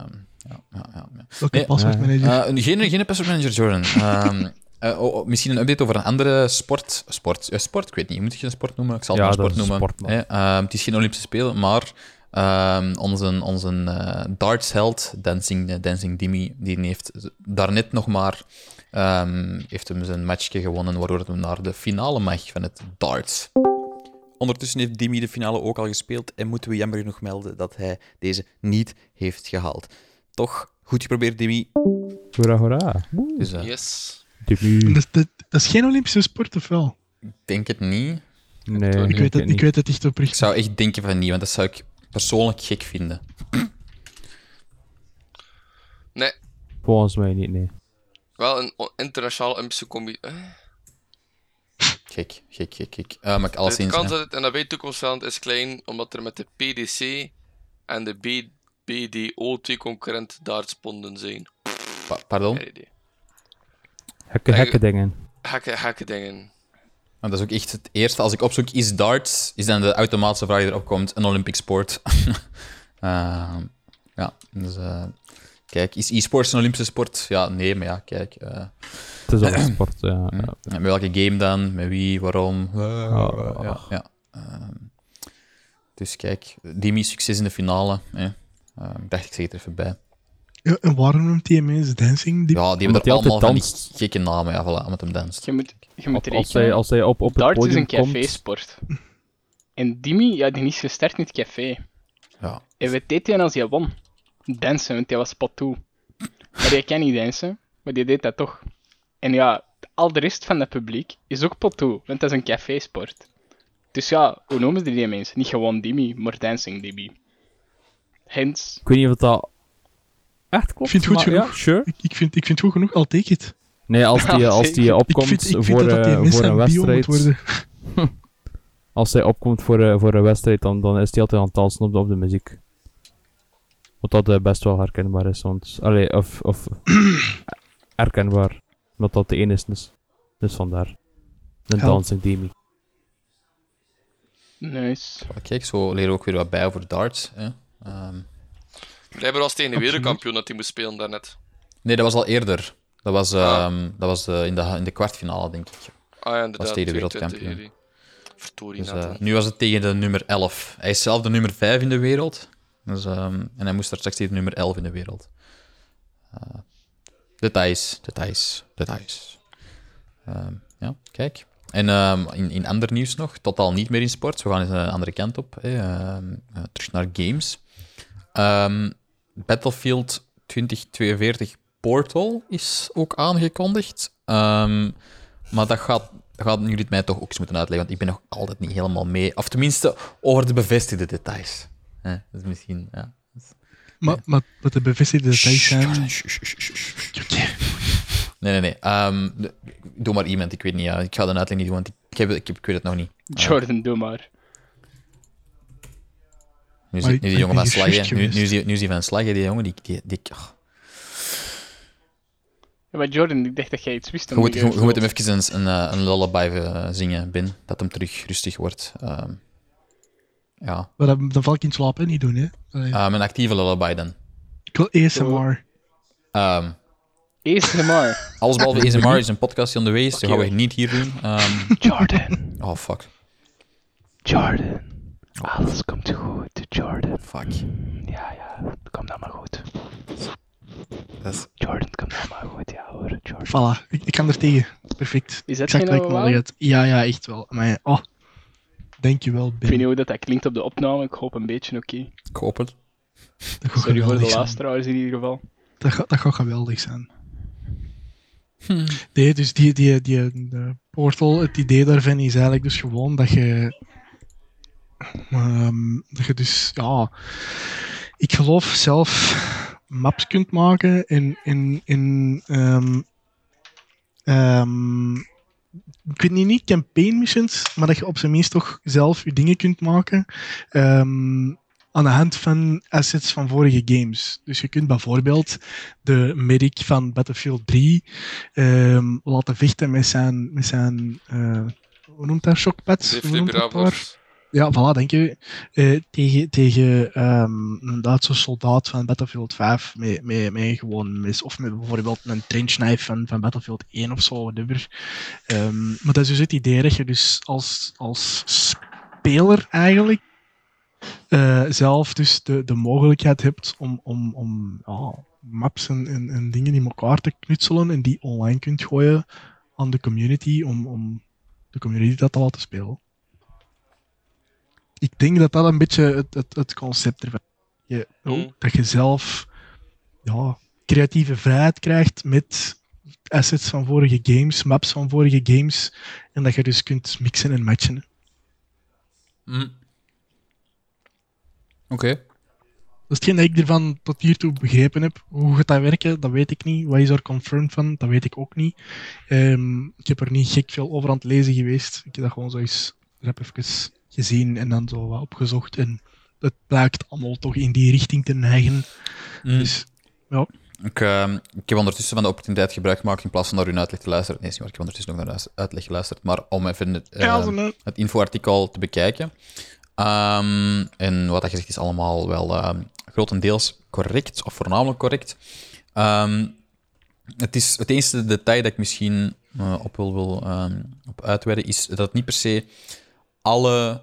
[SPEAKER 2] ja, ja, ja, ja.
[SPEAKER 4] Welke
[SPEAKER 2] Nee,
[SPEAKER 4] password
[SPEAKER 3] eh,
[SPEAKER 4] manager?
[SPEAKER 2] Eh, geen, geen password manager, Jordan. Ehm, Eh, oh, oh, misschien een update over een andere sport. Sport, eh, sport ik weet niet. Moet ik geen sport noemen? Ik zal het
[SPEAKER 3] Ja,
[SPEAKER 2] maar
[SPEAKER 3] dat
[SPEAKER 2] sport
[SPEAKER 3] is een
[SPEAKER 2] noemen.
[SPEAKER 3] sport,
[SPEAKER 2] hè. Ehm, het is geen Olympische Spelen, maar ehm, onze, onze eh, dartsheld, Dancing, eh, Dancing Dimmy, die heeft daarnet nog maar ehm, heeft hem zijn matchje gewonnen, waardoor hij naar de finale mag van het darts. Ondertussen heeft Dimi de finale ook al gespeeld en moeten we jammer genoeg melden dat hij deze niet heeft gehaald. Toch, goed geprobeerd, Dimi.
[SPEAKER 3] Hoera, hoera.
[SPEAKER 2] Dus, eh,
[SPEAKER 1] Yes.
[SPEAKER 3] Debuut.
[SPEAKER 4] Dat, dat, dat is geen Olympische sport, of wel?
[SPEAKER 2] Ik denk het niet.
[SPEAKER 3] Nee,
[SPEAKER 4] Ik weet het, ik weet het echt
[SPEAKER 2] Ik
[SPEAKER 4] oprecht.
[SPEAKER 2] zou echt denken van niet, want dat zou ik persoonlijk gek vinden.
[SPEAKER 1] Nee,
[SPEAKER 3] Volgens mij niet, nee.
[SPEAKER 1] wel een o- internationale Olympische combi. Eh?
[SPEAKER 2] Gek, gek, gek, gek. Eh, maar ik alles
[SPEAKER 1] De
[SPEAKER 2] eens.
[SPEAKER 1] kans
[SPEAKER 2] hè.
[SPEAKER 1] dat het NAB toekomstland is klein, omdat er met de PDC en de B- BDO twee concurrenten daartsponden zijn.
[SPEAKER 2] Pa- pardon?
[SPEAKER 1] Geen idee.
[SPEAKER 3] Hekke, hekke dingen.
[SPEAKER 1] Gekke, gekke dingen.
[SPEAKER 2] Maar dat is ook echt het eerste. Als ik opzoek, is darts, is dan de automatische vraag die erop komt, een Olympic sport. Ehm, ja, dus... eh, kijk, is e-sports een Olympische sport? Ja, nee, maar ja, kijk. eh,
[SPEAKER 3] Het is al een sport, eh,
[SPEAKER 2] Mm.
[SPEAKER 3] ja.
[SPEAKER 2] met welke game dan? Met wie? Waarom? Eh,
[SPEAKER 3] Oh,
[SPEAKER 2] ja,
[SPEAKER 3] ach.
[SPEAKER 2] ja. Ehm, dus kijk, Dimi, succes in de finale. hè. Eh, ik dacht, ik zeg het er even bij.
[SPEAKER 4] Ja, en waarom noemt die mensen dancing? Die...
[SPEAKER 2] Ja, die
[SPEAKER 3] Omdat
[SPEAKER 2] hebben er
[SPEAKER 3] hij
[SPEAKER 2] allemaal
[SPEAKER 3] altijd
[SPEAKER 2] van die
[SPEAKER 3] danst.
[SPEAKER 2] gekke namen, ja, voilà, omdat hem danst.
[SPEAKER 5] Je moet, je moet
[SPEAKER 3] Als, als,
[SPEAKER 5] rekenen.
[SPEAKER 3] zij, als zij op, op het
[SPEAKER 5] Dart is
[SPEAKER 3] podium
[SPEAKER 5] een
[SPEAKER 3] komt...
[SPEAKER 5] café-sport. En Dimi, ja, die is gestart in het café.
[SPEAKER 2] Ja.
[SPEAKER 5] En wat deed hij als hij won? Dansen, want hij was pot toe. Maar hij kan niet dansen, maar die deed dat toch. En ja, al de rest van het publiek is ook pot toe, want dat is een café-sport. Dus ja, hoe noemen ze die mensen? Niet gewoon Dimi, maar Dancing Dimi. Hens,
[SPEAKER 3] Ik weet niet of dat echt klopt,
[SPEAKER 4] Ik vind het goed
[SPEAKER 3] maar ja,
[SPEAKER 4] genoeg.
[SPEAKER 3] sure.
[SPEAKER 4] Ik, ik, vind, ik vind het goed genoeg, al take it.
[SPEAKER 3] Nee, als die,
[SPEAKER 5] Ja,
[SPEAKER 3] als die
[SPEAKER 5] zeker.
[SPEAKER 4] Ik
[SPEAKER 3] opkomt
[SPEAKER 4] vind, ik
[SPEAKER 3] voor,
[SPEAKER 4] vind dat
[SPEAKER 3] eh,
[SPEAKER 4] dat die
[SPEAKER 3] voor een
[SPEAKER 4] mensen bio moet
[SPEAKER 3] wedstrijd...
[SPEAKER 4] worden.
[SPEAKER 3] Als zij opkomt voor, eh, voor een wedstrijd, dan, dan is die altijd aan het dansen op de, op de muziek. Wat dat eh, best wel herkenbaar is, want... Allee, of... of herkenbaar. Omdat dat de ene is, dus, dus vandaar. Een
[SPEAKER 4] Help.
[SPEAKER 3] dancing Demi.
[SPEAKER 5] nice.
[SPEAKER 2] Maar Kijk, zo leren we ook weer wat bij over darts. Hè. Ehm,
[SPEAKER 1] Blijkbaar was tegen de wereldkampioen dat hij moest spelen daarnet.
[SPEAKER 2] nee, dat was al eerder. Dat was, ehm, dat was eh, in, de, in de kwartfinale, denk ik.
[SPEAKER 1] Ah ja, inderdaad.
[SPEAKER 2] Was tegen de
[SPEAKER 1] 22
[SPEAKER 2] wereldkampioen.
[SPEAKER 1] juli. Verdorie,
[SPEAKER 2] Dus,
[SPEAKER 1] net,
[SPEAKER 2] eh,
[SPEAKER 1] hè.
[SPEAKER 2] nu was het tegen de nummer 11. Hij is zelf de nummer 5 in de wereld. Dus, ehm, en hij moest daar straks tegen de nummer 11 in de wereld. Eh, details, details, details. Ehm, ja, kijk. En ehm, in, in ander nieuws nog, totaal niet meer in sport. We gaan eens een andere kant op. hè. Ehm, eh, terug naar games. Ehm, Battlefield 2042 Portal is ook aangekondigd. Ehm, maar dat gaat, dat gaat jullie het mij toch ook eens moeten uitleggen, want ik ben nog altijd niet helemaal mee. Of tenminste, over de bevestigde details. Hè, dat is misschien... Ja.
[SPEAKER 4] Maar, maar, maar de bevestigde details zijn...
[SPEAKER 2] Shh, shh, shh, shh, shh, shh. Nee, nee, nee. Ehm, de- doe maar iemand, ik weet niet. Ja. Ik ga de uitleg niet doen, want ik, heb, ik, heb, ik weet het nog niet.
[SPEAKER 5] Jordan, doe maar.
[SPEAKER 2] Nu is,
[SPEAKER 4] Maar
[SPEAKER 2] nu
[SPEAKER 4] ik-
[SPEAKER 2] is die
[SPEAKER 4] ik
[SPEAKER 2] jongen
[SPEAKER 4] ben
[SPEAKER 2] van slag,
[SPEAKER 4] geschikt
[SPEAKER 2] hè. Nu, nu,
[SPEAKER 4] geweest.
[SPEAKER 2] is die, nu is die van slag, hè, die jongen. Die, die, die, oh.
[SPEAKER 5] Ja, maar Jordan, ik dacht dat jij iets wist.
[SPEAKER 2] Je
[SPEAKER 5] omdat
[SPEAKER 2] moet, je, moet- je moet hem
[SPEAKER 5] het
[SPEAKER 2] even een, een, eh, een lullaby eh, zingen, Ben. Dat hem terug rustig wordt. Ehm, ja.
[SPEAKER 4] Maar dan, dan val ik in slaap en niet doen, hè. Allee,
[SPEAKER 5] Ah.
[SPEAKER 2] Ehm, een actieve lullaby dan.
[SPEAKER 4] Ik wil ASMR.
[SPEAKER 2] Ehm,
[SPEAKER 5] ASMR.
[SPEAKER 2] Alles behalve ASMR is een podcast die onderweg is, dat gaan we niet hier doen. Ehm,
[SPEAKER 5] Jordan,
[SPEAKER 2] oh, fuck.
[SPEAKER 5] Jordan. Alles komt goed, Jordan.
[SPEAKER 2] Fuck.
[SPEAKER 5] Ja, ja, kom dan maar goed.
[SPEAKER 2] Dat is-
[SPEAKER 5] Jordan, kom dan maar goed, ja hoor, Jordan.
[SPEAKER 4] Voilà, ik, ik kan er tegen. Perfect.
[SPEAKER 5] Is dat
[SPEAKER 4] Exact
[SPEAKER 5] geen
[SPEAKER 4] wat ik nodig
[SPEAKER 5] oude
[SPEAKER 4] had. Ja, ja, echt wel. Maar ja, oh, dankjewel,
[SPEAKER 5] Ik weet niet
[SPEAKER 4] Ben.
[SPEAKER 5] hoe dat, dat klinkt op de opname, ik hoop een beetje oké.
[SPEAKER 2] Ik hoop het.
[SPEAKER 4] Dat gaat
[SPEAKER 5] Sorry voor
[SPEAKER 4] geweldig
[SPEAKER 5] de
[SPEAKER 4] zijn.
[SPEAKER 5] luisteraars in ieder geval.
[SPEAKER 4] Dat gaat, dat gaat geweldig zijn. Nee, dus die, die, die, eh, portal, het idee daarvan is eigenlijk dus gewoon dat je... ehm, dat je dus, ja... Ik geloof zelf maps kunt maken in... in, in ehm, ehm, ik weet niet, niet campaign missions, maar dat je op zijn minst toch zelf je dingen kunt maken. ehm, aan de hand van assets van vorige games. Dus je kunt bijvoorbeeld de medic van Battlefield 3 ehm, laten vechten met zijn, met zijn eh, hoe noemt dat, shockpads? Hoe noemt dat daar?
[SPEAKER 1] Defibrillator.
[SPEAKER 4] Ja, voilà, denk je. Eh, tegen tegen ehm, een Duitse soldaat van Battlefield 5 met, met, met gewoon mis. Of met bijvoorbeeld een trenchknife van, van Battlefield 1 of zo, whatever. Ehm, maar dat is dus het idee dat je dus als, als speler eigenlijk eh, zelf dus de, de mogelijkheid hebt om, om, om ja, maps en, en, en dingen in elkaar te knutselen en die online kunt gooien aan de community om, om de community dat te laten spelen ik denk dat dat een beetje het, het, het concept ervan is. Je- oh,
[SPEAKER 1] Mm.
[SPEAKER 4] Dat je zelf ja, creatieve vrijheid krijgt met assets van vorige games, maps van vorige games. En dat je dus kunt mixen en matchen.
[SPEAKER 2] Hm. Oké.
[SPEAKER 4] Dat is hetgeen dat ik ervan tot hiertoe begrepen heb. Hoe gaat dat werken, dat weet ik niet. Wat is er confirmed van, dat weet ik ook niet. Ehm, ik heb er niet gek veel over aan het lezen geweest. Ik heb dat gewoon zo eens rap even gezien en dan zo wat opgezocht. En het blijkt allemaal toch in die richting te neigen.
[SPEAKER 2] Hm.
[SPEAKER 4] Dus
[SPEAKER 2] Ik, ehm, ik heb ondertussen van de opportuniteit gebruik gemaakt in plaats van naar hun uitleg te luisteren. Nee, is niet waar, ik heb ondertussen nog naar de uitleg geluisterd, maar om even het, ehm,
[SPEAKER 4] Ja, zo, nee.
[SPEAKER 2] het infoartikel te bekijken. Ehm, en wat dat gezegd is allemaal wel ehm, grotendeels correct, of voornamelijk correct. Ehm, het, is, het enige detail dat ik misschien eh, op wil, wil ehm, op uitweiden, is dat het niet per se alle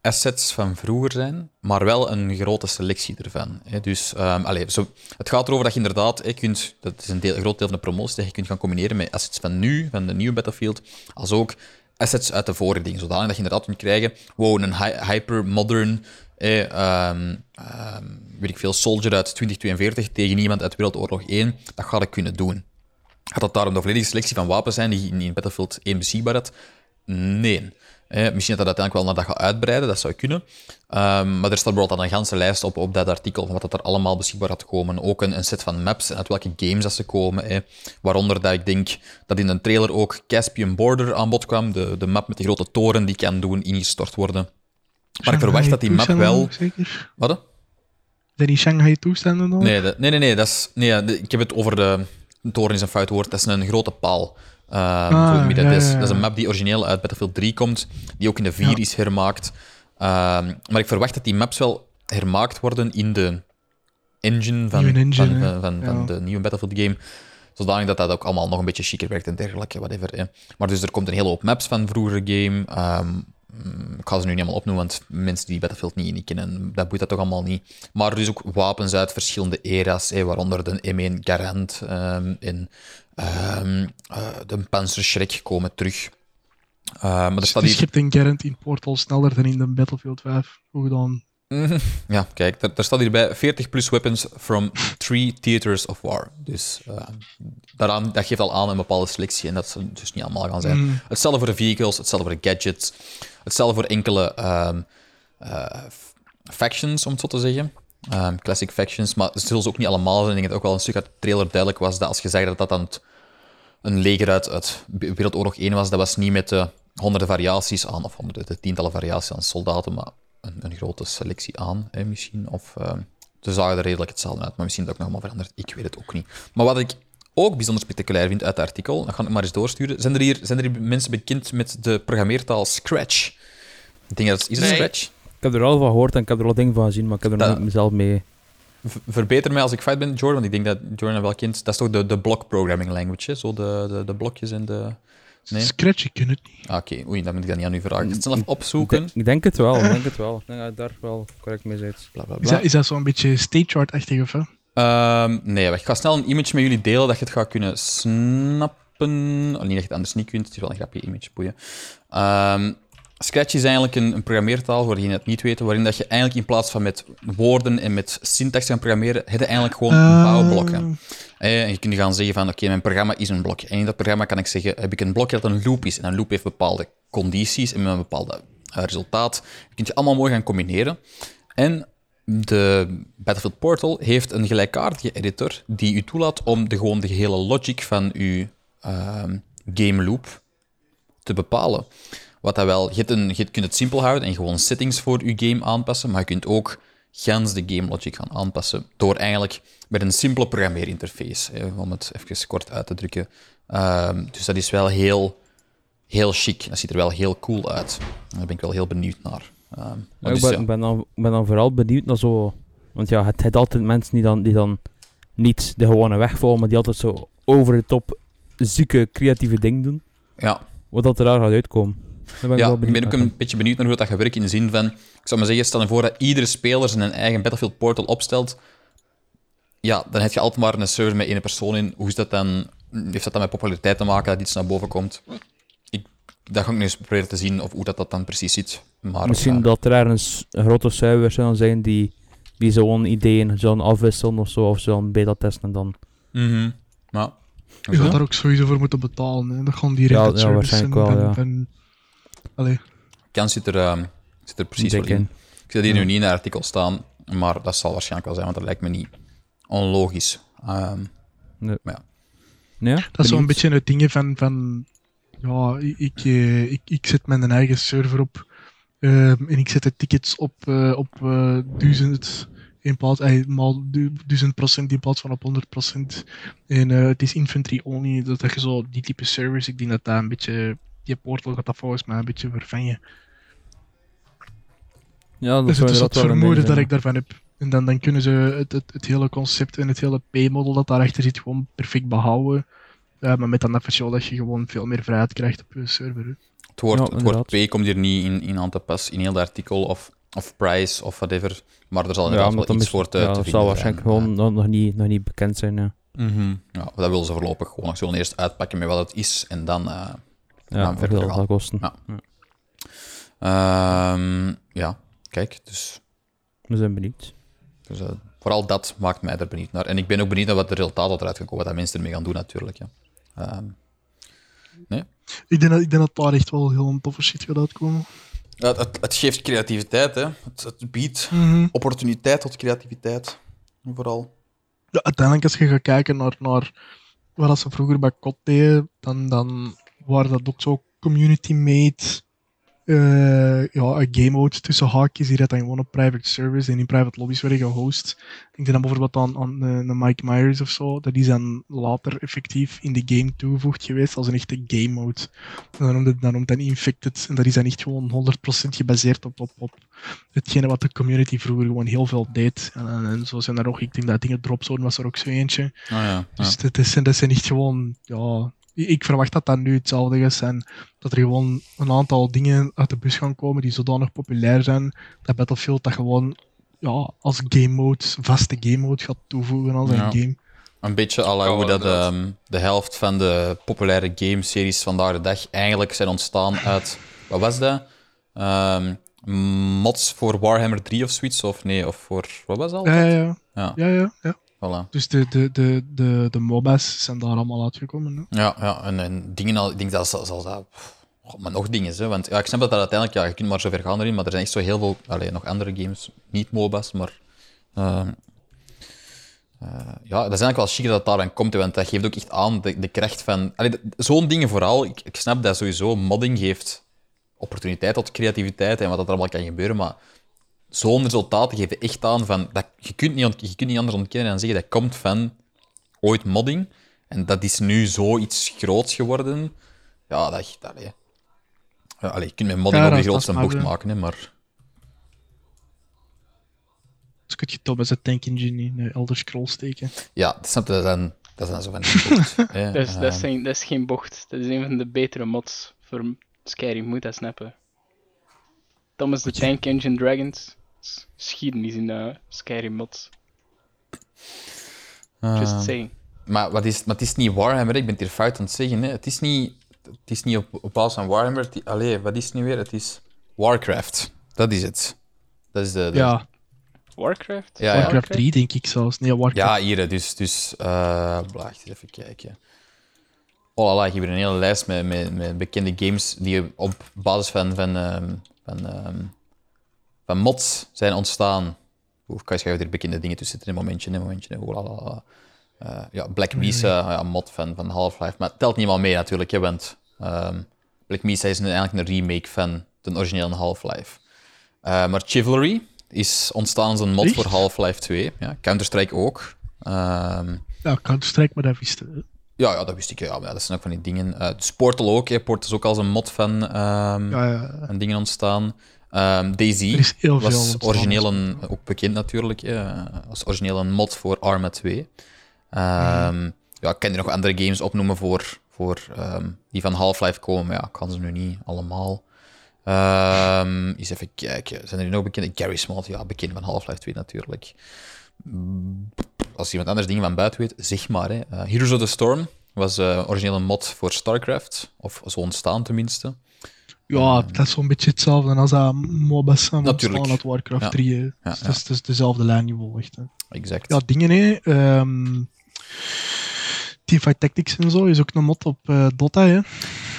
[SPEAKER 2] assets van vroeger zijn, maar wel een grote selectie ervan. Hè. Dus ehm, allee, zo, het gaat erover dat je inderdaad, hè, kunt, dat is een, deel, een groot deel van de promotie, dat je kunt gaan combineren met assets van nu, van de nieuwe Battlefield, als ook assets uit de vorige dingen, zodanig dat je inderdaad kunt krijgen, wow, een hy- hyper-modern, eh, ehm, ehm, weet ik veel, soldier uit 2042 tegen iemand uit Wereldoorlog 1, dat ga ik kunnen doen. Gaat dat daarom de volledige selectie van wapens zijn die je in- in Battlefield 1 beschikbaar had? Nee. Eh, misschien dat dat uiteindelijk wel naar dat gaat uitbreiden, dat zou kunnen. Ehm, maar er staat bijvoorbeeld al een ganse lijst op, op dat artikel van wat dat er allemaal beschikbaar gaat komen. Ook een, een set van maps en uit welke games dat ze komen. eh. Waaronder dat ik denk dat in een trailer ook Caspian Border aan bod kwam. De, de map met de grote toren die kan doen ingestort worden. Maar ik verwacht dat die map
[SPEAKER 4] Shanghai
[SPEAKER 2] wel...
[SPEAKER 4] toestanden, Zeker.
[SPEAKER 2] Wat? hè?
[SPEAKER 4] Zijn die Shanghai toestanden dan?
[SPEAKER 2] Nee, dat- nee, nee, nee, dat is, nee ja, de- ik heb het over de. een Toren is een fout woord, dat is een grote paal. Ehm, voor wie dat,
[SPEAKER 4] Ah, ja,
[SPEAKER 2] is.
[SPEAKER 4] ja, ja.
[SPEAKER 2] dat is een map die origineel uit Battlefield 3 komt, die ook in de 4
[SPEAKER 4] Ja.
[SPEAKER 2] is hermaakt. Ehm, maar ik verwacht dat die maps wel hermaakt worden in de engine van,
[SPEAKER 4] Nieuwe engine,
[SPEAKER 2] van,
[SPEAKER 4] hè.
[SPEAKER 2] van, van, van
[SPEAKER 4] Ja.
[SPEAKER 2] de nieuwe Battlefield game. Zodanig dat dat ook allemaal nog een beetje chiquer werkt en dergelijke, whatever. Hè. Maar dus er komt een hele hoop maps van vroeger game. Ehm, mm, ik ga ze nu niet allemaal opnoemen, want mensen die Battlefield niet, niet kennen, dat boeit dat toch allemaal niet. Maar er is ook wapens uit verschillende era's, hè, waaronder de M1 Garand ehm, en ehm, eh, de Panzerschrek komen terug. Ehm, maar er staat
[SPEAKER 4] Die
[SPEAKER 2] hier...
[SPEAKER 4] schept een Garant in Portal sneller dan in de Battlefield 5. Hoe dan?
[SPEAKER 2] Mhm. Ja, kijk, daar, daar staat hierbij 40 plus weapons from three theaters of war. Dus eh, daaraan, dat geeft al aan een bepaalde selectie en dat zal dus niet allemaal gaan zijn.
[SPEAKER 4] Mm.
[SPEAKER 2] Hetzelfde voor de vehicles, hetzelfde voor de gadgets, hetzelfde voor enkele ehm, eh, f- factions, om het zo te zeggen. Ehm, classic factions, maar ze zullen ze ook niet allemaal zijn. Ik denk dat ook wel een stuk uit de trailer duidelijk was dat als je zegt dat dat dan het- een leger uit, uit Wereldoorlog 1 was, dat was niet met de honderden variaties aan, of honderden, de tientallen variaties aan soldaten, maar een, een grote selectie aan, hè, misschien. Of ehm, ze zagen er redelijk hetzelfde uit, maar misschien dat ook nog wel veranderd. Ik weet het ook niet. Maar wat ik ook bijzonder spectaculair vind uit het artikel, dat ga ik maar eens doorsturen. Zijn er hier, zijn er hier mensen bekend met de programmeertaal Scratch? Ik denk dat is het
[SPEAKER 1] Nee.
[SPEAKER 2] Scratch?
[SPEAKER 3] Ik heb er al van gehoord en ik heb er al dingen van gezien, maar ik heb er nog
[SPEAKER 2] Dat-
[SPEAKER 3] niet mezelf mee.
[SPEAKER 2] V- verbeter mij als ik fout ben, Jordan, want ik denk dat Jordan dat wel kent. Dat is toch de, de block programming language, hè? zo de, de, de blokjes en de... Nee?
[SPEAKER 4] Scratch, ik ken het niet.
[SPEAKER 2] Ah, Oké, oei, dan moet ik dat niet aan u vragen. Ik ga het
[SPEAKER 4] Mm,
[SPEAKER 2] zelf opzoeken.
[SPEAKER 3] Ik denk het wel, ik denk het wel. Ik denk dat je daar wel correct mee zit.
[SPEAKER 2] Bla, bla,
[SPEAKER 4] Is
[SPEAKER 2] bla.
[SPEAKER 4] dat, is dat zo'n beetje stagechart-achtig of hè?
[SPEAKER 2] Ehm, nee, wacht, ik ga snel een image met jullie delen dat je het gaat kunnen snappen. Alleen dat je het anders niet kunt, het is wel een grappig image, boeien. Ehm, Scratch is eigenlijk een, een programmeertaal, voor die het niet weten, waarin dat je eigenlijk in plaats van met woorden en met syntax gaan programmeren, heb je eigenlijk gewoon
[SPEAKER 4] Ah.
[SPEAKER 2] bouwblokken. Eh, En je kunt gaan zeggen van, oké, mijn programma is een blok. En in dat programma kan ik zeggen, heb ik een blokje dat een loop is. En een loop heeft bepaalde condities en met een bepaald resultaat. Dat kun je allemaal mooi gaan combineren. En de Battlefield Portal heeft een gelijkaardige editor die u toelaat om de, gewoon de gehele logic van uw ehm, game loop te bepalen. Wat dat wel, je, hebt een, je kunt het simpel houden en gewoon settings voor je game aanpassen, maar je kunt ook gans de game logic gaan aanpassen door eigenlijk met een simpele programmeerinterface, hè, om het even kort uit te drukken. Ehm, dus dat is wel heel, heel chic. Dat ziet er wel heel cool uit. Daar ben ik wel heel benieuwd naar. Ehm,
[SPEAKER 3] Ja,
[SPEAKER 2] maar
[SPEAKER 3] ik
[SPEAKER 2] dus,
[SPEAKER 3] ben,
[SPEAKER 2] ja.
[SPEAKER 3] ben, dan, ben dan vooral benieuwd naar zo. Want ja, het het altijd mensen die dan, die dan niet de gewone weg volgen, maar die altijd zo over de top zieke creatieve dingen doen.
[SPEAKER 2] ja.
[SPEAKER 3] Wat dat er daar gaat uitkomen. Daar ben ik
[SPEAKER 2] ja,
[SPEAKER 3] wel
[SPEAKER 2] ik
[SPEAKER 3] benieuwd
[SPEAKER 2] ben ook
[SPEAKER 3] naar.
[SPEAKER 2] een beetje benieuwd naar hoe dat gaat werken. In de zin van, ik zou maar zeggen, stel je voor dat iedere speler zijn eigen Battlefield Portal opstelt. Ja, dan heb je altijd maar een server met één persoon in. Hoe is dat dan? Heeft dat dan met populariteit te maken dat iets naar boven komt? Ik, dat ga ik nu eens proberen te zien of hoe dat, dat dan precies zit. Maar,
[SPEAKER 3] Misschien
[SPEAKER 2] eh,
[SPEAKER 3] dat er ergens grote servers zullen zijn die, die zo'n ideeën zullen afwisselen of zo, of zullen beta testen en dan.
[SPEAKER 2] mhm, ja.
[SPEAKER 4] Je gaat daar ook sowieso voor moeten betalen. Hè. Dat gaan die
[SPEAKER 3] Ja,
[SPEAKER 4] Reddit
[SPEAKER 3] ja,
[SPEAKER 4] service en,
[SPEAKER 3] waarschijnlijk wel,
[SPEAKER 4] en-
[SPEAKER 3] ja.
[SPEAKER 4] en- Allee,
[SPEAKER 2] Kans zit er, ehm, zit er precies voor
[SPEAKER 3] Dik in.
[SPEAKER 2] in. Ik zet hier
[SPEAKER 3] Ja.
[SPEAKER 2] nu niet in een artikel staan, maar dat zal waarschijnlijk wel zijn, want dat lijkt me niet onlogisch. Ehm,
[SPEAKER 3] Ja?
[SPEAKER 4] dat is
[SPEAKER 3] Benieuwd.
[SPEAKER 4] zo'n beetje het ding van, van ja, ik, ik, eh, ik, ik zet mijn eigen server op ehm, en ik zet de tickets op, eh, op eh, 1000 in plaats, eh, maal du- 1000 procent in plaats van op 100 procent. En eh, het is inventory only, dat dat je zo die type servers, ik denk dat daar een beetje, die portal gaat dat volgens mij een beetje vervangen.
[SPEAKER 3] Ja, dat
[SPEAKER 4] Dus het
[SPEAKER 3] zou
[SPEAKER 4] is dat
[SPEAKER 3] inderdaad wel een
[SPEAKER 4] vermoeden
[SPEAKER 3] ding
[SPEAKER 4] dat
[SPEAKER 3] zijn.
[SPEAKER 4] ik daarvan heb. En dan, dan kunnen ze het, het, het hele concept en het hele P-model dat daarachter zit gewoon perfect behouden. Ja, maar met dan dat verschil dat je gewoon veel meer vrijheid krijgt op je server. hè.
[SPEAKER 2] Het woord,
[SPEAKER 3] Ja,
[SPEAKER 2] het woord
[SPEAKER 3] inderdaad.
[SPEAKER 2] P komt hier niet in, in aan te pas in heel dat artikel, of, of price, of whatever. Maar er zal
[SPEAKER 3] Ja,
[SPEAKER 2] inderdaad
[SPEAKER 3] omdat
[SPEAKER 2] wel
[SPEAKER 3] dat
[SPEAKER 2] iets
[SPEAKER 3] mis-
[SPEAKER 2] voor te,
[SPEAKER 3] ja,
[SPEAKER 2] te
[SPEAKER 3] dat
[SPEAKER 2] vinden
[SPEAKER 3] zal
[SPEAKER 2] zijn.
[SPEAKER 3] waarschijnlijk gewoon nog, nog niet, nog niet bekend zijn. Ja.
[SPEAKER 2] Mhm. Ja, dat willen ze voorlopig gewoon nog zullen eerst uitpakken met wat het is, en dan... eh,
[SPEAKER 3] Ja,
[SPEAKER 2] maar
[SPEAKER 3] hoeveel
[SPEAKER 2] verder
[SPEAKER 3] dat
[SPEAKER 2] wel.
[SPEAKER 3] zal kosten.
[SPEAKER 2] Ja. ehm, ja, kijk, dus,
[SPEAKER 3] We zijn benieuwd.
[SPEAKER 2] dus eh, vooral dat maakt mij er benieuwd naar. En ik ben ook benieuwd naar wat de resultaat dat eruit gaat komen, wat dat mensen ermee gaan doen natuurlijk. Ja. Ehm,
[SPEAKER 4] Ik denk, dat, ik denk dat daar echt wel heel een toffe shit gaat uitkomen.
[SPEAKER 2] ja, het- het, het geeft creativiteit, hè. Het, het biedt
[SPEAKER 4] Mhm.
[SPEAKER 2] opportuniteit tot creativiteit, vooral.
[SPEAKER 4] Ja, uiteindelijk, als je gaat kijken naar, naar wat dat ze vroeger bij COD deden, dan, dan waren dat ook zo community-made eh, ja, een game mode tussen haakjes. Hier had dan gewoon op private service en in private lobby's werden gehost. Ik denk dan bijvoorbeeld aan, aan eh, een Mike Myers of zo. Dat is dan later effectief in de game toegevoegd geweest als een echte game mode. En dan noemt het dan, noemt dan Infected. En dat is dan echt gewoon 100% gebaseerd op, op, op hetgene wat de community vroeger gewoon heel veel deed. En, en, en zo zijn er ook, ik denk dat dingen Dropzone was er ook zo eentje.
[SPEAKER 2] Ah, ja, ja.
[SPEAKER 4] Dus dat, is, dat zijn niet gewoon, ja, ik ik verwacht dat dat nu hetzelfde gaat zijn. Dat er gewoon een aantal dingen uit de bus gaan komen die zodanig populair zijn dat Battlefield dat gewoon ja, als game mode, vaste game mode gaat toevoegen aan zijn
[SPEAKER 2] Ja.
[SPEAKER 4] game.
[SPEAKER 2] Een beetje à la
[SPEAKER 1] Ja,
[SPEAKER 2] hoe dat
[SPEAKER 1] inderdaad.
[SPEAKER 2] ehm, de helft van de populaire gameseries vandaag de dag eigenlijk zijn ontstaan uit... Wat was dat? Ehm, mods voor Warhammer 3 of zoiets? Of nee, of voor... Wat was dat?
[SPEAKER 4] Ja, ja, ja.
[SPEAKER 2] Ja.
[SPEAKER 4] ja, ja, ja.
[SPEAKER 2] Voilà.
[SPEAKER 4] Dus de, de, de, de, de MOBA's zijn daar allemaal uitgekomen. Hè?
[SPEAKER 2] Ja, ja en, en dingen al... Ik denk dat zelfs dat... God, maar nog dingen, hè. Want ja, ik snap dat dat uiteindelijk... Ja, je kunt maar zo ver gaan erin, maar er zijn echt zo heel veel... Allee, nog andere games. Niet MOBA's, maar... ehm, eh, ja, dat is eigenlijk wel chic dat het daar aan komt, hè, want dat geeft ook echt aan de, de kracht van... Allee, d- Zo'n dingen vooral, ik, ik snap dat sowieso modding geeft opportuniteit tot creativiteit en wat dat er allemaal kan gebeuren, maar zo'n resultaten geven echt aan van... Dat, je, kunt niet ont- je kunt niet anders ontkennen dan zeggen dat komt van ooit modding en dat is nu zoiets groots geworden. Ja, dat... echt, Allee. Ja, allee, je kunt met modding
[SPEAKER 4] Ja,
[SPEAKER 2] ook de
[SPEAKER 4] dat- dat
[SPEAKER 2] grootste
[SPEAKER 4] snap
[SPEAKER 2] bocht
[SPEAKER 4] je.
[SPEAKER 2] maken, hè, maar...
[SPEAKER 4] Dus kun je Thomas het Tank Engine in eh, Elder Scrolls steken.
[SPEAKER 2] Ja, dat snap je, dat zijn, dat zijn zo van die bocht, hè,
[SPEAKER 5] Dat is, dat,
[SPEAKER 2] ehm.
[SPEAKER 5] is geen, dat is geen bocht. Dat is een van de betere mods voor m- Skyrim. Moet dat snappen. Thomas the Tank Engine Dragons. is Geschiedenis in de Skyrim mods. Just
[SPEAKER 2] Ehm.
[SPEAKER 5] saying.
[SPEAKER 2] Maar, wat is, maar het is niet Warhammer, hè. ik ben het hier fout aan het zeggen. Hè. Het is niet, het is niet op, op basis van Warhammer. Het i- allee, wat is het nu weer? Het is Warcraft. Dat is het. Dat is de... de-
[SPEAKER 4] Ja,
[SPEAKER 5] Warcraft?
[SPEAKER 2] Ja, ja.
[SPEAKER 4] Warcraft 3 denk ik zelfs. Nee, Warcraft
[SPEAKER 2] ja, hier. hè. Dus, dus eh wacht, eens even kijken. Oh la la, ik heb hier een hele lijst met, met, met bekende games die op basis van, van, ehm, van, ehm, van mods zijn ontstaan. Oeh, ik schrijf hier bekende dingen tussen zitten. Een momentje, een momentje. Oh la la la. Eh, ja, Black Mesa,
[SPEAKER 4] Mm.
[SPEAKER 2] ja, een mod van, van Half-Life. Maar het telt niet helemaal mee natuurlijk, hè, want ehm, Black Mesa is nu eigenlijk een remake van de originele Half-Life. Eh, maar Chivalry is ontstaan als een mod
[SPEAKER 4] Echt?
[SPEAKER 2] voor Half-Life 2. Ja, Counter-Strike ook. Ehm,
[SPEAKER 4] Ja, Counter-Strike, maar dat wist je.
[SPEAKER 2] ja, ja, dat wist ik. Ja, maar dat zijn ook van die dingen. Eh dus Portal ook. Hè. Portal is ook als een mod van, ehm,
[SPEAKER 4] Ja, ja.
[SPEAKER 2] van dingen ontstaan. Eh, Ehm
[SPEAKER 4] Er
[SPEAKER 2] Daisy
[SPEAKER 4] is heel veel.
[SPEAKER 2] was
[SPEAKER 4] ontstaan.
[SPEAKER 2] origineel een, ook bekend natuurlijk, eh, als origineel een mod voor Arma 2. Ehm,
[SPEAKER 4] Mhm.
[SPEAKER 2] ja, ik kan er nog andere games opnoemen voor, voor, ehm, die van Half-Life komen, maar ja, ik kan ze nu niet allemaal. Ehm, eens even kijken, zijn er nog bekende? Gary Smalt, ja, bekend van Half-Life 2 natuurlijk. Mm, Als iemand anders dingen van buiten weet, zeg maar. Hè. Eh, Heroes of the Storm was eh origineel een mod voor StarCraft, of zo ontstaan tenminste.
[SPEAKER 4] Ja, dat is zo'n beetje hetzelfde als dat MOBA's aan
[SPEAKER 2] Natuurlijk.
[SPEAKER 4] ontstaan uit Warcraft
[SPEAKER 2] Ja.
[SPEAKER 4] 3.
[SPEAKER 2] ja.
[SPEAKER 4] hè. Dus het is- het is dezelfde lijn die echt. Hè.
[SPEAKER 2] Exact.
[SPEAKER 4] Ja, dingen hè. Ehm Teamfight Tactics en zo is ook een mod op eh, Dota hè.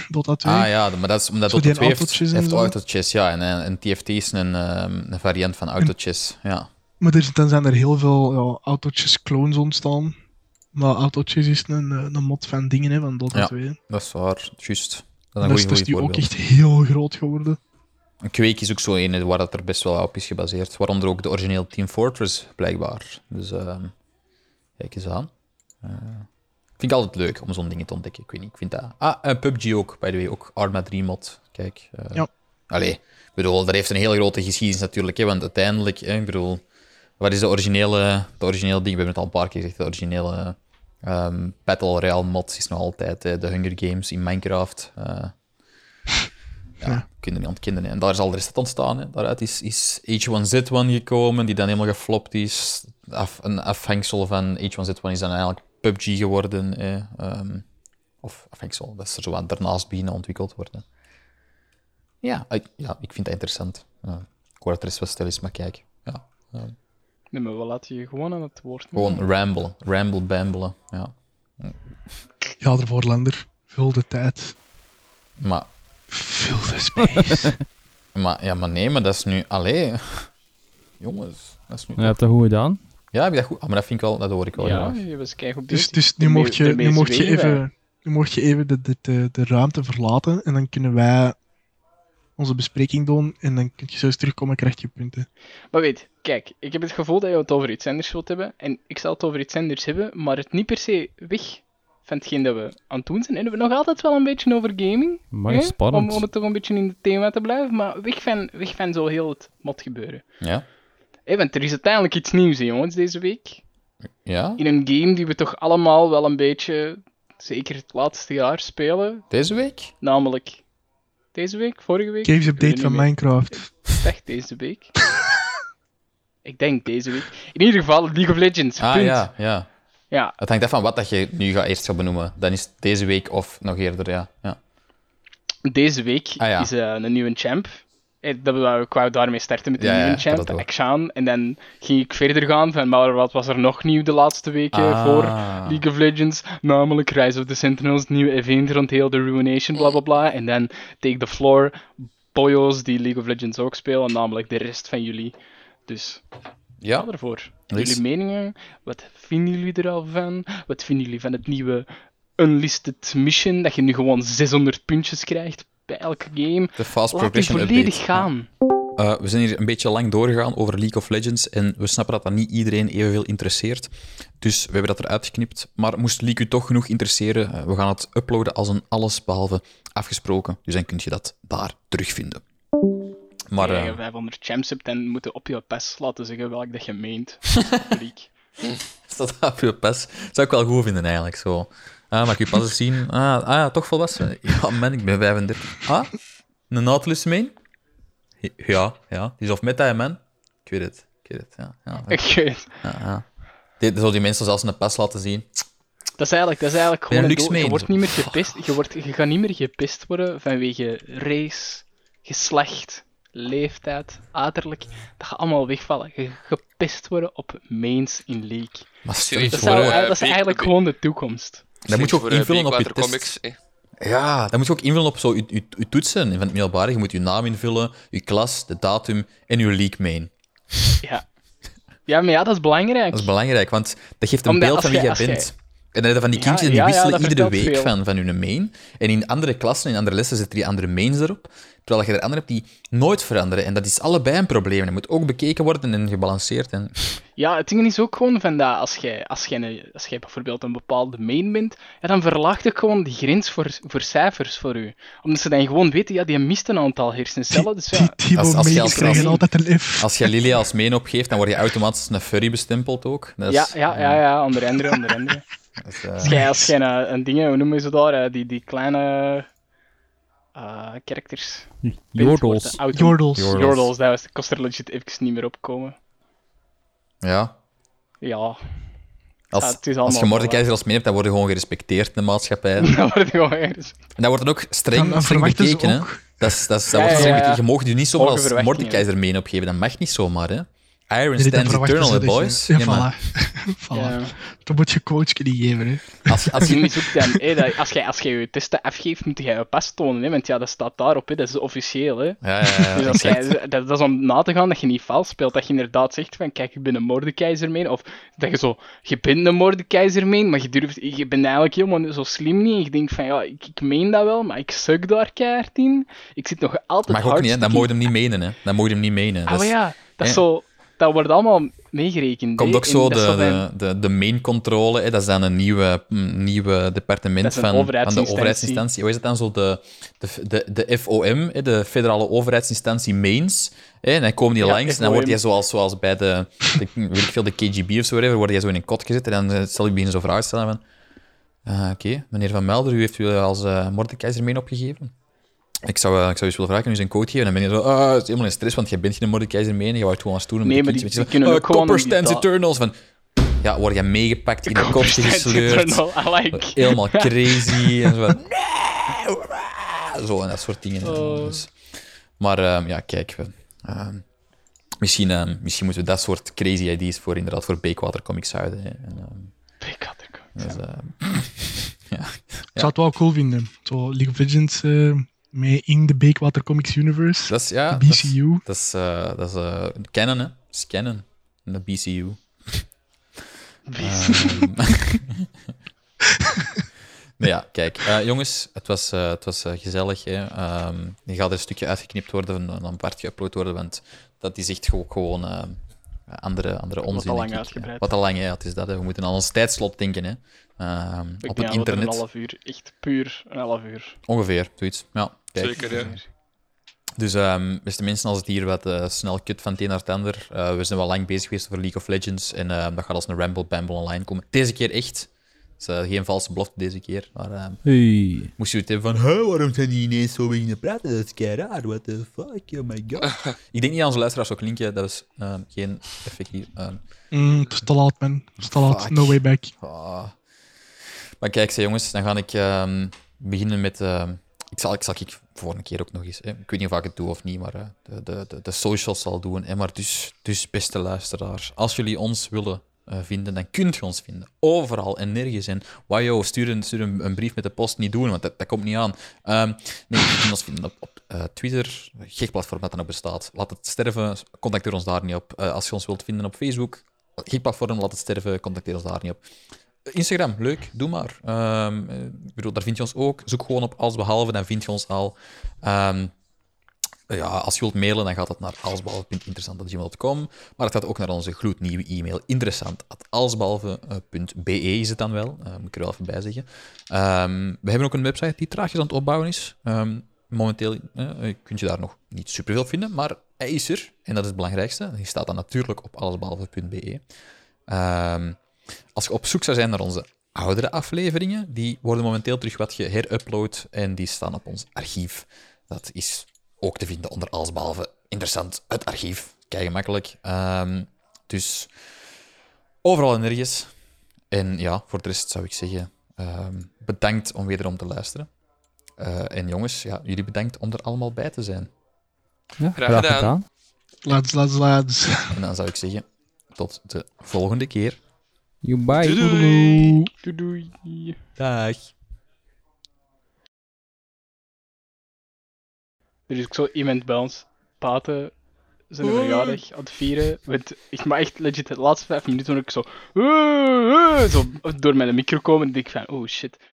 [SPEAKER 4] Dota 2.
[SPEAKER 2] Ah ja, maar dat is omdat
[SPEAKER 4] Zo
[SPEAKER 2] Dota
[SPEAKER 4] die
[SPEAKER 2] 2 heeft,
[SPEAKER 4] autootjes en
[SPEAKER 2] heeft
[SPEAKER 4] zo.
[SPEAKER 2] autootjes, ja. En, eh, en, en TFT is een, ehm, een variant van autootjes, ja.
[SPEAKER 4] Maar er, dan zijn er heel veel ja, autootjes clones ontstaan. Maar autootjes is een, eh, een mod van dingen hè, van Dota
[SPEAKER 2] Ja,
[SPEAKER 4] 2. hè.
[SPEAKER 2] Dat is waar, juist. Dat is een
[SPEAKER 4] Dus
[SPEAKER 2] goeie,
[SPEAKER 4] dat is
[SPEAKER 2] goeie
[SPEAKER 4] die ook
[SPEAKER 2] voorbeeld.
[SPEAKER 4] echt heel groot geworden.
[SPEAKER 2] Een kweek is ook zo een waar dat er best wel op is gebaseerd. Waaronder ook de origineel Team Fortress, blijkbaar. Dus ehm, kijk eens aan. Eh, vind ik altijd leuk om zo'n dingen te ontdekken. Ik weet niet, ik vind dat... Ah, en PUBG ook, by the way. Ook Arma 3 mod. Kijk. eh,
[SPEAKER 4] Ja.
[SPEAKER 2] Allee, ik bedoel, dat heeft een heel grote geschiedenis natuurlijk. Hè, want uiteindelijk, hè, ik bedoel... Wat is de originele, de originele ding? We hebben het al een paar keer gezegd. De originele ehm, Battle Royale mod is nog altijd hè, de Hunger Games in Minecraft. eh ja, kunnen niet ontkennen. hè. En daar is al de rest uit ontstaan. Hè. Daaruit is, is H1Z1 gekomen, die dan helemaal geflopt is. Af, een afhangsel van H1Z1 is dan eigenlijk PUBG geworden. Hè. Ehm, of afhangsel, dat is er zo wat daarnaast beginnen ontwikkeld worden. Ja, ik, ja, ik vind dat interessant. Ja, ik hoor dat er eens wat stil is, maar kijk. Ja. ehm,
[SPEAKER 5] Nee, maar we laten je gewoon aan het woord.
[SPEAKER 2] gewoon ramble, ramble, bambelen. Ja.
[SPEAKER 4] Ja, ervoor Lander. Vul de tijd.
[SPEAKER 2] Maar,
[SPEAKER 4] Vul de space.
[SPEAKER 2] maar, ja, maar nee, maar dat is nu... Allee. Jongens, dat is nu...
[SPEAKER 3] Je hebt dat goed gedaan.
[SPEAKER 2] Ja, heb je dat goed? Ah, maar dat vind ik wel... Dat hoor ik wel
[SPEAKER 5] Ja,
[SPEAKER 2] graag.
[SPEAKER 5] je was kijk op
[SPEAKER 4] dus dus nu mocht je, nu mocht je even, nu mocht je even de, de, de, de ruimte verlaten. En dan kunnen wij onze bespreking doen. En dan kun je zo eens terugkomen en krijg je punten.
[SPEAKER 5] Maar weet, kijk, ik heb het gevoel dat je het over iets anders wilt hebben. En ik zal het over iets anders hebben, maar het niet per se weg van hetgeen dat we aan het doen zijn. En we hebben nog altijd wel een beetje over gaming.
[SPEAKER 3] Maar
[SPEAKER 5] hè?
[SPEAKER 3] spannend.
[SPEAKER 5] Hm? Om, om het toch een beetje in het thema te blijven, maar weg van, weg van zo heel het mot gebeuren.
[SPEAKER 2] Ja?
[SPEAKER 5] Hé, want er is uiteindelijk iets nieuws, hè, jongens, deze week.
[SPEAKER 2] Ja?
[SPEAKER 5] In een game die we toch allemaal wel een beetje, zeker het laatste jaar, spelen.
[SPEAKER 2] Deze week?
[SPEAKER 5] Namelijk deze week, vorige week.
[SPEAKER 4] Games
[SPEAKER 5] Ik weet
[SPEAKER 4] update
[SPEAKER 5] niet
[SPEAKER 4] van
[SPEAKER 5] meer.
[SPEAKER 4] Minecraft.
[SPEAKER 5] Ik zeg deze week. ik denk deze week. In ieder geval League of Legends.
[SPEAKER 2] Ah
[SPEAKER 5] punt.
[SPEAKER 2] ja, ja.
[SPEAKER 5] Ja.
[SPEAKER 2] Het hangt af van wat dat je nu gaat eerst gaat benoemen. Dan is het deze week of nog eerder, ja. ja.
[SPEAKER 5] Deze week
[SPEAKER 2] Ah, ja.
[SPEAKER 5] is eh, een nieuwe champ. Eh, Dat we, ik wou daarmee starten met de
[SPEAKER 2] Ja, ja,
[SPEAKER 5] nieuwe
[SPEAKER 2] ik had
[SPEAKER 5] champ,
[SPEAKER 2] dat door.
[SPEAKER 5] Akshan. En dan ging ik verder gaan van maar wat was er nog nieuw de laatste weken voor
[SPEAKER 2] Ah.
[SPEAKER 5] League of Legends. Namelijk Rise of the Sentinels, nieuw event rond heel de Ruination, bla bla bla. En dan Take the Floor, boyos die League of Legends ook spelen, namelijk de rest van jullie. Dus
[SPEAKER 2] Ja?
[SPEAKER 5] ga ervoor.
[SPEAKER 2] Nice.
[SPEAKER 5] Jullie meningen, wat vinden jullie er al van? Wat vinden jullie van het nieuwe Unlisted Mission, dat je nu gewoon 600 puntjes krijgt bij elke game?
[SPEAKER 2] De fast
[SPEAKER 5] Laat die
[SPEAKER 2] progression
[SPEAKER 5] volledig
[SPEAKER 2] update.
[SPEAKER 5] gaan.
[SPEAKER 2] Eh, we zijn hier een beetje lang doorgegaan over League of Legends en we snappen dat dat niet iedereen evenveel interesseert. Dus we hebben dat eruit geknipt. Maar moest League u toch genoeg interesseren, eh, we gaan het uploaden als een allesbehalve afgesproken. Dus dan kun je dat daar terugvinden. Maar
[SPEAKER 5] Als je
[SPEAKER 2] eh
[SPEAKER 5] 500 champs hebt, dan moeten op je pas laten zeggen welk dat je meent. Freak.
[SPEAKER 2] staat dat op je pas? Zou ik wel goed vinden eigenlijk. Zo. Ah, mag ik je pas eens zien? Ah, ah ja, toch volwassen. Ja, man, ik ben 35. Ah, een Nautilus meen? Ja, ja. Die is of met dat, man. Ik weet het. Ik weet het, ja. ja
[SPEAKER 5] Ik weet-
[SPEAKER 2] Ja, ja. Dit zou die mensen zelfs een pas laten zien.
[SPEAKER 5] dat is eigenlijk, dat is eigenlijk
[SPEAKER 2] Ben je
[SPEAKER 5] gewoon een
[SPEAKER 2] luxe
[SPEAKER 5] doel. Je
[SPEAKER 2] meen?
[SPEAKER 5] wordt niet meer
[SPEAKER 2] Zo.
[SPEAKER 5] gepest. Je, wordt, je gaat niet meer gepest worden vanwege race, geslacht, leeftijd, uiterlijk. Dat gaat allemaal wegvallen. Je gaat gepest worden op mains in League.
[SPEAKER 2] Maar
[SPEAKER 1] stel
[SPEAKER 2] stel
[SPEAKER 1] je
[SPEAKER 2] je
[SPEAKER 5] Dat,
[SPEAKER 1] voor,
[SPEAKER 5] zou-
[SPEAKER 1] eh,
[SPEAKER 2] voor...
[SPEAKER 5] dat is
[SPEAKER 1] Beek-
[SPEAKER 5] eigenlijk
[SPEAKER 1] Beek-
[SPEAKER 5] gewoon de toekomst.
[SPEAKER 2] Dat moet je ook
[SPEAKER 1] Voor, eh,
[SPEAKER 2] invullen op je
[SPEAKER 1] Blackwater
[SPEAKER 2] test.
[SPEAKER 1] Comics, eh.
[SPEAKER 2] Ja, dat moet je ook invullen op zo je, je, je toetsen van het middelbare. Je moet je naam invullen, je klas, de datum en je league main.
[SPEAKER 5] Ja, maar ja, dat is belangrijk.
[SPEAKER 2] Dat is belangrijk, want dat geeft een
[SPEAKER 5] Omdat
[SPEAKER 2] beeld van
[SPEAKER 5] als
[SPEAKER 2] wie
[SPEAKER 5] jij-
[SPEAKER 2] jij
[SPEAKER 5] als jij-
[SPEAKER 2] bent. En dan heb je van die
[SPEAKER 5] Ja,
[SPEAKER 2] kindjes en die
[SPEAKER 5] ja, ja,
[SPEAKER 2] wisselen
[SPEAKER 5] dat
[SPEAKER 2] iedere
[SPEAKER 5] vertelt
[SPEAKER 2] week
[SPEAKER 5] veel.
[SPEAKER 2] van, van hun main. En in andere klassen, in andere lessen, zitten die andere mains erop. Terwijl je er anderen hebt die nooit veranderen. En dat is allebei een probleem. Dat moet ook bekeken worden en gebalanceerd. En...
[SPEAKER 5] Ja, het ding is ook gewoon van dat als jij, als jij, een- als jij bijvoorbeeld een bepaalde main bent, ja, dan verlaagt ik gewoon die grens voor, voor cijfers voor u. Omdat ze dan gewoon weten, ja, die mist een aantal hersencellen, dus ja,
[SPEAKER 4] Die
[SPEAKER 2] als-
[SPEAKER 4] Timo
[SPEAKER 2] als je
[SPEAKER 4] Meijers
[SPEAKER 2] als-
[SPEAKER 4] krijgen
[SPEAKER 2] als-
[SPEAKER 4] altijd een F.
[SPEAKER 2] Als je Lilia als main opgeeft, dan word je automatisch een furry bestempeld ook. Dat
[SPEAKER 5] ja,
[SPEAKER 2] is,
[SPEAKER 5] ja, ja, ja, onder andere, onder andere.
[SPEAKER 2] dat is, eh,
[SPEAKER 5] Als jij, als jij een, een ding, hoe noemen ze daar, eh, die, die kleine eh characters...
[SPEAKER 3] Jordels.
[SPEAKER 5] Jordels.
[SPEAKER 4] Jordels.
[SPEAKER 2] Jordels.
[SPEAKER 5] Jordels, dat was, kost er legit even niet meer opkomen.
[SPEAKER 2] ja.
[SPEAKER 5] Ja,
[SPEAKER 2] Als,
[SPEAKER 5] Ja, het is
[SPEAKER 2] als
[SPEAKER 5] allemaal eh.
[SPEAKER 2] je Mordekaiser als main hebt, dan word je gewoon gerespecteerd in de maatschappij.
[SPEAKER 5] dat wordt gewoon ergens.
[SPEAKER 2] En dat wordt dan ook
[SPEAKER 4] Dan-
[SPEAKER 2] streng,
[SPEAKER 4] Dan
[SPEAKER 2] streng
[SPEAKER 4] verwachten ze
[SPEAKER 2] bekeken. hè.
[SPEAKER 4] ook...
[SPEAKER 2] Dat is, dat is, dat
[SPEAKER 5] Ja,
[SPEAKER 2] wordt
[SPEAKER 5] ja,
[SPEAKER 2] streng
[SPEAKER 5] ja.
[SPEAKER 2] bekeken. Je mocht je niet zomaar
[SPEAKER 5] Hoge
[SPEAKER 2] als
[SPEAKER 5] verwachtingen.
[SPEAKER 2] Mordekaiser main opgeven. Dat mag niet zomaar, hè. Iron
[SPEAKER 4] Nee, dan
[SPEAKER 2] stands
[SPEAKER 4] verwachten
[SPEAKER 2] eternal,
[SPEAKER 4] ze
[SPEAKER 2] hè,
[SPEAKER 4] dat je-
[SPEAKER 2] boys.
[SPEAKER 4] Ja,
[SPEAKER 2] Ja, maar
[SPEAKER 4] voilà. Voilà.
[SPEAKER 5] Ja.
[SPEAKER 4] Dan moet je coach niet geven, hè.
[SPEAKER 2] als, als
[SPEAKER 5] Als je
[SPEAKER 2] je
[SPEAKER 5] niet zoekt dan, hé, dat- als jij als jij je testen afgeeft, moet jij je pas tonen, hè, want ja, dat staat daarop, hè, dat is officieel. Hè.
[SPEAKER 2] Ja, ja, ja,
[SPEAKER 5] dus als
[SPEAKER 2] exact.
[SPEAKER 5] jij, dat, dat is om na te gaan dat je niet vals speelt, dat je inderdaad zegt van, kijk, ik ben een moordekeizer mee, of dat je zo, je bent een moordekeizer mee, maar je durft, je bent eigenlijk helemaal zo slim niet, en je denkt van, ja, ik, ik meen dat wel, maar ik suk daar keihard in, ik zit nog altijd
[SPEAKER 2] Mag ook niet, hè.
[SPEAKER 5] hartstikke-
[SPEAKER 2] Dan moet je hem niet menen, hè. Dan moet je hem niet menen.
[SPEAKER 5] Ah,
[SPEAKER 2] Dat
[SPEAKER 5] maar
[SPEAKER 2] is-
[SPEAKER 5] ja, dat, is
[SPEAKER 2] hè.
[SPEAKER 5] zo, dat wordt allemaal meegerekend.
[SPEAKER 2] Komt
[SPEAKER 5] hè,
[SPEAKER 2] ook
[SPEAKER 5] en
[SPEAKER 2] zo
[SPEAKER 5] dat is
[SPEAKER 2] de,
[SPEAKER 5] bij-
[SPEAKER 2] de, de, de main controle, hè, dat is dan een nieuwe, mm, nieuwe departement
[SPEAKER 5] Dat is een
[SPEAKER 2] van, van de
[SPEAKER 5] overheidsinstantie.
[SPEAKER 2] overheidsinstantie. Hoe is het dan zo? De, de, de, de FOM, hè, de federale overheidsinstantie Mains. Hè, en dan komen die
[SPEAKER 5] Ja,
[SPEAKER 2] langs en dan word
[SPEAKER 5] FOM.
[SPEAKER 2] je zoals, zoals bij de, de, weet ik veel, de KGB of zo, whatever, word je zo in een kot gezet en dan eh, zal je beginnen zo vragen stellen van... "Ah, Oké, meneer Van Melder, u heeft u als eh Mordekaiser main opgegeven? Ik zou, eh, ik zou eens willen vragen, nu zijn code geven. En dan ben je zo, ah, het is helemaal in stress, want je bent geen Mordekaiser mee en je wordt gewoon aan het stoelen.
[SPEAKER 5] Nee,
[SPEAKER 2] met de
[SPEAKER 5] maar die-
[SPEAKER 2] kindjes.
[SPEAKER 5] die kunnen
[SPEAKER 2] Eh,
[SPEAKER 5] ook gewoon
[SPEAKER 2] Copper
[SPEAKER 5] in die
[SPEAKER 2] Stands
[SPEAKER 5] taal-
[SPEAKER 2] Eternals. Van, ja, word je meegepakt, in de kopje gesleurd.
[SPEAKER 5] I like.
[SPEAKER 2] Helemaal crazy. en zo van, nee! Zo en dat soort dingen.
[SPEAKER 5] Oh.
[SPEAKER 2] Dus, maar ehm, ja, kijk. we, ehm, misschien, ehm, misschien moeten we dat soort crazy ideas voor, inderdaad, voor Bakewater Comics houden. hè. En, ehm,
[SPEAKER 5] Ik had er ook.
[SPEAKER 2] dus, ehm,
[SPEAKER 4] Ik zou het wel cool vinden. Zo League of Legends eh mee in de Bakewater Comics Universe.
[SPEAKER 2] dat is, ja, dat is-
[SPEAKER 4] BCU.
[SPEAKER 2] Dat is, eh, dat is eh, canon, hè. Dat is canon. In de BCU. Ehm. nou ja, kijk. eh, jongens, het was, eh, het was eh, gezellig. Hè. Ehm, er gaat er een stukje uitgeknipt worden en dan apart geüpload worden, want dat is echt ook gewoon eh, andere, andere
[SPEAKER 5] Wat
[SPEAKER 2] onzin.
[SPEAKER 5] te
[SPEAKER 2] denk
[SPEAKER 5] lang
[SPEAKER 2] ik, hè.
[SPEAKER 5] uitgebreid.
[SPEAKER 2] Wat te lang, ja, het is dat. Hè. We moeten aan ons tijdslot denken. Hè. Ehm,
[SPEAKER 5] Ik
[SPEAKER 2] op het
[SPEAKER 5] denk dat we er een
[SPEAKER 2] internet.
[SPEAKER 5] half uur, echt puur een half uur.
[SPEAKER 2] Ongeveer, zoiets. Ja, kijk.
[SPEAKER 1] Zeker, ja.
[SPEAKER 2] Dus ehm beste mensen, als het hier wat eh, snel kut van het een naar het ander. eh, we zijn wel lang bezig geweest over League of Legends. En ehm, dat gaat als een Ramble Bamble online komen. Deze keer echt. Dus eh, geen valse belofte deze keer. Maar ehm,
[SPEAKER 3] Hey.
[SPEAKER 2] moest je het hebben van... "Huh, waarom zijn die ineens zo beginnen praten? Dat is kei raar. What the fuck? Oh my god. Ik denk niet aan onze luisteraars ook linken. Dat is ehm, geen effect hier. Ehm,
[SPEAKER 4] Mm, het is te laat, man. Het is te laat.
[SPEAKER 2] Fuck.
[SPEAKER 4] No way back.
[SPEAKER 2] Ah. Maar kijk, zei jongens, dan ga ik ehm, beginnen met. ehm, ik zal, ik zal ik voor een keer ook nog eens. Hè, ik weet niet of ik het doe of niet, maar eh, de, de, de, de socials zal doen. Hè, maar dus, dus, beste luisteraars, als jullie ons willen eh, vinden, dan kunt je ons vinden. Overal en nergens. En wajo, stuur, een, stuur een, een brief met de post niet doen, want dat, dat komt niet aan. Ehm, nee, je kunt ons vinden op, op eh, Twitter, gek platform dat dan ook bestaat. Laat het sterven, contacteer ons daar niet op. Eh, als je ons wilt vinden op Facebook, gek platform, laat het sterven, contacteer ons daar niet op. Instagram, leuk, doe maar. Ehm, eh, ik bedoel, daar vind je ons ook. Zoek gewoon op allesbehalve, dan vind je ons al. Ehm, ja, als je wilt mailen, dan gaat dat naar allesbehalve.interessant.gmail.com. Maar het gaat ook naar onze gloednieuwe e-mail, interessant.allesbehalve.be is het dan wel. Eh, moet ik er wel even bij zeggen. Ehm, we hebben ook een website die traagjes aan het opbouwen is. Ehm, momenteel eh, kun je daar nog niet superveel vinden, maar hij is er. En dat is het belangrijkste. Die staat dan natuurlijk op allesbehalve.be. Ehm als je op zoek zou zijn naar onze oudere afleveringen, die worden momenteel terug wat geherupload en die staan op ons archief. Dat is ook te vinden onder alles behalve interessant, het archief. Kijk makkelijk. Ehm, dus overal en nergens. En ja, voor de rest zou ik zeggen, ehm, bedankt om wederom te luisteren. Eh, en jongens, ja, jullie bedankt om er allemaal bij te zijn.
[SPEAKER 3] Ja,
[SPEAKER 1] Graag gedaan.
[SPEAKER 4] Lads, lads, lads.
[SPEAKER 2] En dan zou ik zeggen, tot de volgende keer.
[SPEAKER 3] You bye.
[SPEAKER 1] Doei, doei.
[SPEAKER 5] Doei doei.
[SPEAKER 2] Dag.
[SPEAKER 5] Er is ook zo iemand bij ons, Paten, zijn verjaardag aan het vieren. Met, ik, maar echt legit, de laatste vijf minuten toen ik zo, "Eh, eh," zo door mijn micro komen, denk ik van, oh shit,